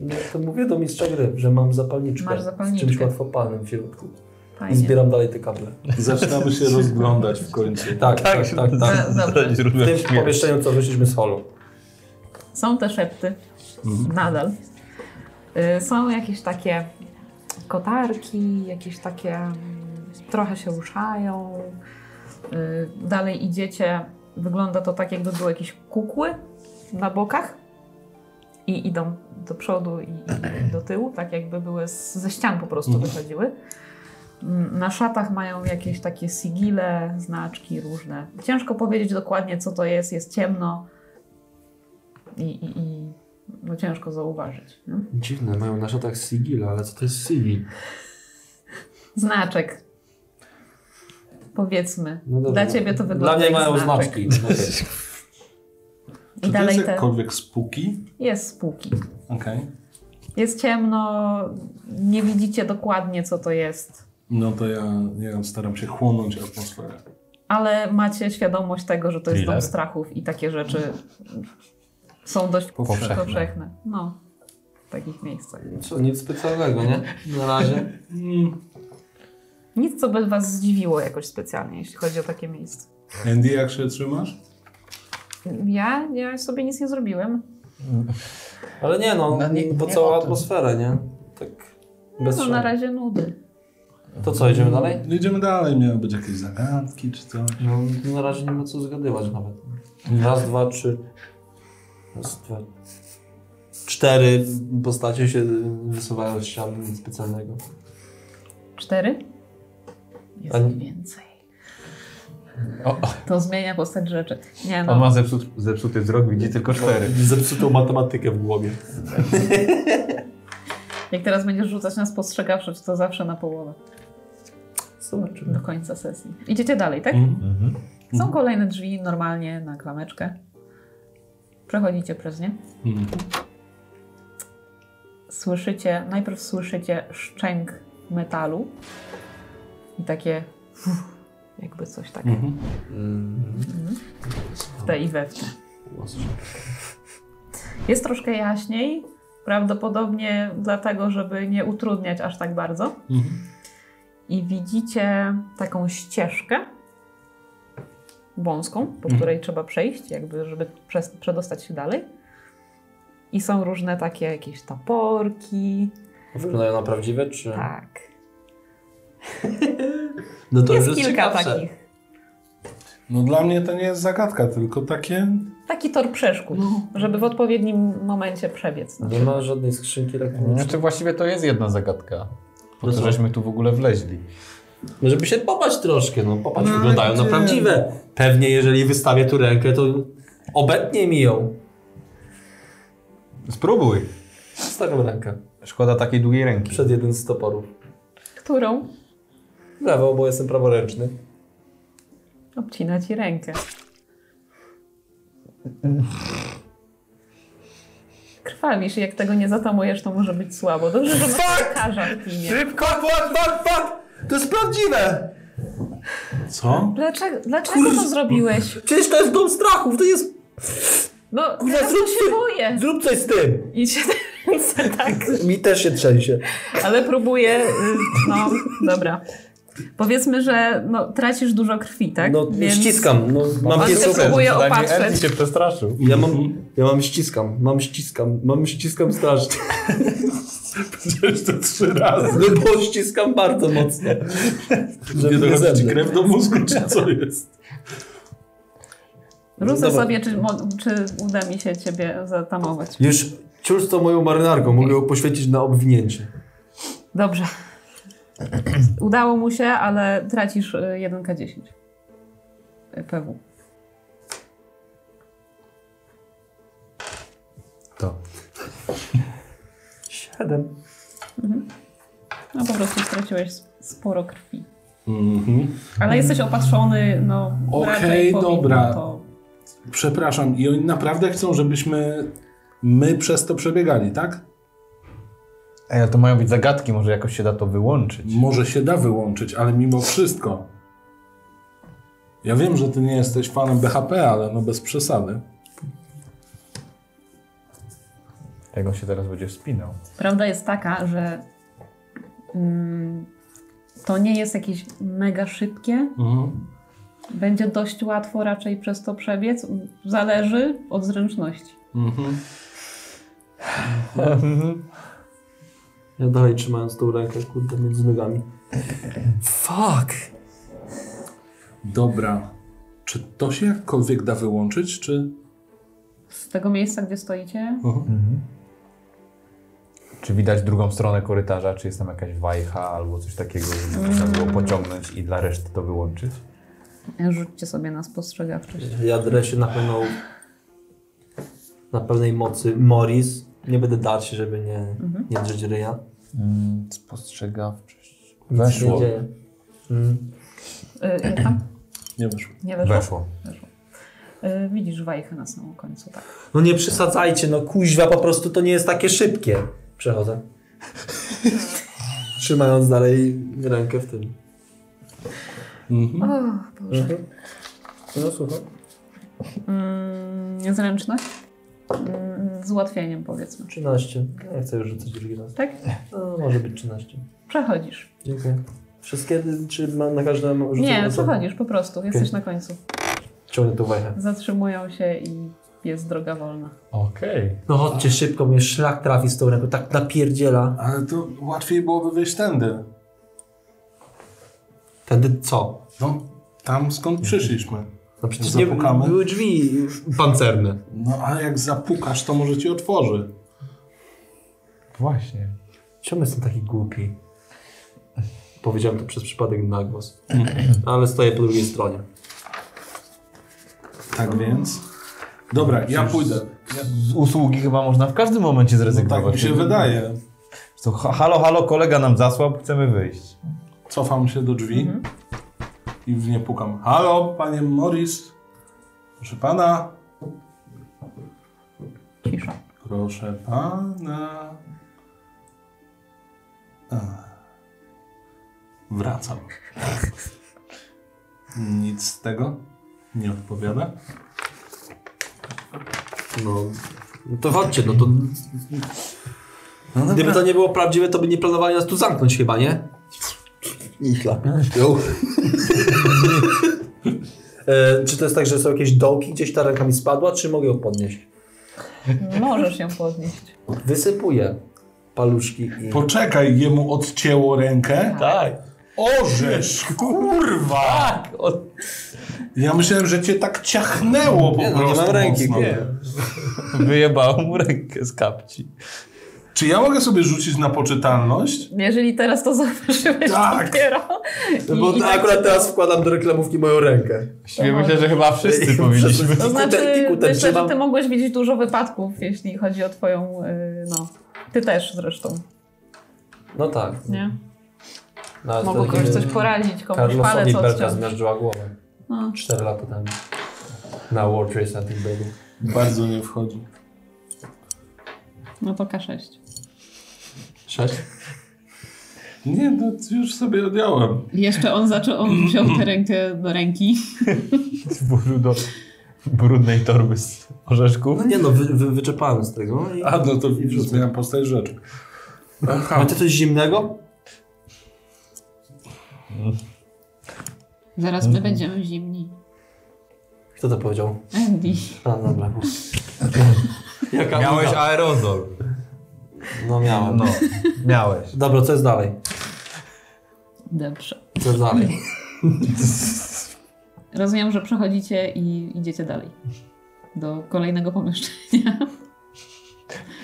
Speaker 3: No, to mówię do mistrza gry, że mam zapalniczkę,
Speaker 1: Masz
Speaker 3: z czymś
Speaker 1: zapalniczkę.
Speaker 3: łatwopalnym w środku. I
Speaker 1: Fajnie.
Speaker 3: zbieram dalej te kable.
Speaker 4: Zaczynamy się rozglądać w końcu.
Speaker 3: Tak, tak, tak. tak,
Speaker 1: tak. Dobrze.
Speaker 3: W tym pomieszczeniu, co wyszliśmy z holu.
Speaker 1: Są te szepty. Nadal. Y, Są jakieś takie kotarki, jakieś takie mm, trochę się ruszają. Y, Dalej idziecie. Wygląda to tak, jakby były jakieś kukły na bokach i idą do przodu i i do tyłu, tak jakby były z, ze ścian po prostu wychodziły. Mm, Na szatach mają jakieś takie sigile, znaczki różne. Ciężko powiedzieć dokładnie, co to jest. Jest ciemno i, i, i no ciężko zauważyć. Nie?
Speaker 3: Dziwne, mają na szatach sigil, ale co to jest sigil?
Speaker 1: Znaczek. Powiedzmy.
Speaker 3: No dobra.
Speaker 1: Dla ciebie to
Speaker 3: Dla
Speaker 1: wygląda
Speaker 3: mnie
Speaker 1: jak
Speaker 3: mają
Speaker 1: znaczek.
Speaker 3: znaczki.
Speaker 1: I
Speaker 4: Czy to
Speaker 1: dalej
Speaker 4: jest
Speaker 1: te...
Speaker 4: jakkolwiek spóki?
Speaker 1: Jest spółki.
Speaker 4: Okej.
Speaker 1: Jest ciemno, nie widzicie dokładnie co to jest,
Speaker 4: No to ja, ja staram się chłonąć atmosferę.
Speaker 1: ale macie świadomość tego, że to jest
Speaker 2: Thriller.
Speaker 1: dom strachów i takie rzeczy są dość
Speaker 2: Powszechne.
Speaker 1: powszechne. No, w takich miejscach.
Speaker 3: Co, nic specjalnego, nie? Na razie.
Speaker 1: Nic, co by was zdziwiło jakoś specjalnie, jeśli chodzi o takie miejsce.
Speaker 4: Andy, jak się trzymasz?
Speaker 1: Ja, ja sobie nic nie zrobiłem.
Speaker 3: Ale nie no,
Speaker 11: No nie-
Speaker 3: bo
Speaker 11: nie
Speaker 3: całą
Speaker 11: o tym.
Speaker 3: atmosferę, nie? Tak bez
Speaker 1: No,
Speaker 3: no,
Speaker 1: na razie nudy.
Speaker 3: To co, idziemy dalej?
Speaker 4: Idziemy Mm, dalej, miały być jakieś zagadki czy coś.
Speaker 3: No, na razie nie ma co zgadywać nawet. Raz, dwa, trzy. Raz, dwa. Cztery postacie się wysuwają z ścian nic specjalnego.
Speaker 1: Cztery? Jest
Speaker 3: Ani-
Speaker 1: więcej.
Speaker 2: O.
Speaker 1: To zmienia postać rzeczy. Nie
Speaker 2: On
Speaker 1: no,
Speaker 2: ma zepsut, zepsuty wzrok, widzi tylko cztery.
Speaker 3: Zepsutą matematykę w głowie.
Speaker 1: jak teraz będziesz rzucać na spostrzegawczość, to zawsze na połowę.
Speaker 3: Zobaczymy.
Speaker 1: Do końca sesji. Idziecie dalej, tak?
Speaker 2: Mhm.
Speaker 1: Są kolejne drzwi normalnie na klameczkę. Przechodzicie przez nie.
Speaker 4: Mhm.
Speaker 1: Słyszycie, najpierw słyszycie szczęk metalu i takie fuh, jakby coś tak
Speaker 4: Mhm.
Speaker 1: Mm. w te i we w te. Jest troszkę jaśniej, prawdopodobnie dlatego, żeby nie utrudniać aż tak bardzo.
Speaker 4: Mhm.
Speaker 1: I widzicie taką ścieżkę wąską, po
Speaker 3: Mhm.
Speaker 1: której trzeba przejść, jakby, żeby przez, przedostać się dalej. I są różne takie jakieś taporki.
Speaker 3: Wyglądają na prawdziwe, czy...
Speaker 1: Tak.
Speaker 3: No to
Speaker 1: jest
Speaker 3: już jest
Speaker 1: kilka
Speaker 3: ciekawsze.
Speaker 1: takich.
Speaker 4: No dla mnie to nie jest zagadka, tylko takie...
Speaker 1: Taki tor przeszkód,
Speaker 3: No.
Speaker 1: żeby w odpowiednim momencie przebiec. no.
Speaker 3: Nie ma żadnej skrzynki elektronicznej.
Speaker 2: Znaczy właściwie to jest jedna zagadka. Po
Speaker 3: No
Speaker 2: to
Speaker 3: co?
Speaker 2: żeśmy tu w ogóle wleźli.
Speaker 3: No żeby się popatrz troszkę, no popatrz,
Speaker 4: No,
Speaker 3: wyglądają na
Speaker 4: gdzie?
Speaker 3: prawdziwe. Pewnie jeżeli wystawię tu rękę, to obetnie mi ją.
Speaker 2: Spróbuj.
Speaker 3: Stawiam rękę
Speaker 2: Szkoda takiej długiej ręki.
Speaker 3: przed jeden z toporów.
Speaker 1: Którą
Speaker 3: Brawo, bo jestem praworęczny.
Speaker 1: obcina ci rękę. Krwawisz i jak tego nie zatamujesz, to może być słabo. Dobrze, że masz lekarza w kinie.
Speaker 3: Szybko, pat, pat, pat! To jest prawdziwe!
Speaker 4: Co?
Speaker 1: Dlaczego, dlaczego to zrobiłeś?
Speaker 3: Przecież to jest dom strachów, to jest...
Speaker 1: No,
Speaker 3: Kurwa,
Speaker 1: teraz to
Speaker 3: zrób
Speaker 1: się
Speaker 3: ty-
Speaker 1: boję.
Speaker 3: Zrób coś z tym!
Speaker 1: I się ręce tak,
Speaker 3: Mi też się trzęsie.
Speaker 1: ale próbuję, y, no, dobra. Powiedzmy, że no, tracisz dużo krwi, tak?
Speaker 3: No, ściskam, no, mam
Speaker 1: Ale
Speaker 3: pies
Speaker 1: super. Próbuję
Speaker 3: tak
Speaker 2: Przynajmniej
Speaker 1: opatrzeć.
Speaker 2: Andy się przestraszył.
Speaker 3: Ja mam, ja mam ściskam, mam ściskam, mam ściskam strasznie.
Speaker 4: Przecież to trzy razy.
Speaker 3: No bo ściskam bardzo mocno.
Speaker 4: Nie
Speaker 3: nie
Speaker 4: dochodzi ci
Speaker 3: zemdleć.
Speaker 4: krew do mózgu, czy co jest?
Speaker 1: Rzucę
Speaker 3: Dobra.
Speaker 1: sobie, czy, mo- czy uda mi się ciebie zatamować.
Speaker 3: Już ciul z tą moją marynarką, mogę ją poświęcić na obwinięcie.
Speaker 1: Dobrze. Udało mu się, ale tracisz y, 1K10. Y, PW.
Speaker 2: To.
Speaker 3: Siedem.
Speaker 1: No po prostu straciłeś s- sporo krwi.
Speaker 4: Mhm.
Speaker 1: Ale jesteś opatrzony, no
Speaker 4: Okej,
Speaker 1: raczej powinno
Speaker 4: dobra.
Speaker 1: To...
Speaker 4: Przepraszam, i oni naprawdę chcą, żebyśmy my przez to przebiegali, tak?
Speaker 2: Ej, ale to mają być zagadki, może jakoś się da to wyłączyć.
Speaker 4: Może się da wyłączyć, ale mimo wszystko. Ja wiem, że ty nie jesteś fanem BHP, ale no bez przesady.
Speaker 2: Jak on się teraz będzie wspinał.
Speaker 1: Prawda jest taka, że mm, to nie jest jakieś mega szybkie.
Speaker 3: Mhm.
Speaker 1: Będzie dość łatwo raczej przez to przebiec. Zależy od zręczności.
Speaker 4: Mhm.
Speaker 3: Ja dalej trzymając tą rękę, kurde, między nogami. Fuck!
Speaker 4: Dobra. Czy to się jakkolwiek da wyłączyć, czy...
Speaker 1: Z tego miejsca, gdzie stoicie,
Speaker 3: Mhm.
Speaker 2: Czy widać drugą stronę korytarza, czy jest tam jakaś wajcha albo coś takiego, żeby można było pociągnąć i dla reszty to wyłączyć?
Speaker 1: rzućcie sobie na spostrzegawczość.
Speaker 3: Ja dresie na pewno na pełnej mocy Morris. Nie będę darł się, żeby nie,
Speaker 1: Mhm.
Speaker 3: nie drzeć ryja.
Speaker 12: Mm, spostrzegawczość.
Speaker 3: Nic się nie
Speaker 12: Weszło.
Speaker 3: dzieje. Mm.
Speaker 1: Y, jak tam?
Speaker 4: Nie weszło.
Speaker 1: Nie weszło?
Speaker 2: Weszło.
Speaker 1: Y, widzisz wajchę na samym końcu, tak.
Speaker 3: No nie przesadzajcie, no kuźwa, po prostu to nie jest takie szybkie. Przechodzę. Trzymając dalej rękę w tym.
Speaker 4: Mhm.
Speaker 1: O, Boże.
Speaker 3: No słucham.
Speaker 1: Mm, zręczność? Mm, z ułatwieniem powiedzmy.
Speaker 3: 13. Nie chcę już rzucać drugi raz.
Speaker 1: Tak?
Speaker 3: No, może być 13.
Speaker 1: Przechodzisz.
Speaker 3: Dziękuję. Wszystkie, czy ma, na każdym rzucę
Speaker 1: Nie,
Speaker 3: osobno?
Speaker 1: przechodzisz po prostu. Jesteś na końcu.
Speaker 3: Ciągnę tą wajchę.
Speaker 1: Zatrzymują się i jest droga wolna.
Speaker 2: Okej.
Speaker 3: No chodźcie szybko, mnie szlak trafi z tą ręką, tak napierdziela.
Speaker 4: Ale to łatwiej byłoby wyjść tędy.
Speaker 3: Wtedy co?
Speaker 4: No, tam skąd przyszliśmy.
Speaker 3: No przecież nie
Speaker 4: Zapukamy.
Speaker 3: były drzwi pancerne.
Speaker 4: No, ale jak zapukasz, to może ci otworzy.
Speaker 2: Właśnie.
Speaker 3: Czemu jestem taki głupi? Powiedziałem to przez przypadek na głos. Ale stoję po drugiej stronie.
Speaker 4: Tak więc... Dobra, ja pójdę. Ja...
Speaker 2: Z usługi chyba można w każdym momencie
Speaker 4: No,
Speaker 2: zrezygnować.
Speaker 4: tak mi się wydaje.
Speaker 2: Co, ha- halo, halo, kolega nam zasłab, chcemy wyjść.
Speaker 4: Cofam się do drzwi i w nie pukam. Halo, panie Morris. Proszę pana.
Speaker 1: Cisza.
Speaker 4: Proszę pana. Ach. Wracam. Nic z tego. Nie odpowiada.
Speaker 3: No. no to chodźcie, no to... Gdyby to nie było prawdziwe, to by nie planowali nas tu zamknąć chyba, nie? No. I chlapią. e, czy to jest tak, że są jakieś dołki, gdzieś ta ręka mi spadła, czy mogę ją podnieść?
Speaker 1: Możesz ją podnieść.
Speaker 3: Wysypuję paluszki i...
Speaker 4: Poczekaj, jemu odcięło rękę.
Speaker 2: Tak.
Speaker 4: Orzesz, kurwa! Ja myślałem, że cię tak ciachnęło po
Speaker 3: Nie, no,
Speaker 4: prostu.
Speaker 3: nie mam ręki,
Speaker 4: mocno.
Speaker 3: nie.
Speaker 2: Wyjebało mu rękę z kapci.
Speaker 4: Czy ja mogę sobie rzucić na poczytalność?
Speaker 1: Jeżeli teraz to zauważyłeś
Speaker 4: Tak.
Speaker 1: dopiero.
Speaker 3: No bo
Speaker 1: I- i tak
Speaker 3: akurat
Speaker 1: ci-
Speaker 3: teraz wkładam do reklamówki moją rękę.
Speaker 2: Właściwie myślę, że chyba wszyscy powinniśmy.
Speaker 1: To znaczy,
Speaker 3: Kuter,
Speaker 1: myślę, że
Speaker 3: trzymam.
Speaker 1: ty mogłeś widzieć dużo wypadków, jeśli chodzi o twoją, y, no, ty też zresztą,
Speaker 3: No tak.
Speaker 1: nie?
Speaker 3: No,
Speaker 1: Mogło komuś coś poradzić, komuś palec
Speaker 3: Carlosowi belka
Speaker 1: odciąć.
Speaker 3: zmiażdżyła głowę.
Speaker 1: No.
Speaker 3: Cztery lata temu. Na World Trade Center Baby.
Speaker 4: Bardzo nie wchodzi.
Speaker 1: No to K6.
Speaker 3: Sześć?
Speaker 4: Nie, no już sobie odjąłem.
Speaker 1: Jeszcze on zaczął, on wziął tę rękę do ręki.
Speaker 2: Włożył do brudnej torby z orzeszków.
Speaker 3: No nie no, wy, wy, wyczerpałem z tego. No i...
Speaker 4: A no to zmieniam postać rzeczy. Aha,
Speaker 3: Macie coś zimnego?
Speaker 1: Zaraz my będziemy zimni.
Speaker 3: Kto to powiedział?
Speaker 1: Andy.
Speaker 3: A, dobra. Jaka
Speaker 2: Miałeś
Speaker 3: uda.
Speaker 2: aerozol.
Speaker 3: No miałem.
Speaker 2: No, miałeś.
Speaker 3: Dobra, co jest dalej?
Speaker 1: Dobrze.
Speaker 3: Co jest dalej?
Speaker 1: Rozumiem, że przechodzicie i idziecie dalej. Do kolejnego pomieszczenia.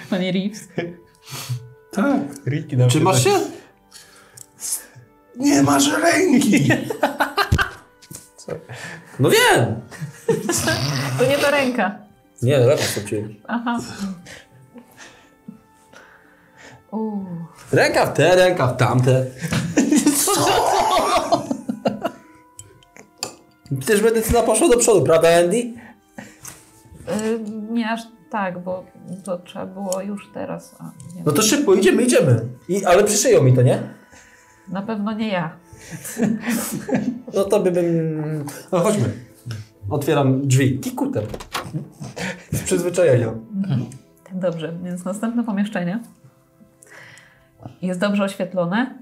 Speaker 1: Panie Reeves.
Speaker 4: tak.
Speaker 2: Ricky nam
Speaker 3: Czy
Speaker 2: się
Speaker 3: masz się?
Speaker 4: Nie masz ręki!
Speaker 3: No wiem!
Speaker 1: To nie ta ręka.
Speaker 3: Nie, lepiej skoczyłem.
Speaker 1: Aha. Uuu.
Speaker 3: Ręka w te, ręka w tamte. Co? Przecież medycyna poszła do przodu, prawda Andy?
Speaker 1: Y, nie aż tak, bo to trzeba było już teraz. A, nie.
Speaker 3: No to szybko, idziemy, idziemy. I, ale przyszyją mi to, nie?
Speaker 1: Na pewno nie ja.
Speaker 3: No to by bym... No chodźmy. Otwieram drzwi. Kikutem. Z przyzwyczajenia.
Speaker 1: Dobrze, więc następne pomieszczenie jest dobrze oświetlone.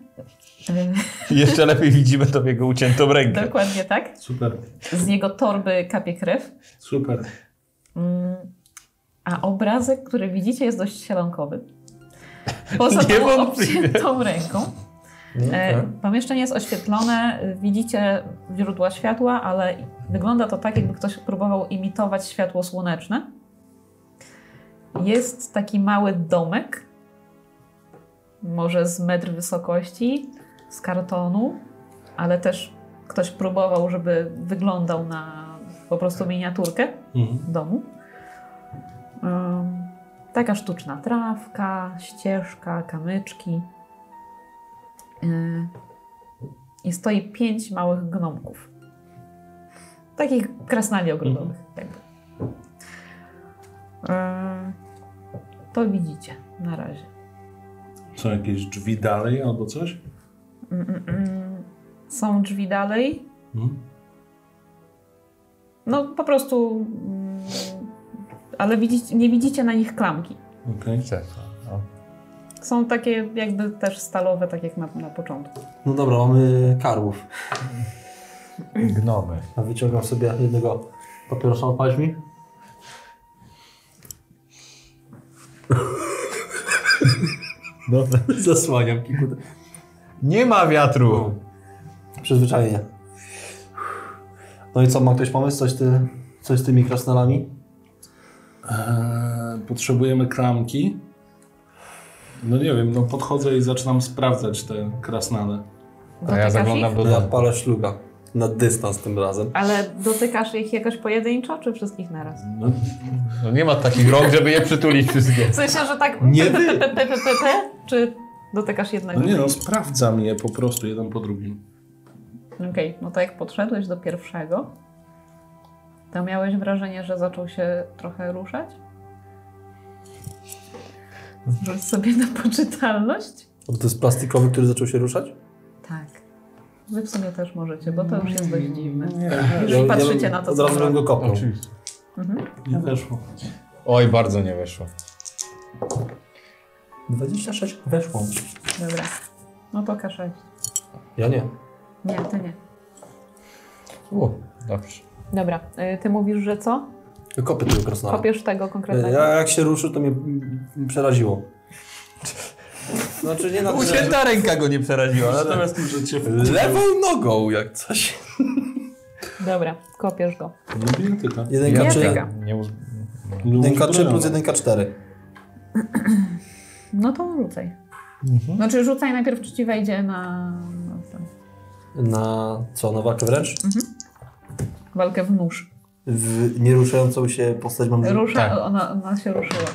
Speaker 1: Yy,
Speaker 2: Jeszcze lepiej widzimy tą jego uciętą rękę.
Speaker 1: Dokładnie tak.
Speaker 4: Super,
Speaker 1: Z jego torby kapie krew.
Speaker 4: super.
Speaker 1: Mm, A obrazek, który widzicie, jest dość sielankowy. Poza
Speaker 2: Nie
Speaker 1: tą
Speaker 2: wątpię.
Speaker 1: obciętą ręką.
Speaker 3: No, tak.
Speaker 1: E, Pomieszczenie jest oświetlone, y, widzicie źródła światła, ale wygląda to tak, jakby ktoś próbował imitować światło słoneczne. Jest taki mały domek, może z metr wysokości, z kartonu, ale też ktoś próbował, żeby wyglądał na po prostu miniaturkę
Speaker 4: Mhm.
Speaker 1: domu. Ym, taka sztuczna trawka, ścieżka, kamyczki. Yy, I stoi pięć małych gnomków. Takich krasnali ogrodowych. Jakby. Yy, to widzicie na razie.
Speaker 4: Są jakieś drzwi dalej albo coś?
Speaker 1: Mm, mm, mm. Są drzwi dalej.
Speaker 4: Mhm.
Speaker 1: No po prostu. mm, ale widzicie, nie widzicie na nich klamki.
Speaker 4: Okej.
Speaker 2: Tak, no.
Speaker 1: Są takie jakby też stalowe, tak jak na, na początku.
Speaker 3: No dobra, mamy karłów.
Speaker 2: Gnomy.
Speaker 3: A wyciągam sobie jednego papierosa, odpalisz mi?
Speaker 2: No.
Speaker 3: Zasłaniam kilku.
Speaker 2: Nie ma wiatru!
Speaker 3: Przyzwyczajenie. No i co, ma ktoś pomysł? Coś, ty, coś z tymi krasnalami?
Speaker 4: Eee, potrzebujemy kramki. No nie wiem, no podchodzę i zaczynam sprawdzać te krasnale.
Speaker 2: A ja
Speaker 1: Dotykasz
Speaker 2: zaglądam
Speaker 1: ich?
Speaker 2: do
Speaker 3: Ja
Speaker 2: domu.
Speaker 3: palę szluga. Na dystans tym razem.
Speaker 1: Ale dotykasz ich jakoś pojedynczo, czy wszystkich naraz?
Speaker 4: No,
Speaker 2: No nie ma takich rąk, żeby je przytulić wszystkie.
Speaker 1: W sensie, że tak
Speaker 3: Nie
Speaker 1: pe,
Speaker 3: wy.
Speaker 1: pe, pe, pe, pe, pe, pe, czy dotykasz jednego?
Speaker 4: no nie no, sprawdzam je po prostu jeden po drugim.
Speaker 1: Okej, no to jak podszedłeś do pierwszego, to miałeś wrażenie, że zaczął się trochę ruszać? Rzuć sobie na poczytalność?
Speaker 3: Bo to jest plastikowy, który zaczął się ruszać?
Speaker 1: Tak. Wy w sumie też możecie, bo to już jest dość dziwne.
Speaker 4: Nie,
Speaker 1: Jeżeli patrzycie na to,
Speaker 3: Od
Speaker 1: co
Speaker 3: razu bym
Speaker 1: robi.
Speaker 3: go kopnął.
Speaker 2: Oczywiście.
Speaker 4: nie weszło.
Speaker 2: Oj, bardzo nie weszło.
Speaker 3: 26 weszło.
Speaker 1: Dobra. No to K6.
Speaker 3: Ja nie.
Speaker 1: Nie, ty nie.
Speaker 2: U, dobrze.
Speaker 1: Dobra, y, ty mówisz, że co?
Speaker 3: Kopię tego krasnala.
Speaker 1: Kopiesz tego
Speaker 3: E,
Speaker 1: konkretnego?
Speaker 3: Ja jak się ruszył, to mnie mm, mm, przeraziło. Znaczy nie na tyle, że-
Speaker 2: Ucięta ręka go nie przeraziła, no natomiast
Speaker 4: że cię
Speaker 3: Lewą nogą jak coś.
Speaker 1: Dobra, kopiesz go.
Speaker 4: No bijatyka.
Speaker 3: 1K3
Speaker 1: Bijatyka.
Speaker 2: nie uz...
Speaker 3: plus 1K4.
Speaker 1: No to rzucaj.
Speaker 3: Mhm.
Speaker 1: Znaczy rzucaj najpierw, czy ci wejdzie na, na tę
Speaker 3: Na co? Na walkę wręcz?
Speaker 1: walkę w nóż.
Speaker 3: W nieruszającą się postać mam
Speaker 1: Rusza,
Speaker 2: Tak.
Speaker 1: ona, ona się ruszyła.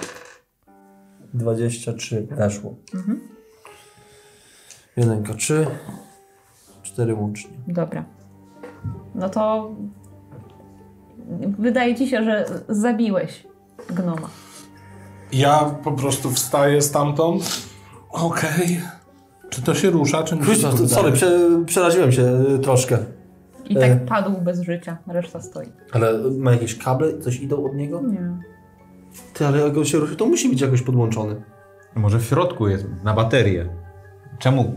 Speaker 3: 23. Weszło.
Speaker 1: Mhm.
Speaker 3: 1K3. 4 łącznie.
Speaker 1: Dobra. No to wydaje ci się, że zabiłeś gnoma.
Speaker 4: Ja po prostu wstaję stamtąd. Okej. Czy to się rusza, czy nie?
Speaker 3: Kurczę, to- sorry, prze, przeraziłem się y, troszkę.
Speaker 1: I tak
Speaker 3: E.
Speaker 1: padł bez życia, reszta stoi.
Speaker 3: Ale ma jakieś kable? Coś idą od niego?
Speaker 1: Nie.
Speaker 3: Ty, ale jak on się ruszy, to musi być jakoś podłączony.
Speaker 2: Może w środku jest, na baterię. Czemu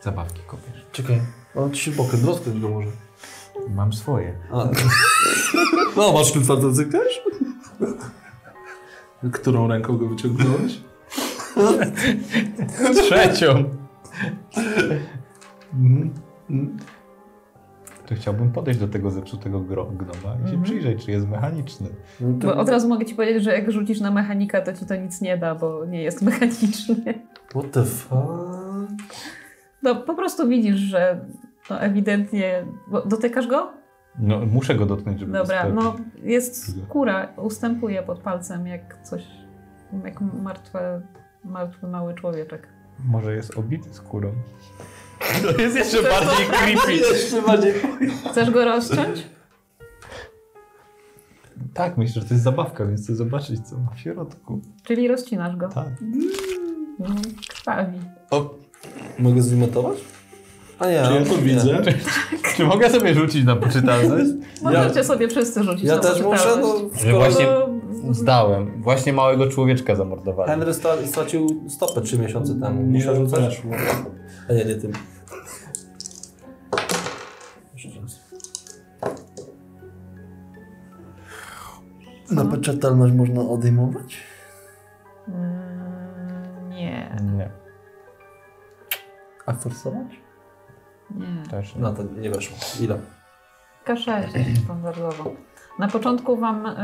Speaker 2: zabawki kopiesz?
Speaker 3: Czekaj. On ci się bokiem rozkręć go może.
Speaker 2: Mam swoje.
Speaker 3: A. No, masz klucz od też?
Speaker 4: Którą ręką go wyciągnąłeś?
Speaker 2: Trzecią. To Mhm. chciałbym podejść do tego zepsutego gro- gnoma i
Speaker 1: Mhm.
Speaker 2: się przyjrzeć, czy jest mechaniczny.
Speaker 3: No
Speaker 1: Bo od razu mogę ci powiedzieć, że jak rzucisz na mechanika, to ci to nic nie da, bo nie jest mechaniczny.
Speaker 3: What the fuck?
Speaker 1: No po prostu widzisz, że no, ewidentnie. Bo dotykasz go?
Speaker 2: No, muszę go dotknąć, żeby
Speaker 1: Dobra,
Speaker 2: go
Speaker 1: no
Speaker 2: sprawdzić.
Speaker 1: jest
Speaker 3: Mhm.
Speaker 1: skóra, ustępuje pod palcem jak coś, jak martwe, martwy mały człowieczek.
Speaker 2: Może jest obity skórą. To jest jeszcze bardziej creepy.
Speaker 3: Jeszcze bardziej...
Speaker 1: Chcesz go rozciąć?
Speaker 2: Tak, myślę, że to jest zabawka, więc chcę zobaczyć, co ma w środku.
Speaker 1: Czyli rozcinasz go.
Speaker 2: Tak.
Speaker 1: Mm, Krwawi.
Speaker 3: Mogę zwymiotować? A nie.
Speaker 4: Czy ja
Speaker 3: no,
Speaker 4: to
Speaker 3: nie.
Speaker 4: widzę?
Speaker 2: Czy mogę sobie rzucić na poczytalność?
Speaker 1: Możecie sobie wszyscy rzucić
Speaker 3: Ja
Speaker 1: na
Speaker 3: też muszę,
Speaker 1: poczytalność.
Speaker 3: no...
Speaker 2: Że właśnie
Speaker 1: Bo
Speaker 2: Zdałem. Właśnie małego człowieczka zamordowali.
Speaker 13: Henry sta- stracił stopę trzy miesiące temu. Muszę rzucać?
Speaker 4: weszło.
Speaker 13: A nie, nie tym. Jeszcze raz.
Speaker 3: Napoczytalność można odejmować?
Speaker 1: Mm, Nie,
Speaker 2: Nie,
Speaker 3: A forsować?
Speaker 1: nie.
Speaker 2: też nie.
Speaker 13: No to nie weszło. Ile?
Speaker 1: K6 standardowo. Na początku wam y,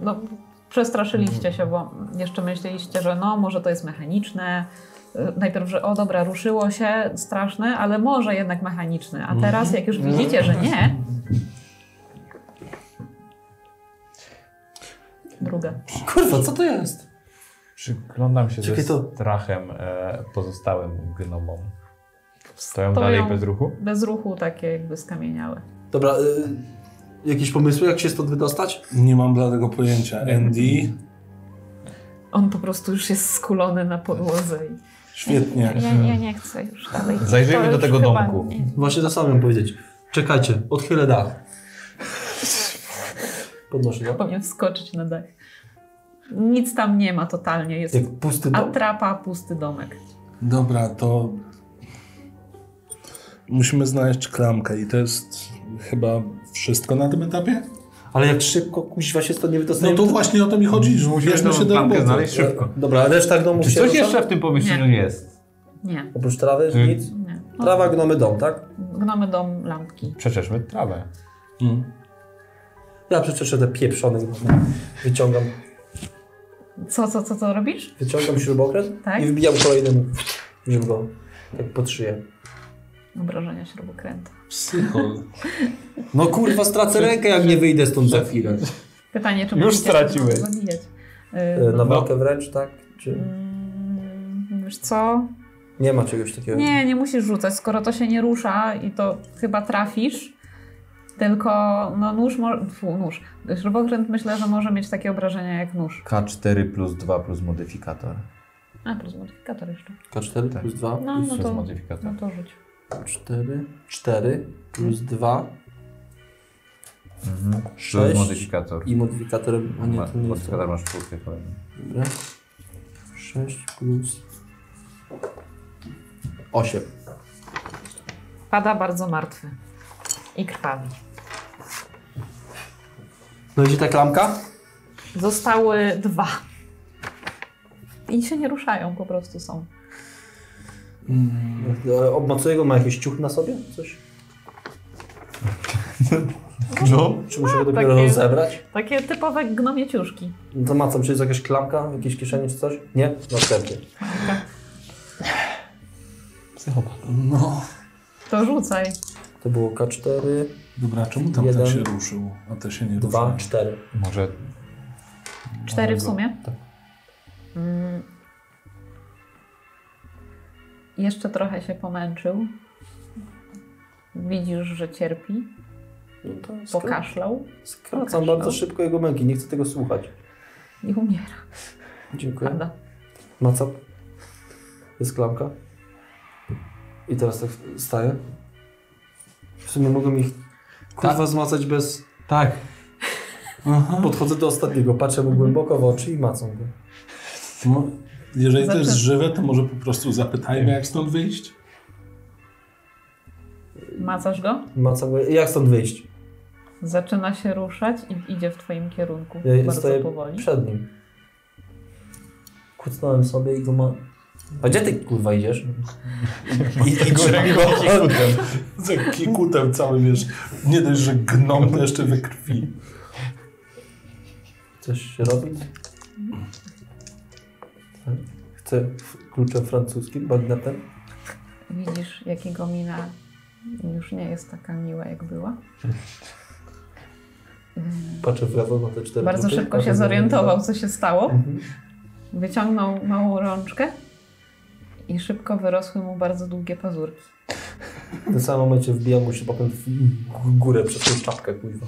Speaker 1: no, przestraszyliście się, bo jeszcze myśleliście, że no może to jest mechaniczne. Y, Najpierw, że o dobra, ruszyło się, straszne, ale może jednak mechaniczne. A teraz, jak już widzicie, że nie. Druga.
Speaker 13: Kurwa, co to jest?
Speaker 2: Przyglądam się
Speaker 3: Czekaj,
Speaker 2: ze
Speaker 3: to-
Speaker 2: strachem e, pozostałym gnomom. Stoją,
Speaker 1: Stoją.
Speaker 2: dalej bez ruchu?
Speaker 1: Bez ruchu, takie jakby skamieniałe.
Speaker 3: Dobra, y, jakieś pomysły, jak się stąd wydostać?
Speaker 4: Nie mam bladego pojęcia. Andy,
Speaker 1: On po prostu już jest skulony na podłodze. I...
Speaker 4: świetnie.
Speaker 1: Ja, ja nie chcę już dalej.
Speaker 2: Zajrzyjmy
Speaker 1: To
Speaker 2: do
Speaker 1: już
Speaker 2: tego
Speaker 1: chyba
Speaker 2: domku.
Speaker 1: nie.
Speaker 3: Właśnie to samo miałem powiedzieć. Czekajcie, odchylę dach. Podnoszę go.
Speaker 1: Powinien wskoczyć na dach. Nic tam nie ma totalnie. Jest
Speaker 3: Jak pusty dom.
Speaker 1: atrapa, pusty domek.
Speaker 4: Dobra, to musimy znaleźć klamkę i to jest chyba wszystko na tym etapie?
Speaker 3: Ale jak szybko kuźwa się stąd nie
Speaker 4: No
Speaker 3: wydostaniemy...
Speaker 4: to właśnie o to mi chodzi, że bierzmy się do roboty.
Speaker 2: szybko.
Speaker 3: Dobra, reszta gnomu
Speaker 2: Czy
Speaker 3: się
Speaker 2: coś
Speaker 3: rusza?
Speaker 2: jeszcze w tym pomieszczeniu jest?
Speaker 1: Nie,
Speaker 3: Oprócz trawy,
Speaker 2: Czy-
Speaker 3: nic?
Speaker 1: nie. No,
Speaker 3: Trawa, gnomy, dom, tak?
Speaker 1: Gnomy dom, lampki.
Speaker 2: Przeczeszmy trawę.
Speaker 4: Mm.
Speaker 3: Ja przecież te pieprzone gnomy. Wyciągam,
Speaker 1: Co, co, co, co robisz?
Speaker 3: wyciągam śrubokręt
Speaker 1: Tak?
Speaker 3: i wbijam kolejnemu. Żeby go tak pod szyję.
Speaker 1: Obrażenia śrubokręta.
Speaker 4: Psychol.
Speaker 3: No kurwa, stracę rękę, jak nie wyjdę stąd za chwilę.
Speaker 1: Pytanie, czy
Speaker 2: Już
Speaker 1: będziecie
Speaker 2: straciłeś.
Speaker 1: się zabijać? Yy,
Speaker 3: E, Na
Speaker 1: no.
Speaker 3: walkę wręcz, tak? Czy
Speaker 1: Mm, Wiesz co?
Speaker 3: nie ma czegoś takiego?
Speaker 1: Nie, nie musisz rzucać, skoro to się nie rusza i to chyba trafisz. Tylko no nóż, mo- fu, nóż. Śrubokręt myślę, że może mieć takie obrażenia jak nóż.
Speaker 2: K4 plus 2 plus modyfikator.
Speaker 1: A, plus modyfikator jeszcze.
Speaker 3: K4
Speaker 2: Tak.
Speaker 3: plus 2
Speaker 1: No, no
Speaker 2: Przez
Speaker 1: to,
Speaker 2: modyfikator.
Speaker 1: no to rzuć.
Speaker 3: 4, 4 plus 2
Speaker 2: Mhm. Plus
Speaker 3: Sześć
Speaker 2: modyfikator.
Speaker 3: i modyfikatorem, a nie,
Speaker 2: Ma-
Speaker 3: to nie jest
Speaker 2: modyfikator masz czwórkę kolejny.
Speaker 3: Dobra. 6 plus 8.
Speaker 1: Pada bardzo martwy i krwawi.
Speaker 3: No i gdzie ta klamka?
Speaker 1: Zostały dwa. I się nie ruszają, po prostu są.
Speaker 3: E, Obmacuję go, ma jakiś ciuch na sobie? Coś?
Speaker 2: No.
Speaker 3: Czy muszę go
Speaker 1: Ma
Speaker 3: dopiero
Speaker 1: takie-
Speaker 3: rozebrać?
Speaker 1: Takie typowe gnomie ciuszki.
Speaker 3: No to macam, czy jest jakaś klamka, jakieś kieszenie czy coś? Nie? Następnie.
Speaker 4: No.
Speaker 1: To rzucaj.
Speaker 3: To było K4,
Speaker 4: Dobra, czemu tam
Speaker 3: Jeden.
Speaker 4: ten się ruszył, a te się nie
Speaker 3: 2,
Speaker 4: ruszył?
Speaker 3: 4.
Speaker 2: Może
Speaker 1: Cztery w sumie. Mm. Jeszcze trochę się pomęczył. Widzisz, że cierpi.
Speaker 3: No to skra-
Speaker 1: Pokaszlał
Speaker 3: Skracam
Speaker 1: no.
Speaker 3: bardzo szybko jego męki, nie chcę tego słuchać.
Speaker 1: i umiera.
Speaker 3: Dziękuję.
Speaker 1: Pada.
Speaker 3: Macam. Jest klamka. I teraz tak staję. W sumie mogę ich kurwa zmacać bez...
Speaker 2: Tak.
Speaker 4: Aha.
Speaker 3: Podchodzę do ostatniego, patrzę mu głęboko w oczy i macam go.
Speaker 4: No, jeżeli to jest
Speaker 1: Zaczę-
Speaker 4: żywe, to może po prostu zapytajmy, jak stąd wyjść?
Speaker 1: Macasz go?
Speaker 3: Macam go. Jak stąd wyjść?
Speaker 1: Zaczyna się ruszać i idzie w twoim kierunku.
Speaker 3: Ja
Speaker 1: bardzo
Speaker 3: stoję
Speaker 1: powoli.
Speaker 3: przed nim. Kucnąłem sobie i go ma... A gdzie ty kurwa idziesz?
Speaker 2: I go
Speaker 4: Z kikutem cały, wiesz, nie dość, że gnom, to jeszcze we krwi.
Speaker 3: Chcesz się robić?
Speaker 1: Mhm.
Speaker 3: Chcę f- kluczem francuskim, bagnetem.
Speaker 1: Widzisz, jakiego mina już nie jest taka miła, jak była.
Speaker 3: Patrzę w lewo na te cztery
Speaker 1: Bardzo
Speaker 3: klucze,
Speaker 1: szybko
Speaker 3: patrzę
Speaker 1: się
Speaker 3: w lewo,
Speaker 1: zorientował,
Speaker 3: dwa.
Speaker 1: co się stało.
Speaker 3: Mhm.
Speaker 1: Wyciągnął małą rączkę i szybko wyrosły mu bardzo długie pazurki.
Speaker 3: W tym samym momencie wbija mu się potem w g- górę przez tą czapkę, kuźwa.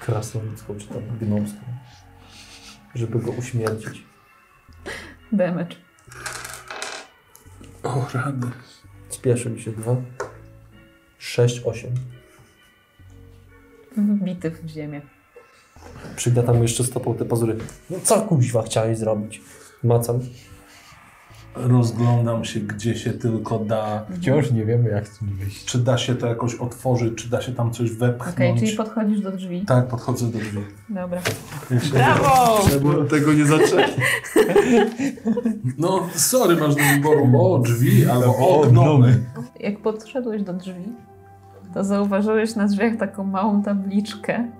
Speaker 3: Krasnoludzką czy tam gnomską. Żeby go uśmiercić.
Speaker 1: Damage.
Speaker 4: O, rady.
Speaker 3: Spieszy mi się dwa. Sześć, osiem.
Speaker 1: Wbity w ziemię.
Speaker 6: Przygniata mu jeszcze stopą te pazury. No co kuźwa chciałeś zrobić? Macam.
Speaker 4: Rozglądam się, gdzie się tylko da.
Speaker 2: Wciąż nie wiemy, jak tu wyjść.
Speaker 4: Czy da się to jakoś otworzyć, czy da się tam coś wepchnąć.
Speaker 1: Okej, czyli podchodzisz do drzwi.
Speaker 4: Tak, podchodzę do drzwi.
Speaker 1: Dobra.
Speaker 4: Ja się-
Speaker 1: Brawo!
Speaker 5: Tego nie zaczęli.
Speaker 4: No, sorry, masz do wyboru o drzwi albo o
Speaker 2: O,
Speaker 4: gnomy.
Speaker 1: Jak podszedłeś do drzwi, to zauważyłeś na drzwiach taką małą tabliczkę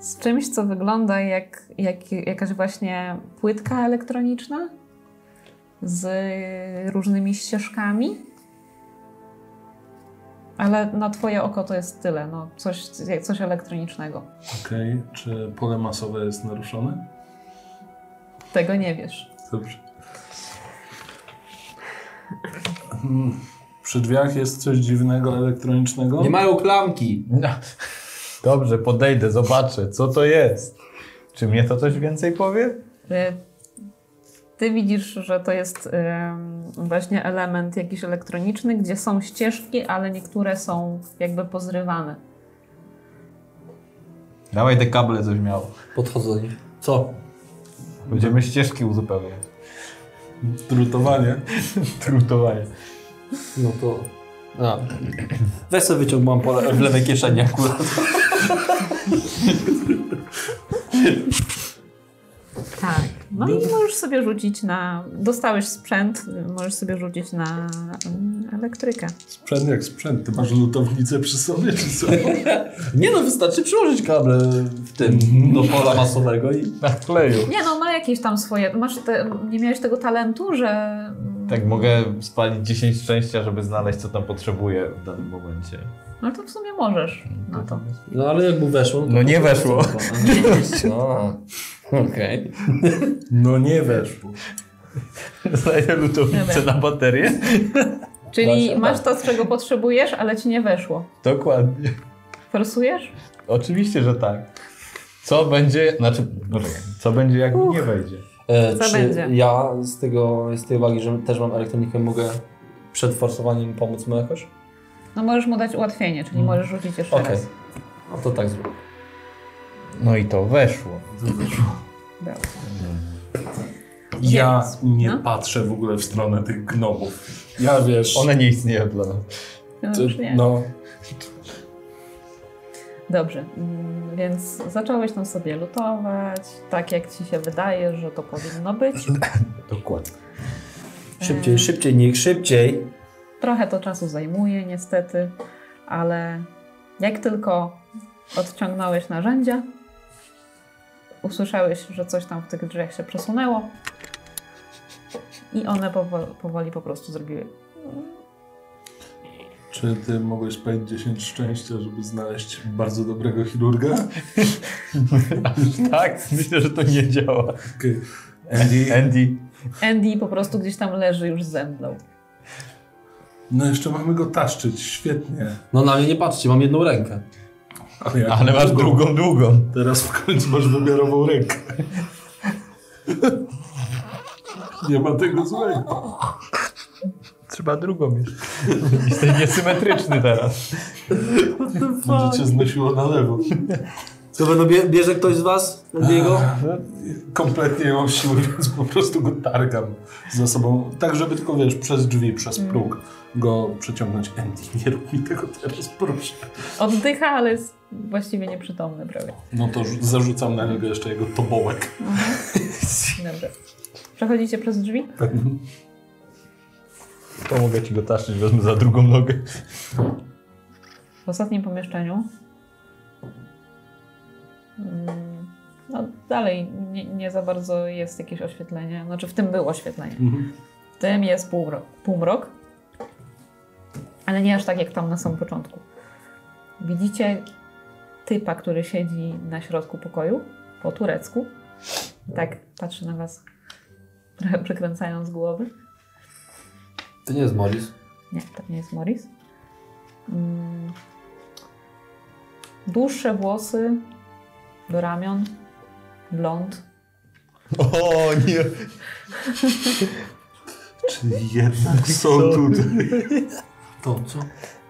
Speaker 1: z czymś, co wygląda jak, jak jakaś właśnie płytka elektroniczna z różnymi ścieżkami. Ale na twoje oko to jest tyle, no coś, coś elektronicznego.
Speaker 4: Okej, czy pole masowe jest naruszone?
Speaker 1: Tego nie wiesz.
Speaker 4: Dobrze. Mm, Przy drzwiach jest coś dziwnego, elektronicznego?
Speaker 6: Nie mają klamki.
Speaker 2: No. Dobrze, podejdę, zobaczę, co to jest. Czy mnie to coś więcej powie?
Speaker 1: Y, Ty widzisz, że to jest ym, właśnie element jakiś elektroniczny, gdzie są ścieżki, ale niektóre są jakby pozrywane.
Speaker 2: Dawaj te kable, coś miało.
Speaker 6: Podchodzę do nich. Co?
Speaker 2: Będziemy ścieżki uzupełniać.
Speaker 4: Drutowanie.
Speaker 2: Trutowanie.
Speaker 6: No to... A. Weź sobie wyciągnąłem pole w lewej kieszeni akurat.
Speaker 1: Tak. No i możesz sobie rzucić na. Dostałeś sprzęt, y, możesz sobie rzucić na ym, elektrykę.
Speaker 4: Sprzęt jak sprzęt. Ty masz lutownicę przy sobie, czy co?
Speaker 6: Nie no, wystarczy przyłożyć kable w tym do pola masowego i...
Speaker 2: Na kleju.
Speaker 1: Nie no, ma jakieś tam swoje. Masz te, nie miałeś tego talentu, że. mm,
Speaker 2: Tak, mogę spalić 10 szczęścia, żeby znaleźć, co tam potrzebuję w danym momencie.
Speaker 1: No to w sumie możesz na to.
Speaker 6: No ale jak mu weszło... to-
Speaker 2: No nie weszło.
Speaker 6: A, Okej.
Speaker 4: No nie weszło.
Speaker 2: Znajdę lutownicę
Speaker 1: Dobra.
Speaker 2: na baterię.
Speaker 1: Czyli masz to, z czego potrzebujesz, ale ci nie weszło.
Speaker 2: Dokładnie.
Speaker 1: Forsujesz?
Speaker 2: Oczywiście, że tak. Co będzie, znaczy, no czekaj, co będzie, jak mi nie wejdzie?
Speaker 6: E,
Speaker 1: Co
Speaker 6: Czy
Speaker 1: będzie?
Speaker 6: ja z, tego, z tej uwagi, że też mam elektronikę, mogę przed forsowaniem pomóc mu jakoś?
Speaker 1: No możesz mu dać ułatwienie, czyli możesz rzucić jeszcze
Speaker 6: Okej.
Speaker 1: raz.
Speaker 6: No to tak zrobię.
Speaker 2: No i to weszło.
Speaker 4: Ja
Speaker 1: Więc,
Speaker 4: nie
Speaker 1: no.
Speaker 4: patrzę w ogóle w stronę tych gnomów. Ja wiesz...
Speaker 2: One nie istnieją dla nas.
Speaker 1: No,
Speaker 4: ty-
Speaker 1: już nie.
Speaker 4: no,
Speaker 1: Dobrze, mm, więc zacząłeś tam sobie lutować, tak jak ci się wydaje, że to powinno być.
Speaker 2: Dokładnie.
Speaker 6: Szybciej, szybciej, niech szybciej.
Speaker 1: Trochę to czasu zajmuje niestety, ale jak tylko odciągnąłeś narzędzia, usłyszałeś, że coś tam w tych drzwiach się przesunęło i one powoli, powoli po prostu zrobiły.
Speaker 4: Czy ty mogłeś spalić 10 szczęścia, żeby znaleźć bardzo dobrego chirurga?
Speaker 2: Tak, myślę, że to nie działa.
Speaker 4: Okay. Andy,
Speaker 2: Andy,
Speaker 1: Andy po prostu gdzieś tam leży już zemdlał.
Speaker 4: no jeszcze mamy go taszczyć, świetnie.
Speaker 6: No na mnie nie patrzcie, mam jedną rękę.
Speaker 4: Ale, jak
Speaker 2: ale masz drugą, długą.
Speaker 4: Teraz w końcu masz wymiarową rękę. Nie ma tego złego.
Speaker 2: Trzeba drugą jeszcze. Jesteś niesymetryczny teraz.
Speaker 4: Będzie cię znosiło na lewo.
Speaker 6: To będą bie- bierze ktoś z was? Jego?
Speaker 4: Kompletnie nie mam siły, więc po prostu go targam za sobą. Tak, żeby tylko, wiesz, przez drzwi, przez próg go przeciągnąć. Andy, nie rób mi tego teraz, proszę.
Speaker 1: Oddycha, ale jest właściwie nieprzytomny prawie.
Speaker 4: No to rzu- zarzucam na niego jeszcze jego tobołek.
Speaker 1: Dobra. Przechodzicie przez drzwi?
Speaker 4: Tak.
Speaker 2: To mogę ci go taszczyć, wezmę za drugą nogę.
Speaker 1: w ostatnim pomieszczeniu. Mm, No dalej nie, nie za bardzo jest jakieś oświetlenie. Znaczy w tym było oświetlenie.
Speaker 4: Mhm.
Speaker 1: W tym jest półmrok, półmrok. Ale nie aż tak jak tam na samym początku. Widzicie typa, który siedzi na środku pokoju po turecku. Tak patrzy na was, trochę przekręcając głowy.
Speaker 6: To nie jest Morris.
Speaker 1: Nie, to nie jest Morris. Mm. Dłuższe włosy do ramion, blond.
Speaker 2: O nie!
Speaker 4: Czyli jednak są tutaj.
Speaker 6: To co?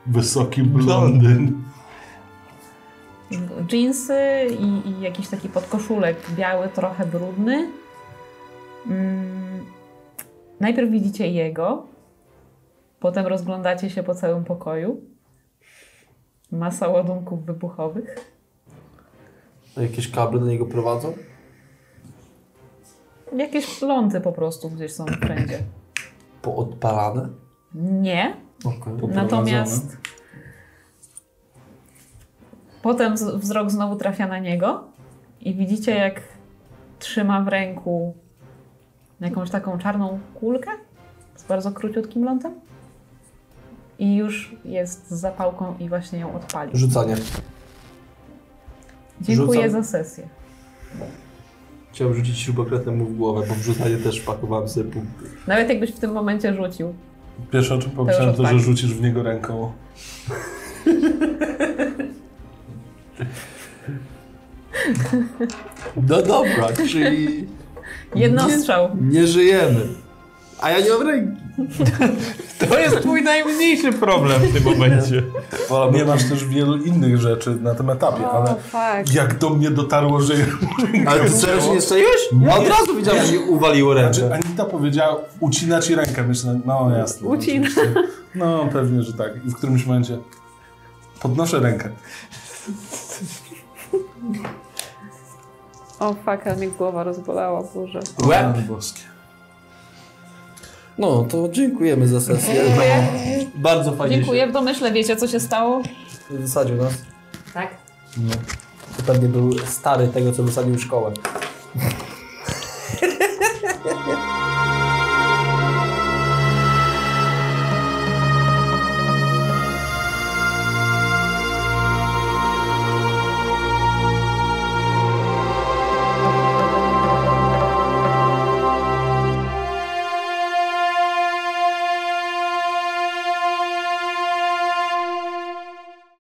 Speaker 4: Wysoki blondyn.
Speaker 1: Jeansy i, i jakiś taki podkoszulek biały, trochę brudny. Mm. Najpierw widzicie jego, potem rozglądacie się po całym pokoju. Masa ładunków wybuchowych.
Speaker 3: Jakieś kable do niego prowadzą?
Speaker 1: Jakieś lądy po prostu gdzieś są wszędzie.
Speaker 3: Poodpalane?
Speaker 1: Nie,
Speaker 3: Okej.
Speaker 1: Natomiast potem z- wzrok znowu trafia na niego i widzicie, jak trzyma w ręku jakąś taką czarną kulkę z bardzo króciutkim lądem. I już jest z zapałką i właśnie ją odpalił.
Speaker 3: Rzucanie.
Speaker 1: Dziękuję
Speaker 3: rzucam.
Speaker 1: za sesję.
Speaker 3: Chciałem rzucić śrubokrętem mu w głowę, bo w rzucanie też pakowałem sobie punkty.
Speaker 1: Nawet jakbyś w tym momencie rzucił.
Speaker 4: Pierwsze o czym pomyślałem to, że
Speaker 1: odpadnie.
Speaker 4: rzucisz w niego ręką.
Speaker 3: No dobra, czyli
Speaker 1: Jednostrzał.
Speaker 3: nie żyjemy. A ja nie mam ręki.
Speaker 2: To jest mój najmniejszy problem w tym momencie.
Speaker 4: Nie masz też wielu innych rzeczy na tym etapie, ale
Speaker 14: fuck.
Speaker 4: jak do mnie dotarło, że...
Speaker 3: Ale ty serio się nie stajesz? Ja od razu widziałem, że mi uwaliło
Speaker 4: Znaczy
Speaker 3: rękę.
Speaker 4: Anita powiedziała, ucina ci rękę. Myślę, no jasne.
Speaker 1: Ucina.
Speaker 4: oczywiście. No pewnie, że tak. I w którymś momencie podnoszę rękę.
Speaker 14: O fuck, ale mnie głowa rozbolała, Boże.
Speaker 4: Łeb! Boskie.
Speaker 3: No, to dziękujemy za sesję. Bardzo fajnie
Speaker 1: Dziękuję. W domyśle wiecie, co się stało?
Speaker 3: się wysadził nas.
Speaker 1: Tak.
Speaker 3: To pewnie był stary tego, co wysadził szkołę.